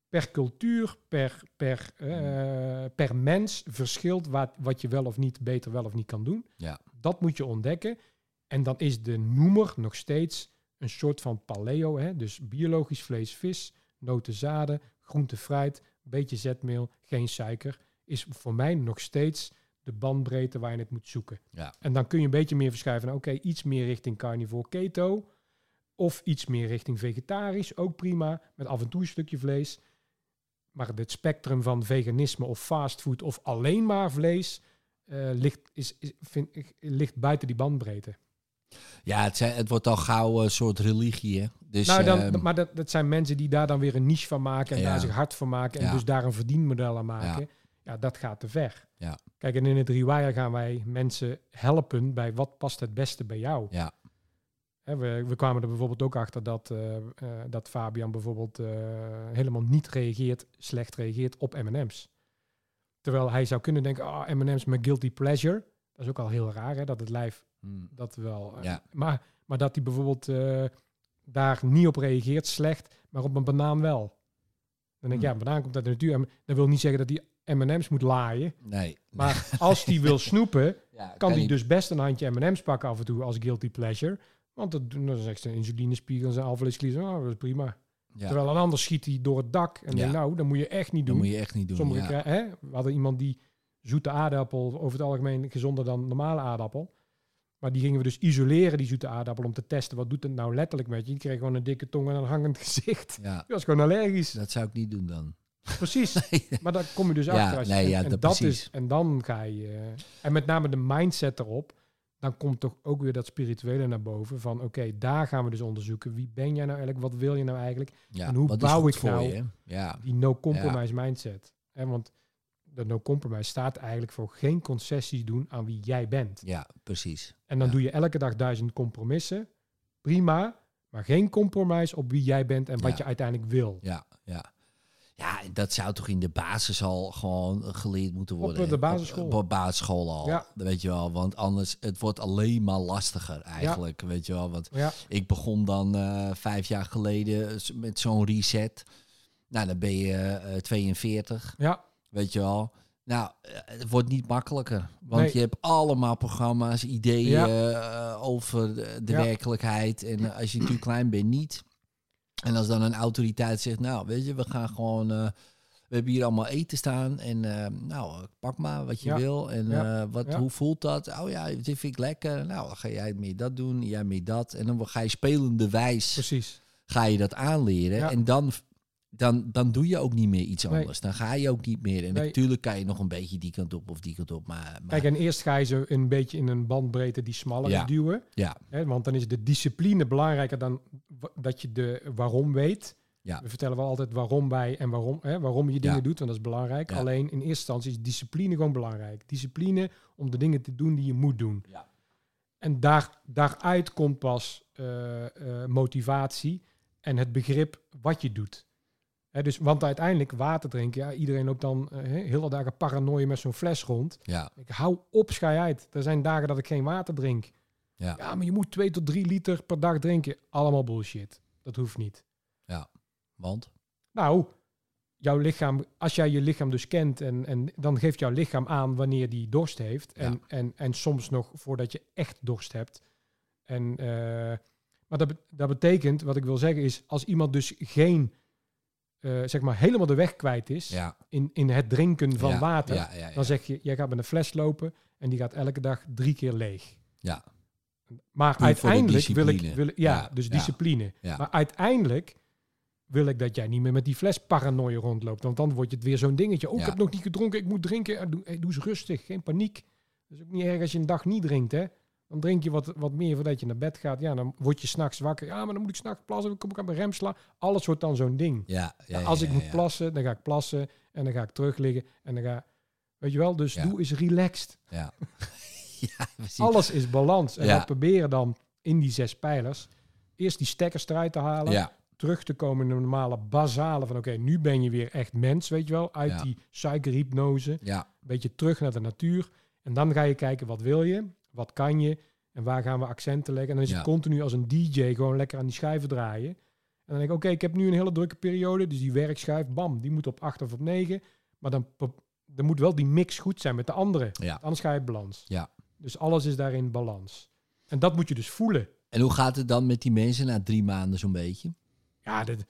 S3: per cultuur, per, per,
S2: Mm.
S3: eh, per mens verschilt wat, wat je wel of niet beter wel of niet kan doen.
S2: Ja.
S3: Dat moet je ontdekken. En dan is de noemer nog steeds een soort van paleo. Hè? Dus biologisch vlees, vis, noten, zaden, groente, fruit, beetje zetmeel, geen suiker. Is voor mij nog steeds de bandbreedte waarin het moet zoeken.
S2: Ja.
S3: En dan kun je een beetje meer verschuiven. naar, Oké, iets meer richting carnivore keto. Of iets meer richting vegetarisch, ook prima. Met af en toe een stukje vlees. Maar het spectrum van veganisme of fastfood of alleen maar vlees... eh, ligt, is, is, vind, ik, ligt buiten die bandbreedte.
S2: Ja, het, zijn, het wordt al gauw een soort religie, hè? Dus,
S3: nou, dan,
S2: ehm,
S3: maar dat, dat zijn mensen die daar dan weer een niche van maken... en
S2: Ja.
S3: daar zich hard voor maken en
S2: Ja.
S3: dus daar een verdienmodel aan maken. Ja, dat gaat te ver.
S2: Ja.
S3: Kijk, en in het rewire gaan wij mensen helpen bij wat past het beste bij jou.
S2: ja,
S3: Hè, we, we kwamen er bijvoorbeeld ook achter dat, eh, eh, dat Fabian bijvoorbeeld eh, helemaal niet reageert, slecht reageert op M&M's. Terwijl hij zou kunnen denken, ah, M&M's, mijn guilty pleasure. Dat is ook al heel raar, hè, dat het lijf
S2: hm,
S3: dat wel... eh,
S2: Ja.
S3: maar, maar dat hij bijvoorbeeld eh, daar niet op reageert slecht, maar op een banaan wel. Dan denk ik,
S2: Hmm.
S3: ja, een banaan komt uit de natuur. en Dat wil niet zeggen dat hij M&M's moet laaien.
S2: nee.
S3: Maar als hij wil snoepen,
S2: Ja,
S3: kan die
S2: niet.
S3: dus best een handje M&M's pakken af en toe als guilty pleasure. Want dat, dan zegt zijn insulinespiegel en zijn alvleesklier, oh, dat is prima.
S2: Ja,
S3: Terwijl een ander schiet hij door het dak. En
S2: Ja.
S3: denkt, nou, dat moet je echt niet
S2: dat
S3: doen.
S2: moet je echt niet doen.
S3: Sommige
S2: ja.
S3: krijgen- hè, we hadden iemand die zoete aardappel, over het algemeen gezonder dan normale aardappel. Maar die gingen we dus isoleren, die zoete aardappel, om te testen. Wat doet het nou letterlijk met je? Die kreeg gewoon een dikke tong en een hangend gezicht.
S2: Ja,
S3: Die was gewoon allergisch.
S2: dat zou ik niet doen dan.
S3: Precies. Maar daar kom je dus
S2: Ja,
S3: achter. Als je-
S2: nee, ja,
S3: en,
S2: dat
S3: dat
S2: precies.
S3: is, en dan ga je... eh, En met name de mindset erop. Dan komt toch ook weer dat spirituele naar boven. Van oké, daar gaan we dus onderzoeken. Wie ben jij nou eigenlijk? Wat wil je nou eigenlijk?
S2: Ja,
S3: En hoe
S2: wat
S3: bouw
S2: is goed
S3: ik
S2: voor
S3: nou-
S2: je? hè? Ja,
S3: Die no-compromise mindset. Hè, want de no-compromise staat eigenlijk voor geen concessies doen aan wie jij bent.
S2: ja, precies.
S3: En dan
S2: Ja.
S3: doe je elke dag duizend compromissen. Prima. Maar geen compromis op wie jij bent en wat
S2: Ja.
S3: je uiteindelijk wil.
S2: Ja, ja. Ja, en dat zou toch in de basis al gewoon geleerd moeten
S3: Op,
S2: worden.
S3: eh, de
S2: hè?
S3: basisschool.
S2: Op, op basisschool al,
S3: Ja.
S2: weet je wel. Want anders, het wordt alleen maar lastiger eigenlijk, weet je wel. Want
S3: Ja,
S2: Ik begon dan eh, vijf jaar geleden s- met zo'n reset. Nou, dan ben je eh, 42,
S3: ja,
S2: weet je wel. Nou, eh, het wordt niet makkelijker. Want
S3: Nee.
S2: je hebt allemaal programma's, ideeën
S3: Ja.
S2: eh, over de, de
S3: Ja.
S2: werkelijkheid. En eh, als je natuurlijk klein bent, niet. En als dan een autoriteit zegt, nou, weet je, we gaan gewoon... eh, we hebben hier allemaal eten staan en eh, nou, pak maar wat je
S3: Ja.
S2: wil. En
S3: Ja.
S2: eh, wat,
S3: Ja.
S2: hoe voelt dat? Oh ja, dit vind ik lekker. Nou, dan ga jij meer dat doen, jij meer dat. En dan ga je spelende wijs
S3: precies.
S2: ga je dat aanleren.
S3: Ja.
S2: En dan, dan, dan doe je ook niet meer iets
S3: Nee.
S2: anders. Dan ga je ook niet meer. En
S3: Nee.
S2: natuurlijk kan je nog een beetje die kant op of die kant op. Maar, maar
S3: Kijk, en eerst ga je ze een beetje in een bandbreedte die smaller
S2: Ja.
S3: is duwen.
S2: ja,
S3: Hè, want dan is de discipline belangrijker dan wa- dat je de waarom weet.
S2: Ja.
S3: We vertellen wel altijd waarom wij en waarom, hè, waarom je dingen
S2: Ja.
S3: doet, want dat is belangrijk.
S2: Ja.
S3: Alleen in eerste instantie is discipline gewoon belangrijk. Discipline om de dingen te doen die je moet doen.
S2: Ja.
S3: En daar, daaruit komt pas eh, eh, motivatie en het begrip wat je doet. Hè, dus, want uiteindelijk water drinken, ja, iedereen loopt dan eh, hè, hele dagen paranoia met zo'n fles rond.
S2: Ja,
S3: Ik hou op, schei uit. Er zijn dagen dat ik geen water drink.
S2: Ja.
S3: ja, maar je moet 2 tot 3 liter per dag drinken. Allemaal bullshit. Dat hoeft niet.
S2: want
S3: Nou, jouw lichaam, als jij je lichaam dus kent, en, en dan geeft jouw lichaam aan wanneer die dorst heeft. En,
S2: Ja.
S3: en, en soms nog voordat je echt dorst hebt. En, eh, maar dat, be- dat betekent, wat ik wil zeggen, is als iemand dus geen, eh, zeg maar, helemaal de weg kwijt is
S2: ja.
S3: in, in het drinken van
S2: ja,
S3: water,
S2: Ja, ja, ja.
S3: dan zeg je, jij gaat met een fles lopen en die gaat elke dag drie keer leeg.
S2: Ja.
S3: Maar
S2: Puur voor de
S3: uiteindelijk wil ik,
S2: discipline.
S3: wil, ik- ja,
S2: Ja,
S3: dus
S2: ja,
S3: discipline.
S2: ja.
S3: Maar uiteindelijk wil ik dat jij niet meer met die fles paranoia rondloopt. Want dan wordt het weer zo'n dingetje. Oh,
S2: Ja.
S3: ik heb nog niet gedronken, ik moet drinken. Eh, Doe, eh, doe eens rustig, geen paniek. Dat is ook niet erg als je een dag niet drinkt, hè. Dan drink je wat, wat meer voordat je naar bed gaat. Ja, dan word je s'nachts wakker. Ja, maar dan moet ik s'nachts plassen. Dan kom ik aan mijn rem slaan. Alles wordt dan zo'n ding.
S2: Ja, ja,
S3: Ja, als
S2: ja,
S3: ik
S2: ja,
S3: moet
S2: ja.
S3: plassen, dan ga ik plassen. En dan ga ik terug liggen. En dan ga... Weet je wel? Dus
S2: Ja.
S3: doe eens relaxed.
S2: Ja. ja, precies.
S3: Alles is balans. En
S2: Ja.
S3: we proberen dan in die zes pijlers eerst die stekkers eruit te halen.
S2: Ja,
S3: Terug te komen in de normale basale van oké, nu ben je weer echt mens, weet je wel. Uit
S2: Ja.
S3: die suikerhypnose. Een
S2: ja,
S3: beetje terug naar de natuur. En dan ga je kijken wat wil je, wat kan je en waar gaan we accenten leggen. En dan is
S2: Ja.
S3: het continu als een DJ gewoon lekker aan die schijven draaien. En dan denk ik, oké, ik heb nu een hele drukke periode. Dus die werkschijf, bam, die moet op acht of op negen. Maar dan, pro- dan moet wel die mix goed zijn met de andere.
S2: ja.
S3: Anders ga je uit balans.
S2: Ja.
S3: Dus alles is daarin balans. En dat moet je dus voelen.
S2: En hoe gaat het dan met die mensen na drie maanden zo'n beetje?
S3: Ja, dat,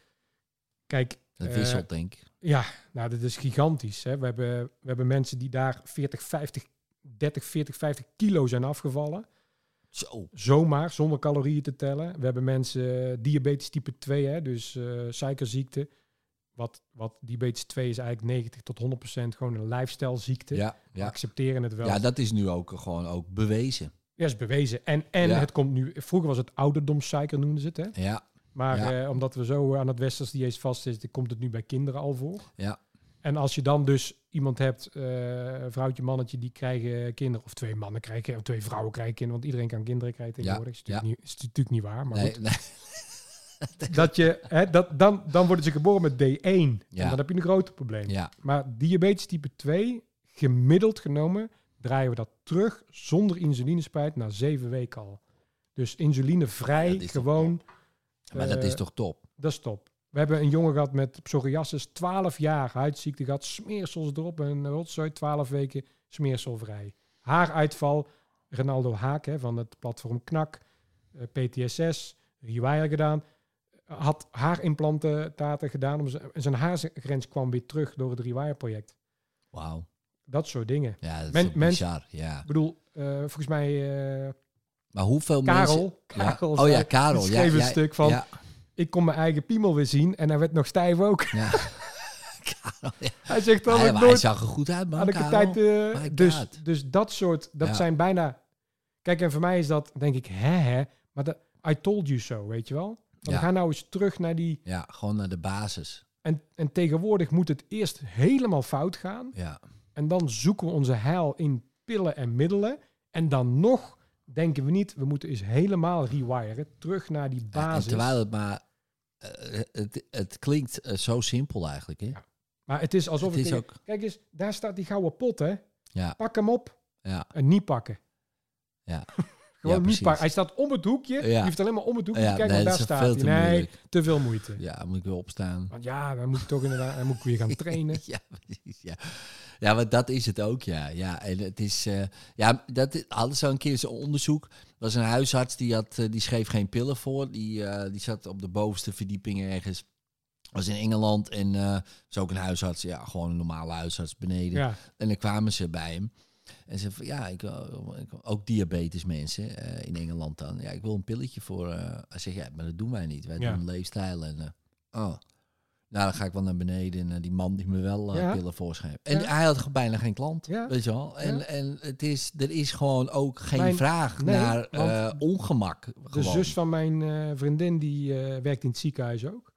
S3: kijk,
S2: Dat
S3: Eh,
S2: wisselt, denk ik.
S3: nou, dat is gigantisch. Hè. We, hebben, we hebben mensen die daar 40, 50, 30, 40, 50 kilo zijn afgevallen.
S2: Zo.
S3: Zomaar, zonder calorieën te tellen. We hebben mensen eh, diabetes type 2, hè, dus eh suikerziekte. Wat, wat diabetes 2 is eigenlijk 90 tot 100 gewoon een lifestyleziekte.
S2: Ja,
S3: We
S2: ja.
S3: accepteren het wel.
S2: ja, dat is nu ook eh, gewoon ook bewezen.
S3: Ja, is bewezen. En, en
S2: Ja.
S3: het komt nu... Vroeger was het ouderdomssuiker, noemden ze het. Hè?
S2: Ja,
S3: Maar
S2: Ja.
S3: eh, omdat we zo aan het westers dieet vast zitten, komt het nu bij kinderen al voor.
S2: Ja.
S3: En als je dan dus iemand hebt, eh, vrouwtje, mannetje, die krijgen kinderen. Of twee mannen krijgen, of twee vrouwen krijgen kinderen. Want iedereen kan kinderen krijgen tegenwoordig. Is, natuurlijk niet, is natuurlijk niet waar. Maar
S2: nee,
S3: goed.
S2: nee,
S3: Dat je, hè, dat, dan, dan worden ze geboren met D1.
S2: Ja.
S3: En dan heb je een groot probleem.
S2: ja,
S3: Maar diabetes type 2, gemiddeld genomen, draaien we dat terug zonder insulinespijt na zeven weken al. Dus
S2: Ja,
S3: insulinevrij,
S2: dat is toch
S3: gewoon...
S2: maar dat
S3: Eh,
S2: is toch top?
S3: Dat is top. We hebben een jongen gehad met psoriasis, 12 jaar huidziekte gehad, smeersels erop en eh, rotzooi, 12 weken smeerselvrij. Haaruitval, Ronaldo Haak hè, van het platform KNAK, eh, PTSS, rewire gedaan. Eh, Had haarimplantaten gedaan, om zijn- en zijn haargrens kwam weer terug door het rewire-project.
S2: Wauw.
S3: Dat soort dingen.
S2: Ja, dat
S3: Men-
S2: is toch
S3: men-
S2: bizar. Ja.
S3: Ik bedoel, eh, volgens mij eh,
S2: Maar hoeveel mensen...
S3: Karel.
S2: Ja.
S3: Karel
S2: Oh ja,
S3: zei-
S2: Karel.
S3: die
S2: Ja,
S3: schreef een
S2: ja,
S3: stuk van,
S2: Ja,
S3: ik kon mijn eigen piemel weer zien en hij werd nog stijf ook.
S2: ja. Karel, ja.
S3: Hij zegt, dat
S2: Ah, ja, maar
S3: had ik
S2: hij
S3: nooit
S2: zag er goed uit, man.
S3: Had ik een
S2: Oh, Karel. Oh
S3: tijd. eh,
S2: My
S3: dus,
S2: God.
S3: dus dat soort. Dat
S2: Ja.
S3: zijn bijna. Kijk, en voor mij is dat, denk ik, hè, hè. Maar dat, I told you so, weet je wel. Dan
S2: Ja.
S3: ga nou eens terug naar die.
S2: Ja, gewoon naar de basis.
S3: En, en tegenwoordig moet het eerst helemaal fout gaan.
S2: Ja,
S3: En dan zoeken we onze heil in pillen en middelen. En dan nog denken we niet, we moeten eens helemaal rewiren. Terug naar die
S2: Ja, en
S3: basis.
S2: terwijl het maar... eh, het, het klinkt eh, zo simpel eigenlijk, hè?
S3: Ja. maar het is alsof
S2: het is
S3: tegen-
S2: ook...
S3: Kijk eens, daar staat die gouden pot, hè?
S2: Ja.
S3: Pak hem op
S2: Ja.
S3: en niet pakken.
S2: Ja.
S3: Gewoon
S2: Ja,
S3: niet
S2: precies.
S3: pakken. Hij staat om het hoekje.
S2: Ja.
S3: Je hoeft alleen maar om het hoekje
S2: Ja,
S3: te kijken,
S2: nee,
S3: want
S2: dat
S3: daar
S2: is
S3: staat
S2: veel
S3: hij.
S2: te
S3: nee,
S2: moeilijk.
S3: te veel moeite.
S2: Ja, moet ik weer opstaan.
S3: Want ja, dan moet ik toch inderdaad, dan moet ik weer gaan trainen.
S2: Ja, precies. Ja. ja, maar dat is het ook, ja. Ja, en het is... eh, ja, dat is, hadden ze al een keer zo'n onderzoek. Er was een huisarts, die, had, eh, die schreef geen pillen voor. Die, eh, die zat op de bovenste verdieping ergens. was in Engeland en eh was ook een huisarts. Ja, gewoon een normale huisarts beneden.
S3: Ja,
S2: En dan kwamen ze bij hem. En ze van, ja, ik, wil- ik wil- ook diabetes mensen eh, in Engeland dan. Ja, ik wil een pilletje voor. eh hij zegt, ja, maar dat doen wij niet. Wij
S3: Ja.
S2: doen leefstijl en... eh, oh. Nou, dan ga ik wel naar beneden en eh, die man die me wel eh,
S3: Ja.
S2: pillen voorschrijft. En
S3: Ja.
S2: hij had gewoon bijna geen klant,
S3: Ja.
S2: weet je wel. En,
S3: Ja.
S2: en het is, er is gewoon ook geen
S3: Mijn-
S2: vraag
S3: nee,
S2: naar
S3: want
S2: eh, ongemak.
S3: de
S2: gewoon.
S3: zus van mijn eh, vriendin, die eh, werkt in het ziekenhuis ook.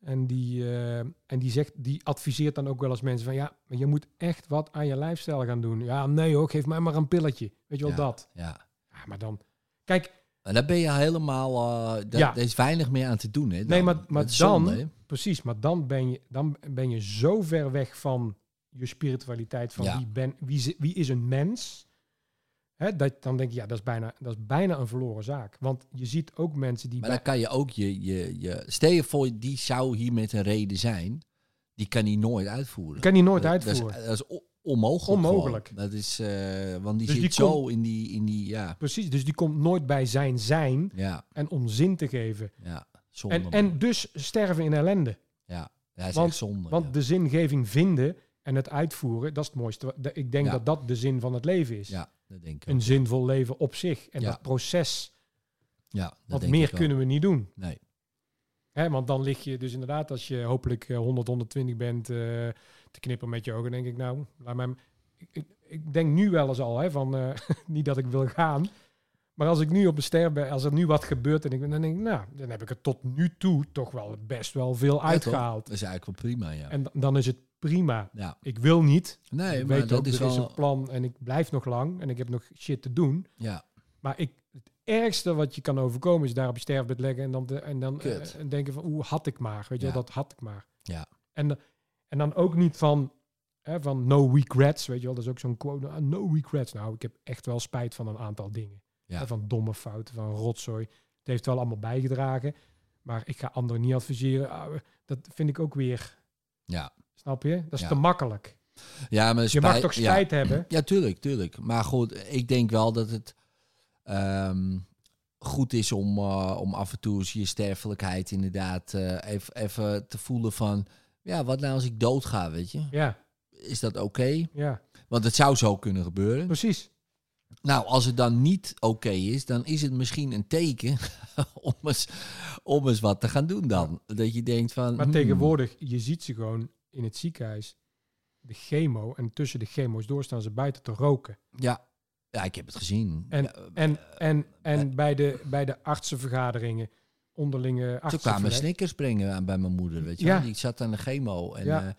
S3: En die, eh, en die zegt, die adviseert dan ook wel eens mensen van ja, maar je moet echt wat aan je lifestyle gaan doen. Ja, nee hoor, geef mij maar een pilletje. Weet je wel dat?
S2: Ja.
S3: Ja, maar dan, kijk,
S2: En daar ben je helemaal... eh daar,
S3: Ja.
S2: daar is weinig meer aan te doen, hè.
S3: Nee, maar- maar
S2: Dat is zonde,
S3: dan-
S2: hè.
S3: Precies, maar dan ben je, dan ben je zo ver weg van je spiritualiteit, van
S2: Ja.
S3: wie, ben, wie, zi- wie is een mens. Hè, dat, dan denk je, ja, dat is, bijna, dat is bijna een verloren zaak. Want je ziet ook mensen die...
S2: Maar dan kan je ook je, je, je... Stel je voor, die zou hier met een reden zijn. Die kan die nooit uitvoeren.
S3: bij- kan die nooit
S2: Dat-
S3: uitvoeren.
S2: Dat is, dat is o- onmogelijk.
S3: Onmogelijk.
S2: gewoon. Dat is, eh, want die
S3: Dus
S2: zit
S3: die
S2: zo in die, in die, ja,
S3: Precies, dus die komt nooit bij zijn zijn
S2: ja,
S3: en om zin te geven.
S2: ja, zonde.
S3: En,
S2: man.
S3: en dus sterven in ellende.
S2: ja, dat is
S3: want-
S2: echt zonde.
S3: Want
S2: ja.
S3: de zingeving vinden en het uitvoeren, dat is het mooiste. wa- de- Ik denk
S2: Ja.
S3: dat dat de zin van het leven is.
S2: ja, dat denk ik. ook.
S3: Een zinvol leven op zich. En
S2: Ja.
S3: dat proces,
S2: ja, dat
S3: want
S2: denk
S3: meer
S2: ik ook.
S3: kunnen we niet doen.
S2: Nee.
S3: Hè, want dan lig je dus inderdaad, als je hopelijk eh, 100, 120 bent, eh, te knippen met je ogen, denk ik nou, laat mij... m- Ik, ik, ik denk nu wel eens al, hè, van eh, niet dat ik wil gaan. Maar als ik nu op een ster ben, als er nu wat gebeurt en ik ben, dan denk ik, nou, dan heb ik er tot nu toe toch wel best wel veel
S2: Ja, toch?
S3: uitgehaald.
S2: Dat is eigenlijk wel prima, ja.
S3: En dan- dan is het prima.
S2: ja.
S3: Ik wil niet,
S2: Nee,
S3: ik
S2: maar
S3: weet
S2: dat
S3: ook,
S2: is
S3: er is
S2: wel...
S3: een plan en ik blijf nog lang en ik heb nog shit te doen.
S2: Ja,
S3: Maar ik, het ergste wat je kan overkomen is daar op je sterfbed leggen en dan, de- en dan eh,
S2: Kut.
S3: en denken van, hoe had ik maar, weet je
S2: Ja.
S3: wel, dat had ik maar.
S2: Ja.
S3: En, eh, en dan ook niet van, hè, van no regrets, weet je wel, dat is ook zo'n quote, ah, no regrets. Nou, ik heb echt wel spijt van een aantal dingen.
S2: Ja.
S3: Hè, Van domme fouten, van rotzooi. Het heeft wel allemaal bijgedragen, maar ik ga anderen niet adviseren. Ah, dat vind ik ook weer,
S2: ja.
S3: snap je? Dat is
S2: Ja.
S3: te makkelijk.
S2: ja maar
S3: Je mag toch
S2: ja.
S3: spijt hebben?
S2: Ja, tuurlijk, tuurlijk. Maar goed, ik denk wel dat het ehm, goed is om, eh, om af en toe eens je sterfelijkheid inderdaad eh, even, even te voelen van... Ja, wat nou als ik doodga, weet je?
S3: Ja,
S2: Is dat oké?
S3: ja,
S2: Want het zou zo kunnen gebeuren.
S3: precies.
S2: Nou, als het dan niet oké is, dan is het misschien een teken om, eens, om eens wat te gaan doen dan. Dat je denkt van...
S3: Maar
S2: hmm,
S3: tegenwoordig, je ziet ze gewoon in het ziekenhuis. De chemo en tussen de chemo's door staan ze buiten te roken.
S2: hmm, Ja, ja ik heb het gezien.
S3: En,
S2: Ja,
S3: en, en,
S2: Eh.
S3: en bij, de, bij de artsenvergaderingen, onderlinge
S2: Toen kwamen
S3: artsenvergaderingen.
S2: snickers brengen aan bij mijn moeder, weet je
S3: Ja.
S2: wel. Die zat aan de chemo en,
S3: Ja.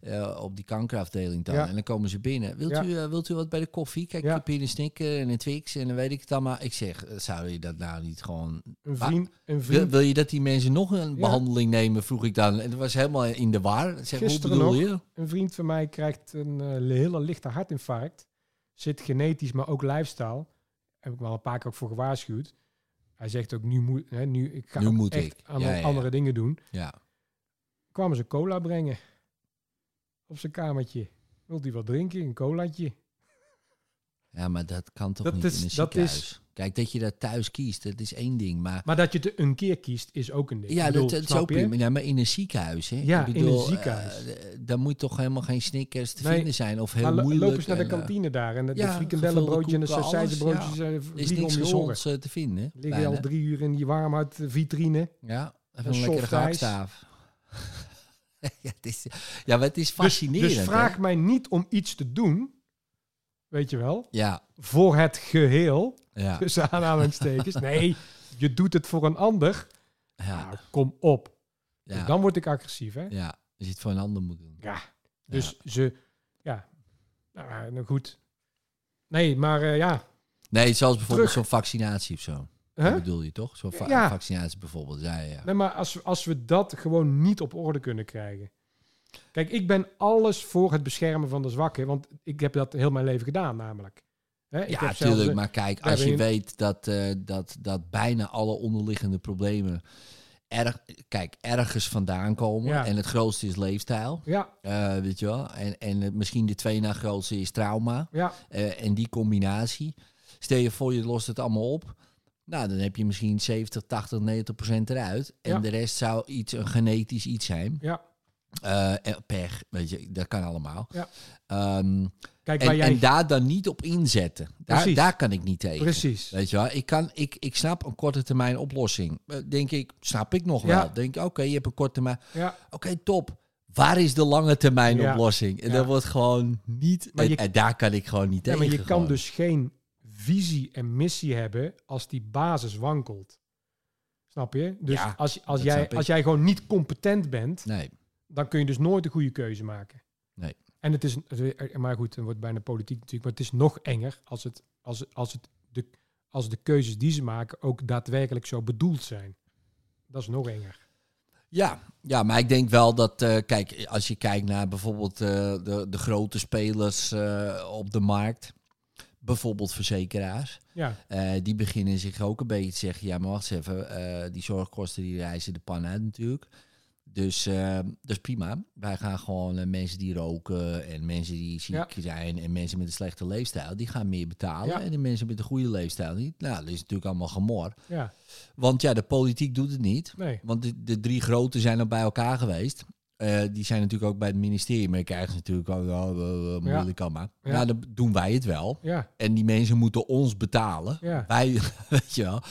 S2: eh, eh, op die kankerafdeling dan.
S3: Ja.
S2: En dan komen ze binnen. Wilt,
S3: Ja.
S2: u, eh, wilt u wat bij de koffie? Kijk,
S3: Ja.
S2: ik heb hier een snicker en een Twix en dan weet ik het allemaal. Ik zeg, eh, zou je dat nou niet gewoon...
S3: Een vriend,
S2: Wil,
S3: een vriend,
S2: wil je dat die mensen nog een
S3: Ja.
S2: behandeling nemen, vroeg ik dan. En dat was helemaal in de war. Ik Zeg, hoe
S3: Gisteren
S2: bedoel
S3: nog.
S2: je?
S3: een vriend van mij krijgt een eh, hele lichte hartinfarct. Zit genetisch, maar ook lifestyle. Heb ik wel een paar keer ook voor gewaarschuwd. Hij zegt ook, nu moet, hè, nu, ik ga
S2: Nu
S3: ook
S2: moet
S3: echt
S2: ik.
S3: aan-
S2: Ja, ja, ja.
S3: andere dingen doen.
S2: Ja.
S3: kwamen ze cola brengen. Op zijn kamertje. Wilt hij wat drinken? Een colaatje?
S2: ja, maar dat kan toch
S3: Dat
S2: niet in
S3: is-
S2: een
S3: dat is-
S2: ziekenhuis? Kijk, dat je dat thuis kiest, dat is één ding. Maar
S3: Maar dat je het een keer kiest, is ook een ding.
S2: Ja,
S3: Ik bedoel,
S2: dat, dat is
S3: snap
S2: ook
S3: je?
S2: prima. Ja, maar in een ziekenhuis, hè?
S3: Ja, in een
S2: eh,
S3: ziekenhuis.
S2: d- daar moet toch helemaal geen snickers te
S3: Nee.
S2: vinden zijn of heel
S3: Maar lo-
S2: moeilijk.
S3: lopen ze naar de
S2: en, eh,
S3: kantine daar en de, de
S2: ja,
S3: frikandellenbroodje en de
S2: gevulde koeken, alles,
S3: sausijzenbroodjes eh,
S2: Er is
S3: vliegen om
S2: niks
S3: je oren.
S2: gezonds eh, te vinden. hè,
S3: Liggen je al
S2: bijna.
S3: drie uur in die warmhout vitrine.
S2: Ja, even
S3: een
S2: een lekkere
S3: soft ijs.
S2: gehaktstaaf. ja, het is, ja, maar het is fascinerend.
S3: Dus, dus vraag
S2: hè?
S3: mij niet om iets te doen, weet je wel,
S2: Ja,
S3: voor het geheel,
S2: ja,
S3: tussen aanhalingstekens. Nee, je doet het voor een ander.
S2: ja,
S3: Nou, kom op.
S2: ja,
S3: Dus dan word ik agressief, hè?
S2: ja. Als je het voor een ander moet doen.
S3: Dus ze, ja, nou, eh, nou goed. Nee, maar eh, ja.
S2: Nee, zoals bijvoorbeeld
S3: Terug.
S2: zo'n vaccinatie of zo.
S3: Huh?
S2: Dat bedoel je toch? Zo'n va-
S3: Ja.
S2: vaccinatie bijvoorbeeld. Ja, ja, ja.
S3: Nee, maar als, we- als we dat gewoon niet op orde kunnen krijgen. Kijk, ik ben alles voor het beschermen van de zwakken, want ik heb dat heel mijn leven gedaan namelijk. Hè, ik
S2: Ja,
S3: heb zelfs,
S2: tuurlijk.
S3: eh,
S2: Maar kijk,
S3: daar
S2: als je
S3: ben je-
S2: weet dat, eh, dat, dat bijna alle onderliggende problemen erg, kijk, ergens vandaan komen.
S3: Ja.
S2: En het grootste is leefstijl.
S3: Ja,
S2: eh, weet je wel? En, en het- misschien de twee na grootste is trauma.
S3: ja,
S2: eh, en die combinatie. Stel je voor, je lost het allemaal op. Nou, dan heb je misschien 70, 80, 90 procent eruit. En
S3: Ja.
S2: de rest zou iets, een genetisch iets zijn.
S3: ja.
S2: Eh, en pech, weet je, dat kan allemaal.
S3: Ja.
S2: Ehm,
S3: Kijk, waar
S2: en,
S3: jij...
S2: en daar dan niet op inzetten. Daar,
S3: Precies.
S2: daar kan ik niet tegen.
S3: precies.
S2: Weet je wel, ik, kan, ik, ik snap een korte termijn oplossing. Eh, Denk ik, snap ik nog
S3: Ja.
S2: wel. Denk ik, oké, je hebt een korte termijn.
S3: Ja,
S2: Oké, top. Waar is de lange termijn
S3: Ja.
S2: oplossing? En
S3: Ja.
S2: dat wordt gewoon niet.
S3: Maar
S2: en,
S3: je-
S2: en daar kan ik gewoon niet
S3: ja,
S2: tegen.
S3: maar je kan
S2: gewoon.
S3: dus geen visie en missie hebben als die basis wankelt. Snap je? Dus
S2: Ja,
S3: als, als,
S2: dat
S3: jij,
S2: snap ik.
S3: als jij gewoon niet competent bent,
S2: Nee,
S3: dan kun je dus nooit de goede keuze maken.
S2: Nee.
S3: En het is, maar goed, het wordt bijna politiek natuurlijk, maar het is nog enger als, het, als, als, het de, als de keuzes die ze maken ook daadwerkelijk zo bedoeld zijn. Dat is nog enger.
S2: Ja, ja, maar ik denk wel dat, eh, kijk, als je kijkt naar bijvoorbeeld eh, de, de grote spelers eh, op de markt, bijvoorbeeld verzekeraars,
S3: Ja,
S2: eh, die beginnen zich ook een beetje te zeggen, ja maar wacht eens even, eh, die zorgkosten die reizen de pan uit natuurlijk. Dus eh, dat is prima. Wij gaan gewoon eh, mensen die roken en mensen die ziek zijn en mensen met een slechte leefstijl, die gaan meer betalen.
S3: Ja.
S2: En de mensen met een goede leefstijl niet. Nou, dat is natuurlijk allemaal gemor.
S3: ja,
S2: Want ja, de politiek doet het niet.
S3: nee.
S2: Want de, de drie grote zijn al bij elkaar geweest. Eh, die zijn natuurlijk ook bij het ministerie. Maar je krijgt natuurlijk al oh, eh, eh, moeilijk allemaal.
S3: Ja.
S2: Nou, dan doen wij het wel.
S3: Ja,
S2: En die mensen moeten ons betalen.
S3: ja,
S2: Wij, weet je wel.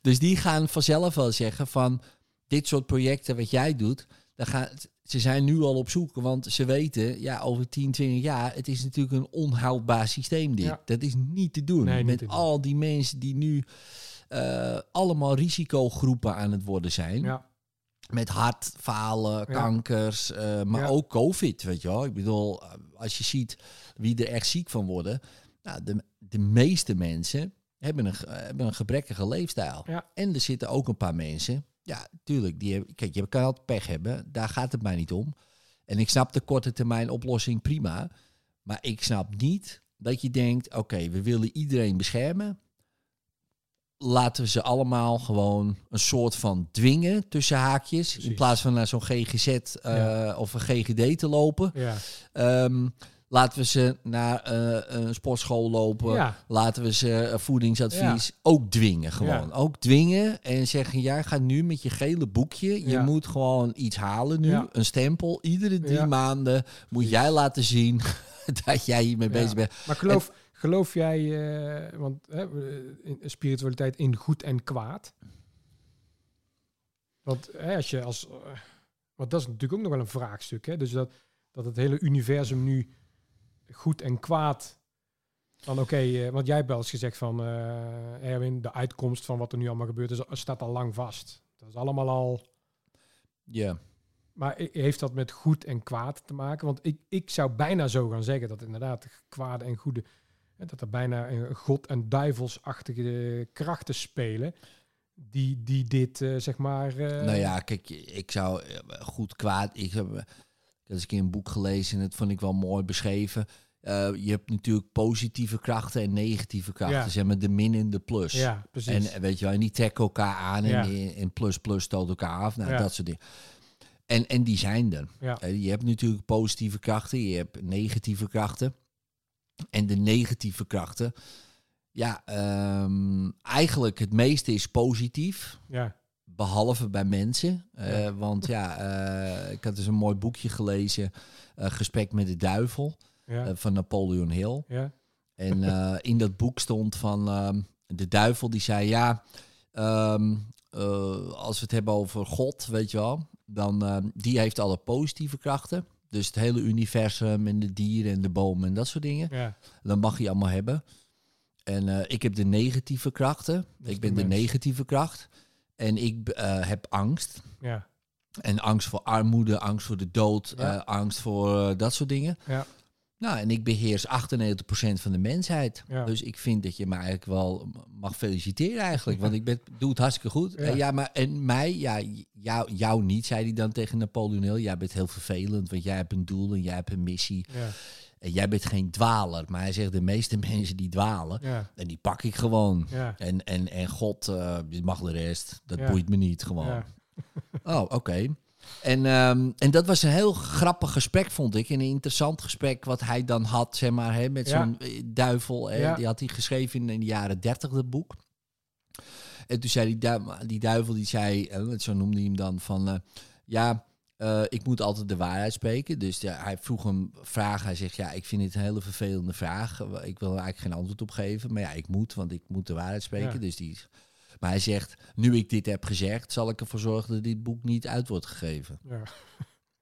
S2: Dus die gaan vanzelf wel zeggen van... Dit soort projecten wat jij doet... Dan gaan, ze zijn nu al op zoek. Want ze weten, ja, over 10, 20 jaar... Het is natuurlijk een onhoudbaar systeem dit.
S3: Ja.
S2: Dat is niet te doen.
S3: Nee, niet
S2: Met
S3: te doen.
S2: al die mensen die nu... eh, allemaal risicogroepen aan het worden zijn
S3: ja,
S2: met hartfalen,
S3: Ja.
S2: kankers, eh, maar
S3: Ja.
S2: ook COVID, weet je wel. Ik bedoel, eh, als je ziet wie er echt ziek van worden, nou, de, de meeste mensen hebben een, ge- hebben een gebrekkige leefstijl.
S3: Ja.
S2: En er zitten ook een paar mensen, ja, tuurlijk, die hebben, kijk, je kan altijd pech hebben, daar gaat het mij niet om. En ik snap de korte termijn oplossing prima, maar ik snap niet dat je denkt, oké, we willen iedereen beschermen. Laten we ze allemaal gewoon een soort van dwingen tussen haakjes. In
S3: Precies.
S2: plaats van naar zo'n GGZ eh,
S3: Ja.
S2: of een GGD te lopen.
S3: ja.
S2: Ehm, laten we ze naar eh, een sportschool lopen.
S3: Ja.
S2: Laten we ze eh, voedingsadvies ook dwingen gewoon. Ook dwingen en zeggen, ja, ga nu met je gele boekje. Je
S3: Ja.
S2: moet gewoon iets halen nu.
S3: Ja.
S2: Een stempel. Iedere drie
S3: Ja.
S2: maanden moet jij laten zien dat jij hiermee
S3: Ja.
S2: bezig bent.
S3: Maar geloof, geloof jij, eh, want hè, in spiritualiteit in goed en kwaad? Want hè, als je als. eh, want dat is natuurlijk ook nog wel een vraagstuk. Hè? Dus dat, dat het hele universum nu goed en kwaad. Dan oké, eh, want jij hebt wel eens gezegd van eh, Erwin, de uitkomst van wat er nu allemaal gebeurt is, staat al lang vast. Dat is allemaal al.
S2: Ja.
S3: Maar i- heeft dat met goed en kwaad te maken? Want ik, ik zou bijna zo gaan zeggen dat inderdaad kwade en goede... hè, dat er bijna een god- en duivelsachtige krachten spelen... die, die dit, eh, zeg maar... eh,
S2: Nou ja, kijk, ik zou eh, goed kwaad. Ik heb eh, ik heb eens een keer een boek gelezen en dat vond ik wel mooi beschreven. Eh, je hebt natuurlijk positieve krachten en negatieve krachten,
S3: Ja.
S2: zeg maar de min en de plus.
S3: Ja, precies.
S2: en eh, weet je wel, en die trekken elkaar aan en,
S3: Ja.
S2: die- en plus plus stoot elkaar af. Nou,
S3: Ja.
S2: dat soort dingen. En, en die zijn er.
S3: Ja.
S2: Eh, je hebt natuurlijk positieve krachten, je hebt negatieve krachten. En de negatieve krachten. Ja, ehm, eigenlijk het meeste is positief.
S3: ja,
S2: Behalve bij mensen. Eh,
S3: Ja.
S2: Want ja, eh, ik had dus een mooi boekje gelezen. eh, Gesprek met de duivel
S3: ja,
S2: eh, van Napoleon Hill.
S3: ja,
S2: En eh, in dat boek stond van ehm, de duivel die zei: Ja, ehm, eh, als we het hebben over God, weet je wel, dan ehm, die heeft alle positieve krachten. Dus het hele universum en de dieren en de bomen en dat soort dingen.
S3: ja,
S2: Dan mag je allemaal hebben. En eh, ik heb de negatieve krachten.
S3: Dat is
S2: Ik ben
S3: de
S2: de
S3: mens.
S2: negatieve kracht. En ik eh, heb angst.
S3: ja,
S2: En angst voor armoede, angst voor de dood,
S3: Ja.
S2: eh, angst voor eh, dat soort dingen.
S3: Ja.
S2: Nou, en ik beheers 98% van de mensheid.
S3: Ja.
S2: Dus ik vind dat je me eigenlijk wel mag feliciteren eigenlijk. Want ik ben, doe het hartstikke goed.
S3: Ja.
S2: Eh, Ja, maar en mij, ja, jou, jou niet, zei hij dan tegen Napoleon Hill. Jij bent heel vervelend, want jij hebt een doel en jij hebt een missie.
S3: ja,
S2: En jij bent geen dwaler. Maar hij zegt, de meeste mensen die dwalen,
S3: ja,
S2: en die pak ik gewoon.
S3: ja.
S2: En, en, en God, eh, die mag de rest. Dat
S3: Ja.
S2: boeit me niet gewoon.
S3: ja.
S2: Oh, oké. En, ehm, en dat was een heel grappig gesprek, vond ik. En Een interessant gesprek wat hij dan had, zeg maar, hè, met
S3: Ja.
S2: zo'n eh, duivel. Hè,
S3: Ja.
S2: Die had hij geschreven in, in de jaren dertig, dat boek. En toen zei die, duim- die duivel, die zei, eh, want zo noemde hij hem dan, van... eh, ja, eh, ik moet altijd de waarheid spreken. Dus ja, hij vroeg hem vragen. Hij zegt, ja, ik vind dit een hele vervelende vraag. Eh, Ik wil er eigenlijk geen antwoord op geven. Maar ja, ik moet, want ik moet de waarheid spreken.
S3: Ja.
S2: Dus die... Maar hij zegt, nu ik dit heb gezegd, zal ik ervoor zorgen dat dit boek niet uit wordt gegeven.
S3: ja.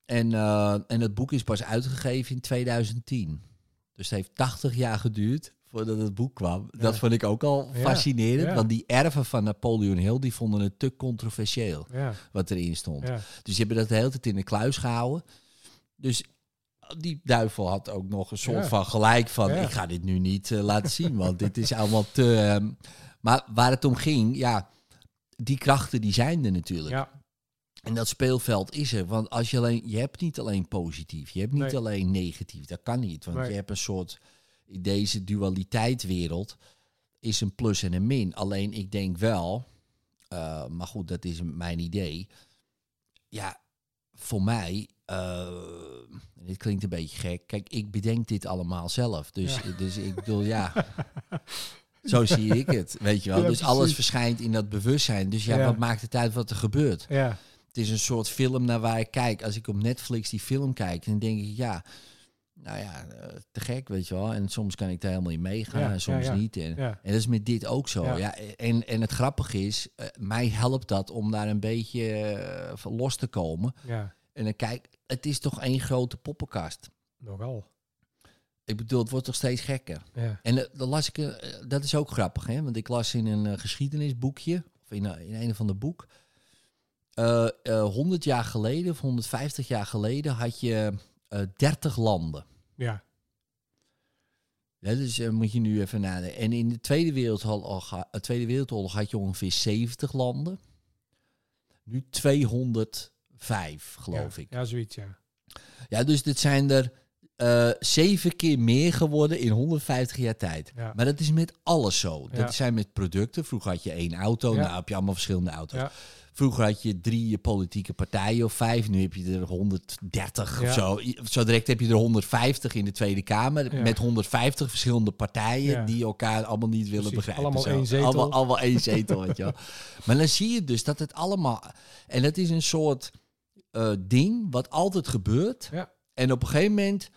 S2: En, eh, en het boek is pas uitgegeven in 2010. Dus het heeft 80 jaar geduurd voordat het boek kwam.
S3: Ja.
S2: Dat vond ik ook al
S3: Ja,
S2: fascinerend,
S3: ja.
S2: want die erven van Napoleon Hill, die vonden het te controversieel
S3: ja,
S2: wat erin stond.
S3: ja.
S2: Dus die hebben dat de hele tijd in de kluis gehouden. Dus die duivel had ook nog een soort
S3: Ja.
S2: van gelijk van...
S3: Ja.
S2: ik ga dit nu niet eh, laten zien, want dit is allemaal te... ehm, maar waar het om ging, ja, die krachten die zijn er natuurlijk.
S3: ja.
S2: En dat speelveld is er. Want als je alleen, je hebt niet alleen positief, je hebt niet
S3: Nee.
S2: alleen negatief. Dat kan niet. Want
S3: Nee.
S2: je hebt een soort. in Deze dualiteitwereld is een plus en een min. Alleen ik denk wel, eh, maar goed, dat is mijn idee. Ja, voor mij. eh, dit klinkt een beetje gek. Kijk, ik bedenk dit allemaal zelf. Dus, dus ik bedoel, ja. Zo zie ik het, weet je wel.
S3: Ja,
S2: dus alles
S3: precies.
S2: verschijnt in dat bewustzijn. Dus ja,
S3: Ja.
S2: wat maakt het uit wat er gebeurt?
S3: Ja,
S2: Het is een soort film naar waar ik kijk. Als ik op Netflix die film kijk, dan denk ik, ja, nou ja, eh, te gek, weet je wel. En soms kan ik daar helemaal in meegaan
S3: Ja,
S2: en soms
S3: ja, ja.
S2: niet. En,
S3: ja.
S2: en dat is met dit ook zo. Ja.
S3: Ja.
S2: en, en het grappige is, eh, mij helpt dat om daar een beetje eh, van los te komen.
S3: ja.
S2: En dan kijk, het is toch één grote poppenkast.
S3: Nogal.
S2: Ik bedoel, het wordt toch steeds gekker.
S3: Ja.
S2: En eh, dat las ik, eh, eh, dat is ook grappig, hè? Want ik las in een eh, geschiedenisboekje, of in, eh, in een of ander boek. eh, eh, 100 jaar geleden of 150 jaar geleden had je eh 30 landen.
S3: Ja.
S2: Hè, dus eh, moet je nu even nadenken. En in de Tweede Wereldoorlog, eh, Tweede Wereldoorlog had je ongeveer 70 landen. Nu 205, geloof
S3: ja.
S2: ik.
S3: Ja, zoiets, ja.
S2: Ja, dus dit zijn er eh, zeven keer meer geworden in 150 jaar tijd.
S3: Ja.
S2: Maar dat is met alles zo.
S3: Ja.
S2: Dat zijn met producten. Vroeger had je één auto,
S3: Ja.
S2: nou heb je allemaal verschillende auto's.
S3: Ja.
S2: Vroeger had je drie politieke partijen of vijf. Nu heb je er 130 of
S3: Ja.
S2: zo. Zo direct heb je er 150 in de Tweede Kamer.
S3: Ja.
S2: Met 150 verschillende partijen
S3: Ja.
S2: die elkaar allemaal niet willen
S3: Precies,
S2: begrijpen.
S3: allemaal
S2: zo.
S3: één zetel.
S2: Allemaal, allemaal één zetel, weet je wel. Maar dan zie je dus dat het allemaal... En dat is een soort eh, ding wat altijd gebeurt.
S3: Ja.
S2: En op een gegeven moment,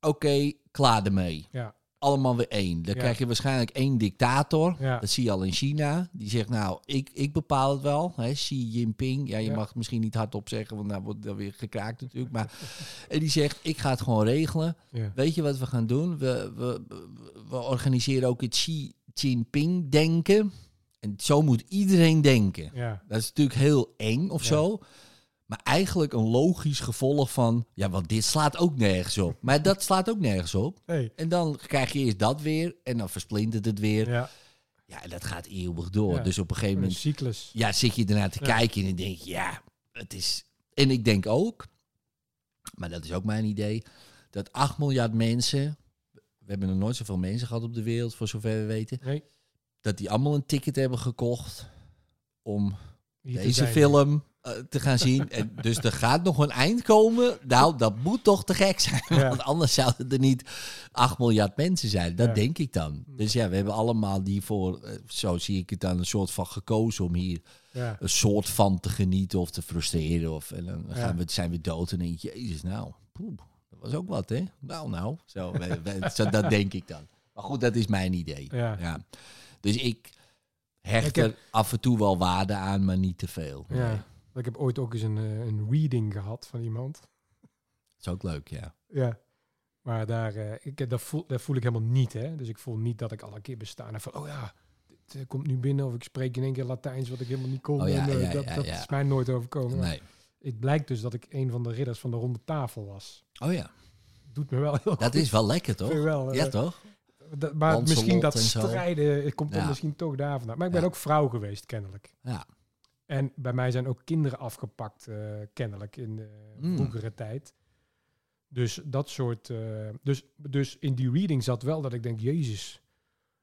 S2: oké, klaar ermee.
S3: Ja.
S2: Allemaal weer één. Dan
S3: Ja.
S2: krijg je waarschijnlijk één dictator.
S3: Ja.
S2: Dat zie je al in China. Die zegt, nou, ik, ik bepaal het wel. Hè, Xi Jinping. Ja, je
S3: Ja.
S2: mag het misschien niet hardop zeggen, want daar wordt dan weer gekraakt natuurlijk. Maar en die zegt, ik ga het gewoon regelen.
S3: Ja.
S2: Weet je wat we gaan doen? We, we, we organiseren ook het Xi Jinping-denken. En zo moet iedereen denken.
S3: Ja.
S2: Dat is natuurlijk heel eng of
S3: Ja.
S2: zo. Maar eigenlijk een logisch gevolg van... Ja, want dit slaat ook nergens op. Maar dat slaat ook nergens op.
S3: Hey.
S2: En dan krijg je eerst dat weer. En dan versplintert het weer. Ja,
S3: Ja.
S2: en dat gaat eeuwig door.
S3: Ja.
S2: Dus op een gegeven
S3: Een
S2: moment
S3: cyclus.
S2: ja, zit je ernaar te
S3: Ja.
S2: kijken. En denk je, ja, het is... En ik denk ook... Maar dat is ook mijn idee. Dat 8 miljard mensen... We hebben nog nooit zoveel mensen gehad op de wereld, voor zover we weten.
S3: Nee.
S2: Dat die allemaal een ticket hebben gekocht om
S3: hier te
S2: deze
S3: zijn.
S2: film eh, te gaan zien. En dus er gaat nog een eind komen. Nou, dat moet toch te gek zijn.
S3: Ja.
S2: Want anders zouden er niet 8 miljard mensen zijn. Dat
S3: Ja.
S2: denk ik dan. Dus ja, we hebben allemaal die voor, eh, zo zie ik het dan, een soort van gekozen om hier
S3: Ja.
S2: een soort van te genieten of te frustreren. Of, en dan
S3: Ja.
S2: gaan we, zijn we dood en denk je, jezus nou, poeh, dat was ook wat hè. Nou, nou, zo, we- we- zo, dat denk ik dan. Maar goed, dat is mijn idee.
S3: Ja.
S2: Ja. Dus ik hecht
S3: Ik heb-
S2: er af en toe wel waarde aan, maar niet te veel.
S3: Ja.
S2: Nee.
S3: Ik heb ooit ook eens een, eh, een reading gehad van iemand.
S2: is ook leuk, ja.
S3: Ja. Maar daar, eh, ik, dat, voel, dat voel ik helemaal niet, hè. Dus ik voel niet dat ik al een keer bestaan heb van, oh ja, dit eh, komt nu binnen of ik spreek in één keer Latijns wat ik helemaal niet kon.
S2: Oh ja,
S3: en, eh,
S2: ja,
S3: dat
S2: ja,
S3: dat
S2: ja.
S3: is mij nooit overkomen.
S2: Nee.
S3: Het blijkt dus dat ik een van de ridders van de ronde tafel was.
S2: Oh ja,
S3: Doet me wel heel
S2: dat
S3: goed.
S2: is wel lekker, toch?
S3: Vind ik wel, eh,
S2: Ja, toch?
S3: dat- maar
S2: Lancelot
S3: misschien dat
S2: en zo.
S3: strijden eh, komt dan
S2: Ja.
S3: misschien toch daar vandaan. Maar ik ben
S2: Ja.
S3: ook vrouw geweest, kennelijk.
S2: Ja.
S3: En bij mij zijn ook kinderen afgepakt, eh, kennelijk, in de
S2: Mm.
S3: vroegere tijd. Dus dat soort. eh, dus, dus in die reading zat wel dat ik denk, Jezus,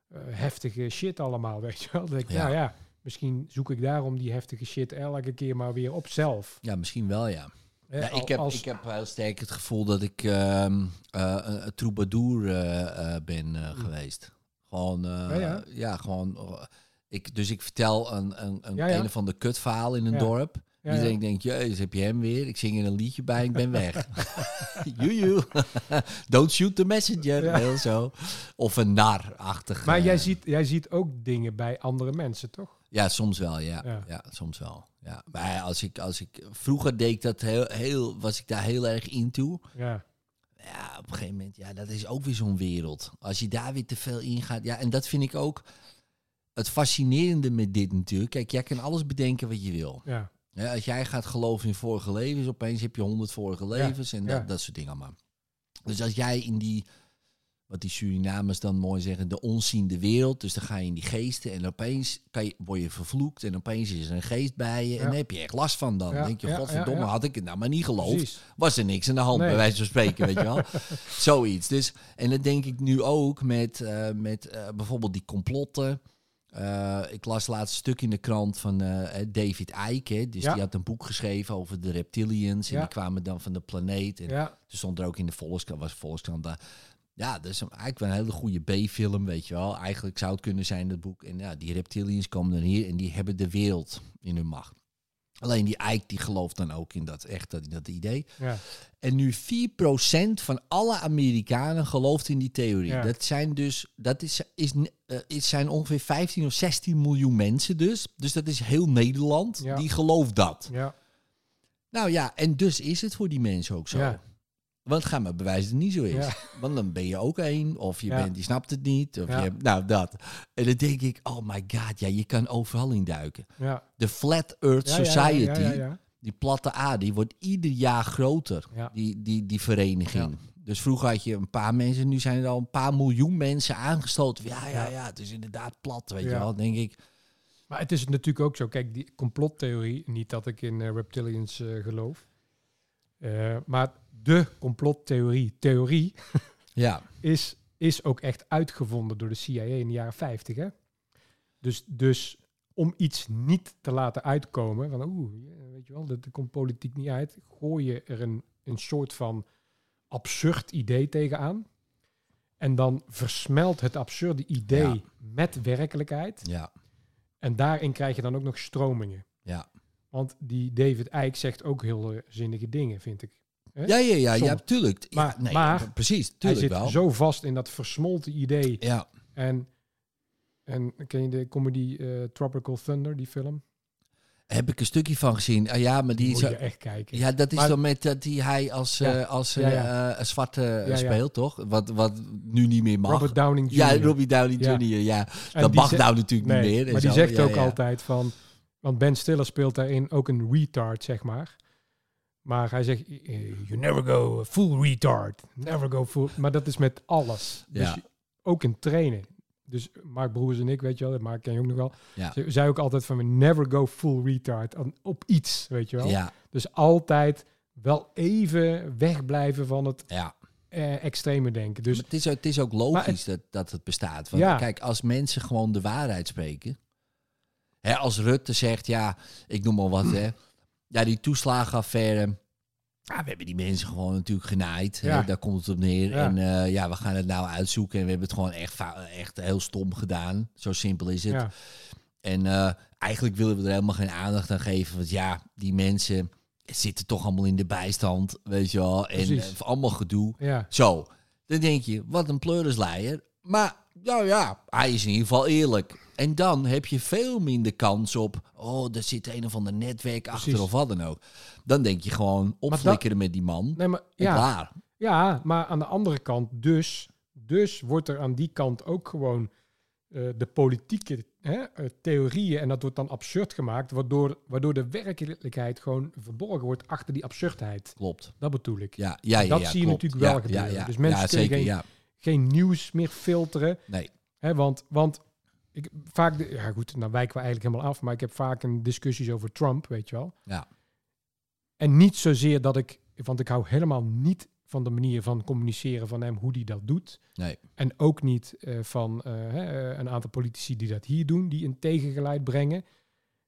S3: eh, heftige shit allemaal, weet je wel. Dat ik,
S2: Ja.
S3: Nou ja, misschien zoek ik daarom die heftige shit elke keer maar weer op zelf.
S2: ja, misschien wel, ja.
S3: Hè,
S2: ja
S3: al-
S2: ik, heb,
S3: als-
S2: ik heb heel sterk het gevoel dat ik ehm, eh, een een troubadour eh, eh, ben eh,
S3: Hm.
S2: geweest. Gewoon, eh,
S3: Ja,
S2: ja,
S3: ja.
S2: gewoon... eh, ik, dus ik vertel een, een, een,
S3: Ja, ja.
S2: een of ander kutverhaal in een
S3: Ja.
S2: dorp.
S3: ja,
S2: Iedereen denkt, jezus, heb je hem weer? Ik zing er een liedje bij en ik ben weg. Joejoe. Don't shoot the messenger.
S3: Ja.
S2: Heel zo. Of een nar-achtig.
S3: Maar
S2: eh,
S3: jij ziet, jij ziet ook dingen bij andere mensen, toch?
S2: Ja, soms wel, ja. ja.
S3: Ja.
S2: soms wel. Ja. Maar als ik, als ik, vroeger deed ik dat heel, heel, was ik daar heel erg in toe.
S3: Ja,
S2: Ja, op een gegeven moment, ja, dat is ook weer zo'n wereld. Als je daar weer te veel in gaat. Ja, en dat vind ik ook het fascinerende met dit natuurlijk. Kijk, jij kan alles bedenken wat je wil.
S3: ja,
S2: Ja, als jij gaat geloven in vorige levens, opeens heb je honderd vorige levens en dat,
S3: ja.
S2: dat soort dingen allemaal. Dus als jij in die wat die Surinamers dan mooi zeggen, de onziende wereld. Dus dan ga je in die geesten en opeens kan je, word je vervloekt en opeens is er een geest bij je. En
S3: Ja.
S2: daar heb je echt last van dan.
S3: Ja,
S2: denk je,
S3: ja,
S2: godverdomme,
S3: ja, ja.
S2: had ik het nou maar niet geloofd.
S3: Precies.
S2: Was er niks aan de hand,
S3: Nee.
S2: bij wijze van spreken, weet je wel. Zoiets. Dus, en dat denk ik nu ook met, eh, met eh, bijvoorbeeld die complotten. Eh, ik las laatst een stuk in de krant van eh, David Icke. hè. Dus
S3: Ja.
S2: die had een boek geschreven over de reptilians. En
S3: Ja.
S2: die kwamen dan van de planeet. En
S3: Ja,
S2: toen stond er ook in de Volkskrant, was Volkskrant daar. Ja, dat is een- eigenlijk wel een hele goede B-film, weet je wel. Eigenlijk zou het kunnen zijn, dat boek. En ja, die reptilians komen dan hier en die hebben de wereld in hun macht. Alleen die Ike die gelooft dan ook in dat, echt, dat- in dat idee.
S3: ja.
S2: En nu 4% van alle Amerikanen gelooft in die theorie.
S3: Ja.
S2: Dat zijn dus, dat is, is, eh, het zijn ongeveer 15 of 16 miljoen mensen dus. Dus dat is heel Nederland,
S3: Ja.
S2: die gelooft dat.
S3: ja.
S2: Nou ja, en dus is het voor die mensen ook zo.
S3: Ja.
S2: Want ga maar bewijzen dat het niet zo is.
S3: Ja.
S2: Want dan ben je ook één, of je
S3: Ja.
S2: bent, die snapt het niet. Of
S3: Ja.
S2: je hebt, nou, dat. En dan denk ik, oh my god, ja, je kan overal induiken.
S3: ja.
S2: De Flat Earth
S3: Ja, ja, ja,
S2: Society,
S3: ja, ja, ja.
S2: die platte aarde, die wordt ieder jaar groter,
S3: Ja.
S2: die, die, die vereniging. Dus vroeger had je een paar mensen, nu zijn er al een paar miljoen mensen aangesloten. Ja, ja, ja, het is inderdaad plat, weet je
S3: Ja.
S2: wel, denk ik.
S3: Maar het is natuurlijk ook zo. Kijk, die complottheorie, niet dat ik in eh, reptilians eh, geloof. Eh, maar de complottheorie, theorie,
S2: Ja,
S3: is, is ook echt uitgevonden door de CIA in de jaren 50. Hè? Dus, dus om iets niet te laten uitkomen, van oeh, eh, weet je wel, dat dat komt politiek niet uit, gooi je er een, een soort van absurd idee tegenaan. En dan versmelt het absurde idee
S2: Ja.
S3: met werkelijkheid.
S2: ja,
S3: En daarin krijg je dan ook nog stromingen.
S2: ja.
S3: Want die David Eyck zegt ook heel eh, zinnige dingen, vind ik. Hè?
S2: Ja, ja, ja, ja,
S3: Soms.
S2: tuurlijk. Ja,
S3: Maar-
S2: nee,
S3: maar
S2: ja, precies,
S3: Hij
S2: tuurlijk
S3: zit
S2: wel.
S3: zo vast in dat versmolten idee.
S2: Ja,
S3: En, en ken je de comedy eh, Tropical Thunder, die film?
S2: heb ik een stukje van gezien. Ah, ja, maar die
S3: Moet
S2: is
S3: je echt kijken.
S2: Ja, dat is
S3: Maar-
S2: dan met dat die hij als,
S3: Ja,
S2: eh, als
S3: ja,
S2: eh,
S3: ja.
S2: eh, een zwarte eh,
S3: Ja, ja.
S2: speelt, toch? Wat, wat nu niet meer mag.
S3: Robert Downing Jr.
S2: ja, Robbie Downey
S3: Ja.
S2: Jr. Ja,
S3: En
S2: dat
S3: die
S2: mag
S3: zegt-
S2: nou natuurlijk
S3: Nee,
S2: niet meer. en
S3: maar die
S2: zo.
S3: zegt
S2: Ja,
S3: ook
S2: ja.
S3: altijd van... Want Ben Stiller speelt daarin ook een retard, zeg maar. Maar hij zegt, eh, you never go full retard. Never go full... Maar dat is met alles. Dus
S2: Ja.
S3: je- ook in trainen. Dus Mark Broers en ik, weet je wel, dat Mark ken je ook nog wel.
S2: Ja.
S3: Ze zei ook altijd van, we never go full retard. aan- Op iets, weet je wel.
S2: Ja,
S3: Dus altijd wel even wegblijven van het
S2: ja.
S3: eh, extreme denken. Dus
S2: Maar het, is, ook- het is ook
S3: Maar
S2: logisch
S3: het-
S2: dat, dat het bestaat. Want
S3: Ja.
S2: kijk, als mensen gewoon de waarheid spreken. Hè, als Rutte zegt, ja, ik noem maar wat, hè. Ja, die toeslagenaffaire. Ja, we hebben die mensen gewoon natuurlijk genaaid. Hè,
S3: Ja.
S2: daar komt het op neer.
S3: Ja.
S2: En eh, ja, we gaan het nou uitzoeken. En we hebben het gewoon echt, fa- echt heel stom gedaan. Zo simpel is het.
S3: ja,
S2: En eh, eigenlijk willen we er helemaal geen aandacht aan geven. Want ja, die mensen zitten toch allemaal in de bijstand, weet je wel. En
S3: Precies.
S2: eh, allemaal gedoe.
S3: ja,
S2: Zo, dan denk je, wat een pleurisleier. Maar, nou ja, hij is in ieder geval eerlijk. En dan heb je veel minder kans op, oh, er zit een of ander netwerk achter
S3: Precies.
S2: of wat dan ook. Dan denk je gewoon, opflikkeren met die man.
S3: nee, maar,
S2: En
S3: ja,
S2: klaar.
S3: ja, maar aan de andere kant dus, dus wordt er aan die kant ook gewoon eh, de politieke hè, eh, theorieën, en dat wordt dan absurd gemaakt, waardoor, waardoor de werkelijkheid gewoon verborgen wordt achter die absurdheid.
S2: Klopt.
S3: Dat bedoel ik.
S2: Ja, ja, ja,
S3: Dat
S2: ja,
S3: zie je
S2: klopt.
S3: natuurlijk wel
S2: Ja,
S3: gebeuren.
S2: Ja, ja.
S3: Dus mensen
S2: ja,
S3: kunnen
S2: zeker,
S3: geen-
S2: ja.
S3: Geen nieuws meer filteren.
S2: Nee,
S3: Hè, want want ik, vaak, de- ja goed, dan wijken we eigenlijk helemaal af, maar ik heb vaak een discussies over Trump, weet je wel.
S2: Ja.
S3: En niet zozeer dat ik, want ik hou helemaal niet van de manier van communiceren van hem, hoe die dat doet.
S2: Nee.
S3: En ook niet eh, van eh, hè, eh, een aantal politici die dat hier doen, die een tegengeleid brengen.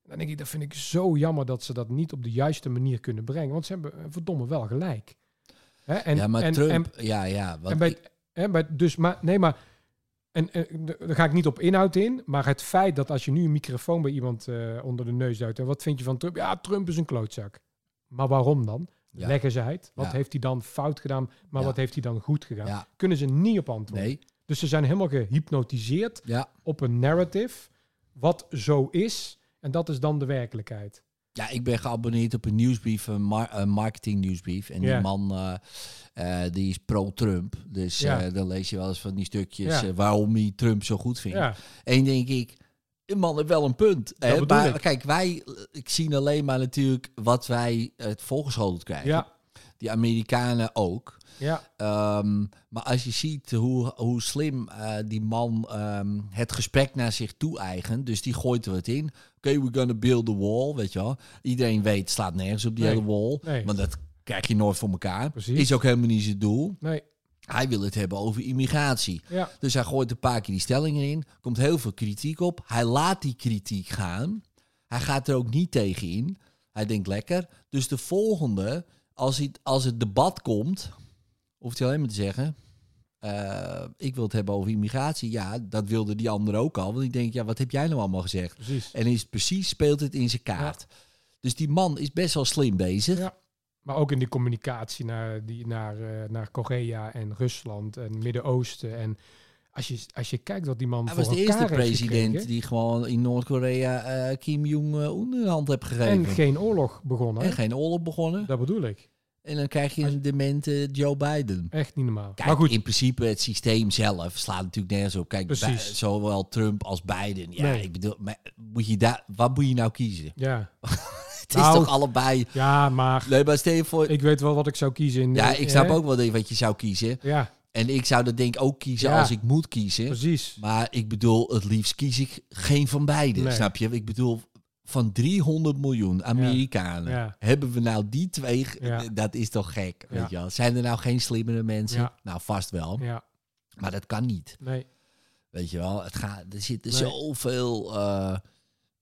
S3: Dan denk ik, dat vind ik zo jammer dat ze dat niet op de juiste manier kunnen brengen. Want ze hebben eh, verdomme wel gelijk. Hè, en,
S2: ja, maar
S3: en- en-
S2: Trump, ja, ja. want
S3: en bij,
S2: ik-
S3: het- hè, bij, het- dus, maar, nee, maar. En, eh, d- daar ga ik niet op inhoud in. Maar het feit dat als je nu een microfoon bij iemand eh, onder de neus duwt. En wat vind je van Trump? Ja, Trump is een klootzak. Maar waarom dan?
S2: Ja.
S3: Leggen ze uit. Wat
S2: Ja.
S3: heeft hij dan fout gedaan? Maar
S2: Ja.
S3: wat heeft hij dan goed gedaan?
S2: Ja.
S3: Kunnen ze niet op antwoorden.
S2: nee,
S3: Dus ze zijn helemaal gehypnotiseerd
S2: ja.
S3: op een narrative. Wat zo is. En dat is dan de werkelijkheid.
S2: Ja, ik ben geabonneerd op een nieuwsbrief, een, mar- een marketing nieuwsbrief. En
S3: Ja.
S2: die man, eh, eh, die is pro-Trump. Dus
S3: Ja.
S2: eh, dan lees je wel eens van die stukjes
S3: Ja.
S2: eh, waarom hij Trump zo goed vindt.
S3: Ja,
S2: En denk ik, een man heeft wel een punt. hè.
S3: bedoel
S2: maar
S3: ik.
S2: kijk, wij eh, ik zien alleen maar natuurlijk wat wij het voorgeschoteld krijgen.
S3: ja,
S2: Die Amerikanen ook.
S3: Ja,
S2: Ehm, maar als je ziet hoe, hoe slim eh, die man ehm, het gesprek naar zich toe eigent. Dus die gooit er wat in. Oké, we're gonna build the wall, weet je wel. Iedereen weet, het slaat nergens op die
S3: Nee.
S2: hele wall.
S3: Nee.
S2: Want dat krijg je nooit voor elkaar.
S3: Precies.
S2: Is ook helemaal niet zijn doel.
S3: nee,
S2: Hij wil het hebben over immigratie.
S3: ja,
S2: Dus hij gooit een paar keer die stellingen in. Komt heel veel kritiek op. Hij laat die kritiek gaan. Hij gaat er ook niet tegen in. Hij denkt lekker. Dus de volgende, als het, als het debat komt, hoeft hij alleen maar te zeggen. eh, ik wil het hebben over immigratie. Ja, dat wilde die ander ook al. Want ik denk, ja, wat heb jij nou allemaal gezegd?
S3: precies.
S2: En is precies speelt het in zijn kaart. Dus die man is best wel slim bezig.
S3: Ja. Maar ook in die communicatie naar, die, naar, eh, naar Korea en Rusland en Midden-Oosten. En als je, als je kijkt wat die man
S2: Hij
S3: voor
S2: was de
S3: elkaar
S2: eerste
S3: heeft
S2: president
S3: gekregen.
S2: die gewoon in Noord-Korea eh, Kim Jong-un de hand heeft gegeven.
S3: En geen oorlog begonnen.
S2: En
S3: hè?
S2: geen oorlog begonnen.
S3: Dat bedoel ik.
S2: En dan krijg je
S3: Als-
S2: een demente Joe Biden.
S3: Echt niet normaal.
S2: Kijk,
S3: maar goed,
S2: in principe het systeem zelf slaat natuurlijk nergens op. Kijk,
S3: Precies.
S2: bij- zowel Trump als Biden. Ja,
S3: Nee.
S2: ik bedoel, maar moet je daar, wat moet je nou kiezen?
S3: ja.
S2: Het
S3: Nou.
S2: is toch allebei...
S3: ja, maar
S2: Nee, maar stel je voor...
S3: ik weet wel wat ik zou kiezen. In,
S2: ja,
S3: eh,
S2: ik snap
S3: hè?
S2: ook wel wat je zou kiezen.
S3: Ja,
S2: En ik zou dat denk ik ook kiezen
S3: Ja.
S2: als ik moet kiezen.
S3: precies.
S2: Maar ik bedoel, het liefst kies ik geen van beide.
S3: Nee.
S2: Snap je? Ik bedoel, van 300 miljoen Amerikanen
S3: Ja.
S2: hebben we nou die twee. ge-
S3: Ja.
S2: Dat is toch gek?
S3: Ja.
S2: Weet je wel? Zijn er nou geen slimmere mensen?
S3: Ja.
S2: Nou, vast wel.
S3: Ja,
S2: Maar dat kan niet.
S3: nee.
S2: Weet je wel? Het gaat, er zitten
S3: Nee.
S2: zoveel. eh,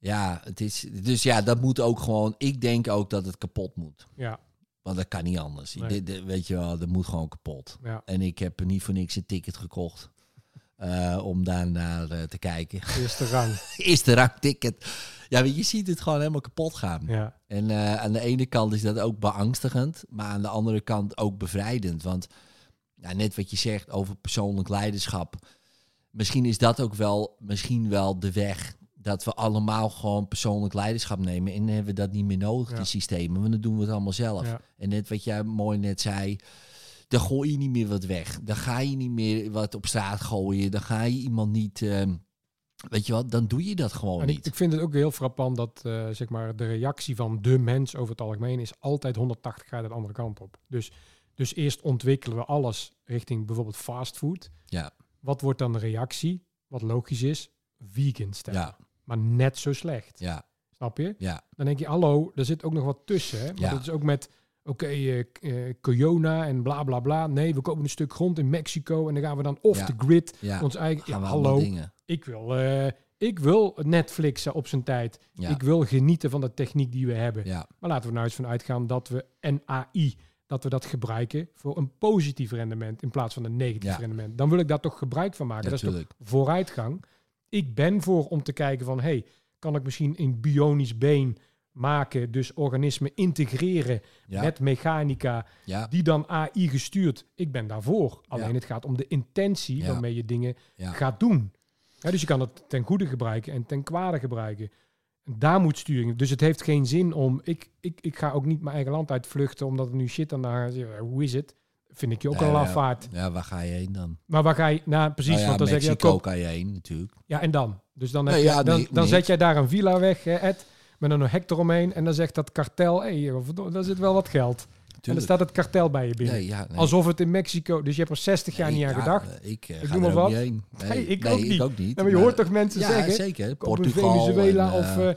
S2: ja, het is, dus ja, dat moet ook gewoon. Ik denk ook dat het kapot moet.
S3: Ja,
S2: Want dat kan niet anders.
S3: Nee.
S2: Dit- dit- weet je wel, dat moet gewoon kapot.
S3: ja.
S2: En ik heb niet voor niks een ticket gekocht. eh, om daarnaar eh, te kijken.
S3: Eerste rang.
S2: Eerste rang ticket. Ja, maar je ziet het gewoon helemaal kapot gaan.
S3: Ja,
S2: En eh, aan de ene kant is dat ook beangstigend. Maar aan de andere kant ook bevrijdend. Want ja, net wat je zegt over persoonlijk leiderschap. Misschien is dat ook wel, misschien wel de weg. Dat we allemaal gewoon persoonlijk leiderschap nemen. En dan hebben we dat niet meer nodig,
S3: Ja.
S2: die systemen. Want dan doen we het allemaal zelf.
S3: ja,
S2: En net wat jij mooi net zei, dan gooi je niet meer wat weg. Dan ga je niet meer wat op straat gooien. Dan ga je iemand niet. ehm, weet je wat, dan doe je dat gewoon
S3: En ik,
S2: niet.
S3: ik vind het ook heel frappant dat eh, zeg maar de reactie van de mens over het algemeen is altijd 180 graden de andere kant op. Dus, dus eerst ontwikkelen we alles richting bijvoorbeeld fastfood.
S2: Ja.
S3: Wat wordt dan de reactie? Wat logisch is, vegan stellen.
S2: ja,
S3: Maar net zo slecht.
S2: ja,
S3: Snap je?
S2: ja,
S3: Dan denk je, hallo, er zit ook nog wat tussen. Hè? Maar
S2: Ja.
S3: dat is ook met, oké, eh, k- eh, Corona en bla bla bla. Nee, we kopen een stuk grond in Mexico en dan gaan we dan off
S2: Ja.
S3: the grid.
S2: ja.
S3: Ons eigen, ja,
S2: Gaan we allemaal
S3: hallo,
S2: dingen.
S3: ik wil, eh, ik wil Netflixen op zijn tijd.
S2: Ja,
S3: Ik wil genieten van de techniek die we hebben.
S2: ja,
S3: Maar laten we er nou eens van uitgaan dat we en AI, dat we dat gebruiken voor een positief rendement in plaats van een negatief
S2: Ja.
S3: rendement. Dan wil ik daar toch gebruik van maken. Dat is toch
S2: natuurlijk.
S3: vooruitgang. Ik ben voor om te kijken van, hey, kan ik misschien een bionisch been maken, dus organismen integreren
S2: Ja,
S3: met mechanica,
S2: ja,
S3: die dan AI gestuurd. Ik ben daarvoor. Alleen
S2: Ja.
S3: het gaat om de intentie
S2: Ja.
S3: waarmee je dingen
S2: Ja.
S3: gaat doen. Ja, dus je kan het ten goede gebruiken en ten kwade gebruiken. En daar moet sturing. Dus het heeft geen zin om. Ik, ik, ik ga ook niet mijn eigen land uitvluchten omdat er nu shit aan de hand is. Hoe is het? Vind ik je ook
S2: Nee,
S3: al
S2: ja.
S3: lafaard.
S2: ja, waar ga je heen dan?
S3: Maar waar ga je? Nou, precies.
S2: Nou ja,
S3: want dan zeg je, ja,
S2: Mexico
S3: kop-
S2: kan je heen natuurlijk.
S3: ja, en dan? Dus dan, heb
S2: Nee,
S3: je-
S2: ja,
S3: dan,
S2: nee,
S3: dan
S2: nee.
S3: zet jij daar een villa weg, hè, Ed, met een hek eromheen. En dan zegt dat kartel, hé, hey, verdomme, daar zit wel wat geld. En dan
S2: Tuurlijk.
S3: staat het kartel bij je binnen.
S2: Nee, ja, nee.
S3: Alsof het in Mexico... Dus je hebt er 60 jaar
S2: Nee,
S3: niet aan
S2: ja,
S3: gedacht.
S2: eh, Ik, eh,
S3: Ik
S2: ga
S3: noem
S2: er
S3: maar
S2: ook
S3: wat.
S2: niet heen. Nee,
S3: Nee, ik
S2: nee,
S3: ook niet.
S2: ook niet.
S3: Ja, maar je
S2: Maar-
S3: hoort toch mensen
S2: ja,
S3: zeggen...
S2: zeker.
S3: op een
S2: Portugal,
S3: Venezuela
S2: en,
S3: of...
S2: eh,
S3: eh,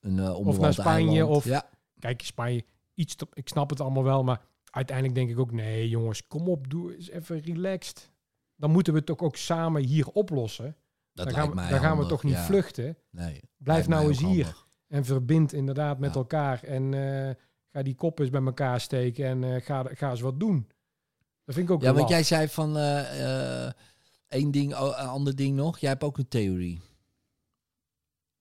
S2: een, eh,
S3: of naar
S2: onbewoond
S3: Spanje
S2: eiland.
S3: of-
S2: Ja,
S3: kijk, Spanje, iets te- ik snap het allemaal wel, maar uiteindelijk denk ik ook... Nee, jongens, kom op, doe eens even relaxed. Dan moeten we het toch ook samen hier oplossen.
S2: dat
S3: dan gaan,
S2: lijkt
S3: we,
S2: mij
S3: dan gaan we
S2: handig,
S3: toch niet
S2: ja.
S3: vluchten.
S2: Nee,
S3: Blijf
S2: lijkt mij
S3: nou
S2: ook
S3: eens hier.
S2: handig.
S3: En verbind inderdaad met
S2: Ja.
S3: elkaar. En eh, ga die kop eens bij elkaar steken en eh, ga, ga eens wat doen. Dat vind ik ook
S2: Ja, want
S3: laf.
S2: jij zei van eh, eh, één ding, o- een ander ding nog. Jij hebt ook een theorie.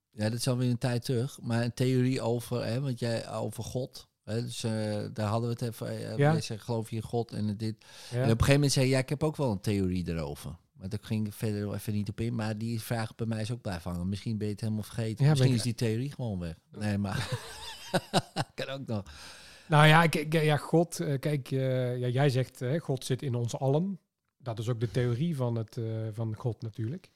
S2: Ja, dat is alweer een tijd terug. Maar een theorie over, hè, want jij over God. Hè, dus eh, daar hadden we het even. eh,
S3: Ja.
S2: Jij zei geloof je in God en dit.
S3: Ja.
S2: En op een gegeven moment zei je, ja, ik heb ook wel een theorie erover. Maar daar ging ik verder even niet op in. Maar die vraag bij mij is ook blijven hangen. Misschien ben je het helemaal vergeten.
S3: Ja,
S2: Misschien
S3: ben
S2: is
S3: ik-
S2: die theorie gewoon weg. Nee, maar... kan ook nog.
S3: Nou ja, ik, ik- ja God, eh, kijk, eh, ja, jij zegt eh, God zit in ons allen. Dat is ook de theorie van, het, eh, van God natuurlijk.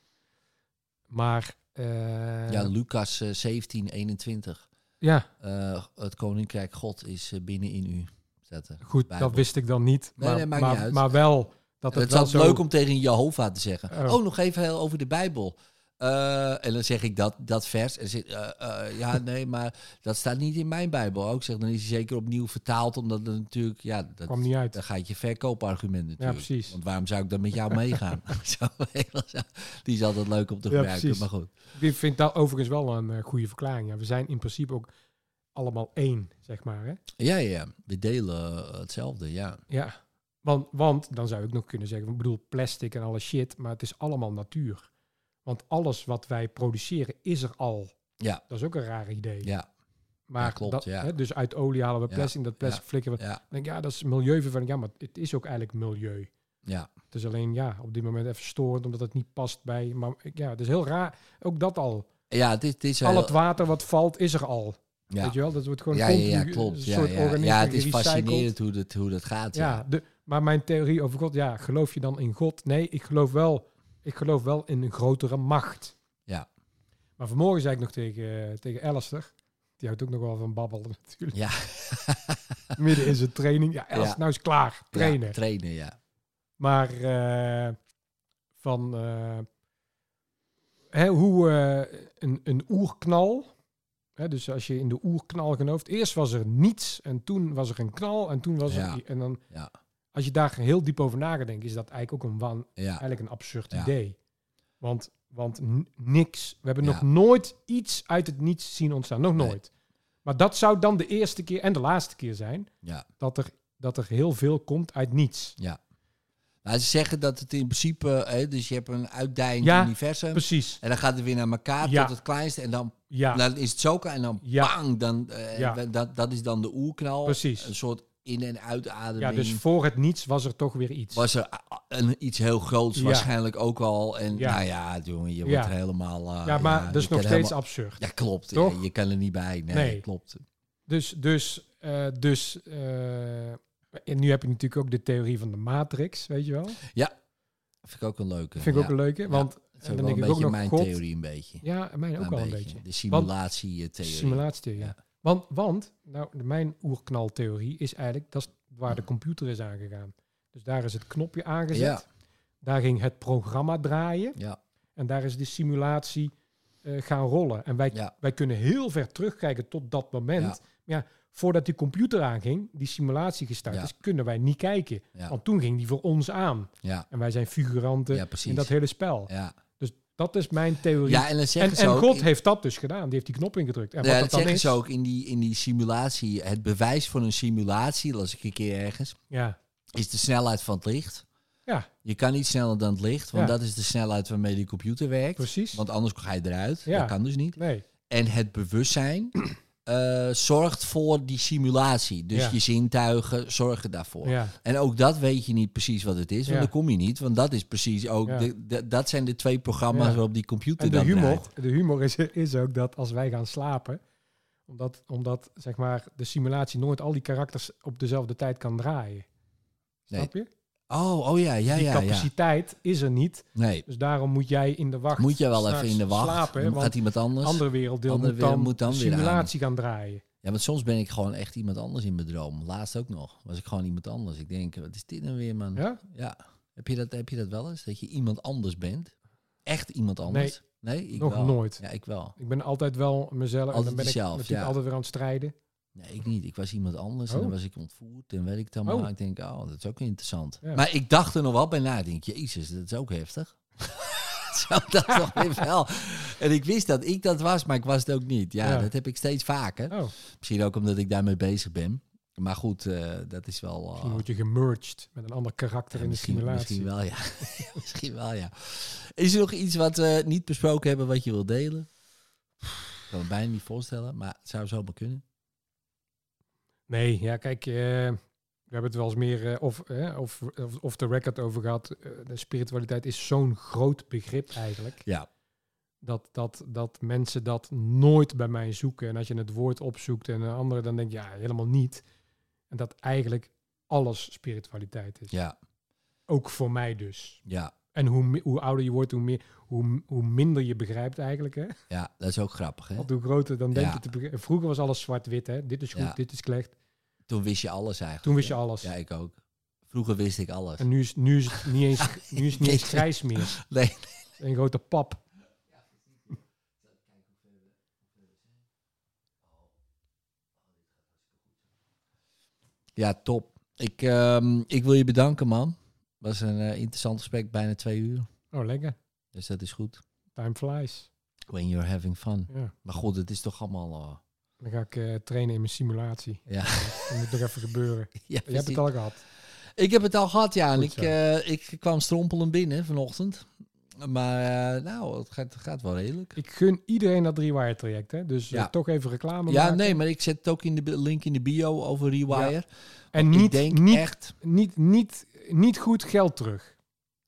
S3: Maar eh,
S2: Ja, Lucas eh, 17, 21.
S3: ja,
S2: Eh, het koninkrijk God is eh, binnen in u. staat er.
S3: Goed,
S2: Bijbel.
S3: dat wist ik dan niet.
S2: Nee,
S3: Maar,
S2: nee, maakt
S3: maar,
S2: niet uit.
S3: maar wel dat
S2: Dat
S3: het
S2: het
S3: wel
S2: is
S3: zo...
S2: altijd leuk om tegen Jehovah te zeggen.
S3: Oh.
S2: Oh, nog even heel over de Bijbel. Eh, en dan zeg ik dat, dat vers. En zeg, eh, eh, ja, nee, maar dat staat niet in mijn Bijbel. Ook zeg, dan is hij zeker opnieuw vertaald, omdat het natuurlijk, ja, dat
S3: kwam niet uit.
S2: Dan gaat je verkoopargument natuurlijk.
S3: precies.
S2: Want waarom zou ik dan met jou meegaan? Zo, die is altijd leuk om te
S3: Ja,
S2: gebruiken,
S3: precies.
S2: maar goed.
S3: Ik vind dat overigens wel een eh, goede verklaring. Ja, we zijn in principe ook allemaal één, zeg maar. Hè?
S2: Ja, ja, ja, we delen eh, hetzelfde, ja.
S3: Ja. Want, want dan zou ik nog kunnen zeggen, ik bedoel plastic en alle shit, maar het is allemaal natuur. Want alles wat wij produceren is er al.
S2: Ja.
S3: Dat is ook een raar idee.
S2: Ja,
S3: maar
S2: ja, klopt,
S3: dat,
S2: ja.
S3: hè, dus uit olie halen we
S2: Ja,
S3: plastic, dat plastic flikken we.
S2: ja,
S3: Dan denk ik, ja, dat is milieuvervuiling. Ja, maar het is ook eigenlijk milieu.
S2: ja.
S3: Het is alleen, ja, op dit moment even storend, omdat het niet past bij... Maar ik- ja, het is heel raar. Ook dat al.
S2: Ja, het is, het is
S3: Al
S2: heel-
S3: het water wat valt, is er al.
S2: ja.
S3: Weet je wel, dat wordt gewoon
S2: ja, ja, ja,
S3: continu
S2: klopt.
S3: een
S2: Ja,
S3: soort
S2: ja.
S3: organisme
S2: ja, het is
S3: gerecycled.
S2: fascinerend hoe dat, hoe dat gaat. Ja.
S3: Ja, de, maar mijn theorie over God, ja, geloof je dan in God? Nee, ik geloof wel, ik geloof wel in een grotere macht.
S2: Ja.
S3: Maar vanmorgen zei ik nog tegen, eh, tegen Alistair, die houdt ook nog wel van babbelen natuurlijk,
S2: Ja,
S3: midden in zijn training. Ja, Alistair,
S2: Ja.
S3: nou is klaar, trainen.
S2: Ja, trainen, ja.
S3: Maar eh, van eh, hè, hoe eh, een, een oerknal. Hè, dus als je in de oerknal gelooft, eerst was er niets en toen was er een knal en toen was
S2: Ja.
S3: er. En dan,
S2: Ja.
S3: als je daar heel diep over nadenkt, is dat eigenlijk ook een, wan,
S2: Ja,
S3: eigenlijk een absurd
S2: Ja.
S3: idee. Want, want n- niks. We hebben
S2: Ja.
S3: nog nooit iets uit het niets zien ontstaan. Nog
S2: Nee.
S3: nooit. Maar dat zou dan de eerste keer en de laatste keer zijn
S2: ja.
S3: dat er, dat er heel veel komt uit niets.
S2: Nou, ze zeggen dat het in principe... Hè, dus je hebt een uitdijend
S3: Ja,
S2: universum.
S3: Precies.
S2: En dan gaat het weer naar elkaar
S3: Ja.
S2: tot het kleinste. En dan,
S3: Ja.
S2: dan is het zo klein. En dan
S3: Ja.
S2: bang. Dan, eh,
S3: Ja.
S2: dat, dat is dan de oerknal.
S3: Precies.
S2: Een soort in- en uitademing.
S3: Ja, dus voor het niets was er toch weer iets.
S2: was er a- a- een, iets heel groots
S3: Ja.
S2: waarschijnlijk ook al. En
S3: Ja.
S2: nou ja, jongen, je
S3: Ja.
S2: wordt er helemaal... eh,
S3: ja, maar
S2: je
S3: dat is nog
S2: kan
S3: steeds
S2: helemaal-
S3: absurd.
S2: Ja, klopt. Ja,
S3: Toch?
S2: je kan er niet bij. Nee,
S3: Nee.
S2: klopt.
S3: Dus, dus, eh, dus eh, en nu heb je natuurlijk ook de theorie van de matrix, weet je wel.
S2: Vind ik ook een leuke.
S3: Vind ik ook
S2: ja.
S3: een leuke, want
S2: Dat is
S3: en
S2: ook wel
S3: dan denk
S2: een
S3: ik ook
S2: beetje
S3: nog
S2: mijn
S3: God.
S2: theorie een beetje.
S3: Ja, mij ook
S2: Een
S3: wel een
S2: beetje.
S3: beetje.
S2: De simulatietheorie.
S3: Simulatie, ja.
S2: Ja.
S3: Want, want nou, de- mijn oerknaltheorie is eigenlijk, dat is waar de computer is aangegaan. Dus daar is het knopje aangezet,
S2: Ja.
S3: daar ging het programma draaien
S2: ja,
S3: en daar is de simulatie eh, gaan rollen. En wij,
S2: ja,
S3: wij kunnen heel ver terugkijken tot dat moment.
S2: Ja.
S3: Maar ja, voordat die computer aanging, die simulatie gestart
S2: Ja.
S3: is, kunnen wij niet kijken.
S2: ja,
S3: Want toen ging die voor ons aan.
S2: ja,
S3: En wij zijn figuranten
S2: ja,
S3: in
S2: precies.
S3: dat hele spel.
S2: ja.
S3: Dus dat is mijn theorie.
S2: ja, en dan
S3: en
S2: zeggen ze
S3: en
S2: ook-
S3: God
S2: ik-
S3: heeft dat dus gedaan. Die heeft die knop ingedrukt. En
S2: ja,
S3: wat
S2: dat
S3: dat dan
S2: zeggen
S3: is...
S2: ze ook in die, in die simulatie. Het bewijs van een simulatie, las ik een keer ergens,
S3: Ja,
S2: is de snelheid van het licht.
S3: Ja.
S2: Je kan niet sneller dan het licht, want
S3: Ja.
S2: dat is de snelheid waarmee die computer werkt.
S3: precies.
S2: Want anders ga je eruit.
S3: Ja.
S2: Dat kan dus niet.
S3: Nee,
S2: En het bewustzijn eh, zorgt voor die simulatie. Dus
S3: Ja.
S2: je zintuigen zorgen daarvoor.
S3: ja,
S2: En ook dat weet je niet precies wat het is, want
S3: Ja.
S2: dan kom je niet. Want dat is precies ook,
S3: Ja.
S2: de, de- dat zijn de twee programma's
S3: Ja.
S2: waarop die computer
S3: En de
S2: dan
S3: humor,
S2: draait.
S3: de humor is, is ook dat als wij gaan slapen, omdat, omdat zeg maar, de simulatie nooit al die karakters op dezelfde tijd kan draaien. Snap je?
S2: Oh, oh ja, ja,
S3: die
S2: ja, ja.
S3: capaciteit is er niet.
S2: Nee,
S3: Dus daarom moet jij in de wacht.
S2: moet je wel even
S3: s'nachts
S2: in de wacht.
S3: Slapen,
S2: dan
S3: want
S2: gaat iemand anders.
S3: andere werelddeel
S2: andere
S3: moet dan,
S2: wereld moet dan
S3: de
S2: weer aan.
S3: simulatie gaan draaien.
S2: Ja, want soms ben ik gewoon echt iemand anders in mijn droom. Laatst ook nog. Was ik gewoon iemand anders. Ik denk, wat is dit nou weer, man? Ja.
S3: Ja?
S2: Heb, je dat, heb je dat wel eens? Dat je iemand anders bent? Echt iemand anders? Nee, ik
S3: nog
S2: wel.
S3: nooit.
S2: Ja, ik wel.
S3: Ik ben altijd wel mezelf. en dan
S2: Altijd
S3: ben ik
S2: jezelf,
S3: natuurlijk
S2: ja.
S3: altijd weer aan het strijden.
S2: Nee, ik niet. Ik was iemand anders en
S3: Oh.
S2: dan was ik ontvoerd en weet ik dan maar.
S3: Oh.
S2: Ik denk, oh, dat is ook interessant.
S3: Ja.
S2: Maar ik dacht er nog wel bij na. Ik denk, jezus, dat is ook heftig. Zo dat toch weer wel. En ik wist dat ik dat was, maar ik was het ook niet. Ja,
S3: Ja.
S2: dat heb ik steeds vaker.
S3: Oh,
S2: Misschien ook omdat ik daarmee bezig ben. Maar goed, eh, dat is wel... eh,
S3: Oh, misschien word je gemerged met een ander karakter
S2: ja,
S3: in de
S2: misschien,
S3: simulatie.
S2: misschien wel, ja. misschien wel, ja. Is er nog iets wat we niet besproken hebben wat je wilt delen? Ik kan me bijna niet voorstellen, maar het zou zomaar kunnen.
S3: Nee, ja, kijk, eh, we hebben het wel eens meer eh, of, eh, of, of, of de record over gehad. Eh, de spiritualiteit is zo'n groot begrip eigenlijk.
S2: Ja.
S3: Dat, dat, dat mensen dat nooit bij mij zoeken. En als je het woord opzoekt en een andere, dan denk je ja, helemaal niet. En dat eigenlijk alles spiritualiteit is.
S2: Ja,
S3: Ook voor mij dus.
S2: ja,
S3: En hoe, mi- hoe ouder je wordt, hoe, meer, hoe, hoe minder je begrijpt eigenlijk. Hè?
S2: ja. Dat is ook grappig, hè?
S3: Want hoe groter dan denk
S2: Ja.
S3: je te begrijpen. Vroeger was alles zwart-wit. Hè? Dit is goed,
S2: Ja.
S3: dit is slecht.
S2: Toen wist je alles eigenlijk.
S3: Toen wist je
S2: ja.
S3: alles.
S2: Ja, ik ook. Vroeger wist ik alles.
S3: En nu is, nu is het niet eens, nu is het niet eens grijs meer.
S2: Nee.
S3: Een grote pap.
S2: Ja, top. Ik, ehm, ik wil je bedanken, man. was een eh, interessant gesprek, bijna twee uur.
S3: Oh, lekker.
S2: Dus dat is goed.
S3: Time flies.
S2: When you're having fun.
S3: Ja.
S2: Maar god, het is toch allemaal... eh,
S3: Dan ga ik eh, trainen in mijn simulatie.
S2: ja,
S3: Dat moet nog even gebeuren.
S2: ja
S3: Je hebt
S2: precies.
S3: het al gehad.
S2: Ik heb het al gehad, ja. En
S3: Goed
S2: ik,
S3: zo.
S2: eh, ik kwam strompelend binnen vanochtend. Maar eh, nou, het gaat, het gaat wel redelijk.
S3: Ik gun iedereen dat rewire traject, hè? Dus eh,
S2: Ja.
S3: toch even reclame
S2: Ja,
S3: maken.
S2: nee, maar ik zet het ook in de bi- link in de bio over Rewire.
S3: En
S2: Ik
S3: niet,
S2: denk
S3: niet,
S2: echt...
S3: niet, niet, niet goed geld terug.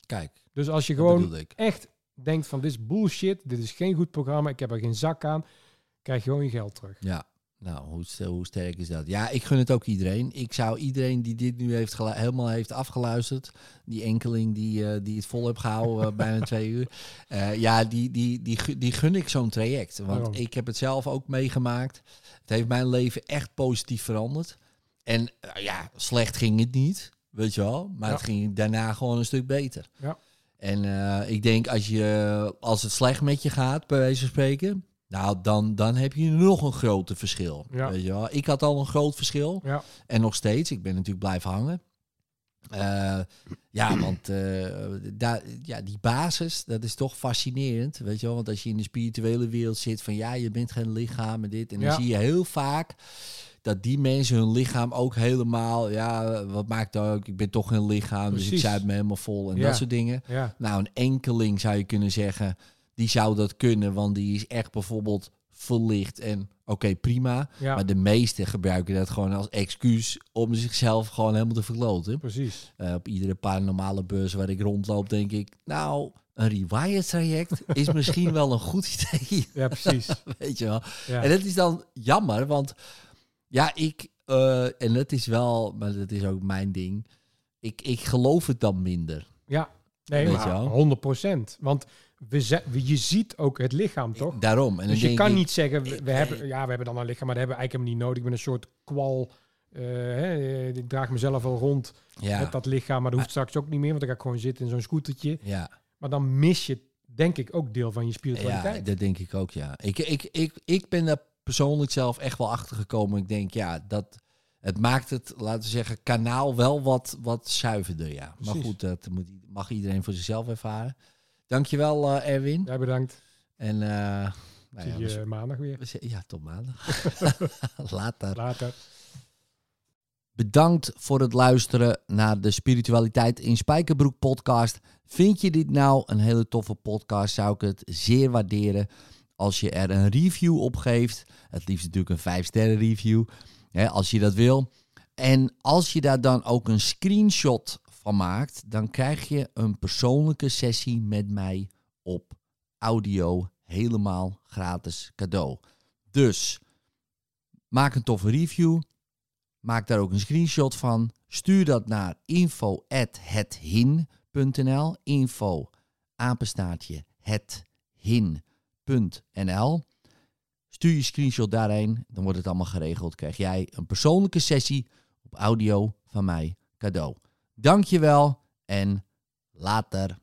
S2: Kijk,
S3: Dus als je
S2: dat
S3: gewoon
S2: bedoelde ik.
S3: echt denkt van dit is bullshit, dit is geen goed programma, ik heb er geen zak aan, krijg je gewoon je geld terug.
S2: Ja, nou, hoe, st- hoe sterk is dat? Ja, ik gun het ook iedereen. Ik zou iedereen die dit nu heeft gelu- helemaal heeft afgeluisterd, die enkeling die, eh, die het vol heeft gehouden eh, bijna twee uur, eh, ja, die, die, die, gu- die gun ik zo'n traject. Want
S3: Daarom.
S2: ik heb het zelf ook meegemaakt. Het heeft mijn leven echt positief veranderd. En eh, ja, slecht ging het niet, weet je wel. Maar
S3: Ja.
S2: het ging daarna gewoon een stuk beter.
S3: Ja.
S2: En eh, ik denk als, je, als het slecht met je gaat, bij wijze van spreken, nou, dan, dan heb je nog een grote verschil.
S3: Ja.
S2: Weet je wel? Ik had al een groot verschil.
S3: Ja.
S2: En nog steeds. Ik ben natuurlijk blijven hangen. Eh, ja, want eh, daar, ja, die basis, dat is toch fascinerend. Weet je wel? Want als je in de spirituele wereld zit van ja, je bent geen lichaam en dit. En dan
S3: Ja.
S2: zie je heel vaak dat die mensen hun lichaam ook helemaal... Ja, wat maakt dat ook? Ik ben toch geen lichaam, dus
S3: Precies.
S2: ik zuip me helemaal vol en
S3: Ja.
S2: dat soort dingen.
S3: Ja,
S2: Nou, een enkeling zou je kunnen zeggen, die zou dat kunnen, want die is echt bijvoorbeeld verlicht en oké, prima.
S3: ja
S2: Maar de meesten gebruiken dat gewoon als excuus om zichzelf gewoon helemaal te verkloten.
S3: precies.
S2: Eh, op iedere paranormale beurs waar ik rondloop, denk ik, nou, een rewire traject is misschien wel een goed idee,
S3: Ja, precies.
S2: weet je wel.
S3: Ja.
S2: En dat is dan jammer, want ja, ik, eh, en dat is wel, maar dat is ook mijn ding, ik, ik geloof het dan minder.
S3: Nee,
S2: Weet
S3: maar
S2: je wel.
S3: 100 Want we ze- we- je ziet ook het lichaam, toch?
S2: Daarom. En dan
S3: dus je
S2: denk
S3: kan
S2: ik,
S3: niet zeggen, we,
S2: ik-
S3: we hebben, ja, we hebben dan een lichaam, maar dat hebben we eigenlijk helemaal niet nodig. Ik ben een soort kwal. eh, hè, ik draag mezelf al rond
S2: ja.
S3: met dat lichaam, maar dat hoeft straks ook niet meer, want dan ga ik gewoon zitten in zo'n scootertje.
S2: Ja,
S3: Maar dan mis je, denk ik, ook deel van je
S2: ja,
S3: spiritualiteit.
S2: dat denk ik ook, ja. Ik, ik, ik, ik ben daar persoonlijk zelf echt wel achter gekomen. Ik denk, ja, dat, het maakt het, laten we zeggen, kanaal wel wat, wat zuiverder, ja. Maar
S3: Precies.
S2: goed, dat moet, mag iedereen voor zichzelf ervaren. Dankjewel, eh Erwin.
S3: Jij bedankt.
S2: En eh nou ja,
S3: Zie
S2: we
S3: je maandag weer.
S2: z- we z- ja, tot maandag. Later.
S3: Later.
S2: Bedankt voor het luisteren naar de Spiritualiteit in Spijkerbroek podcast. Vind je dit nou een hele toffe podcast? Zou ik het zeer waarderen als je er een review op geeft. Het liefst natuurlijk een 5-sterren review, hè, als je dat wil. En als je daar dan ook een screenshot van maakt, dan krijg je een persoonlijke sessie met mij op audio helemaal gratis cadeau. Dus maak een toffe review. Maak daar ook een screenshot van. Stuur dat naar info@hethin.nl. Info apenstaartje hethin.nl. Stuur je screenshot daarheen, dan wordt het allemaal geregeld. Krijg jij een persoonlijke sessie op audio van mij cadeau. Dankjewel en later.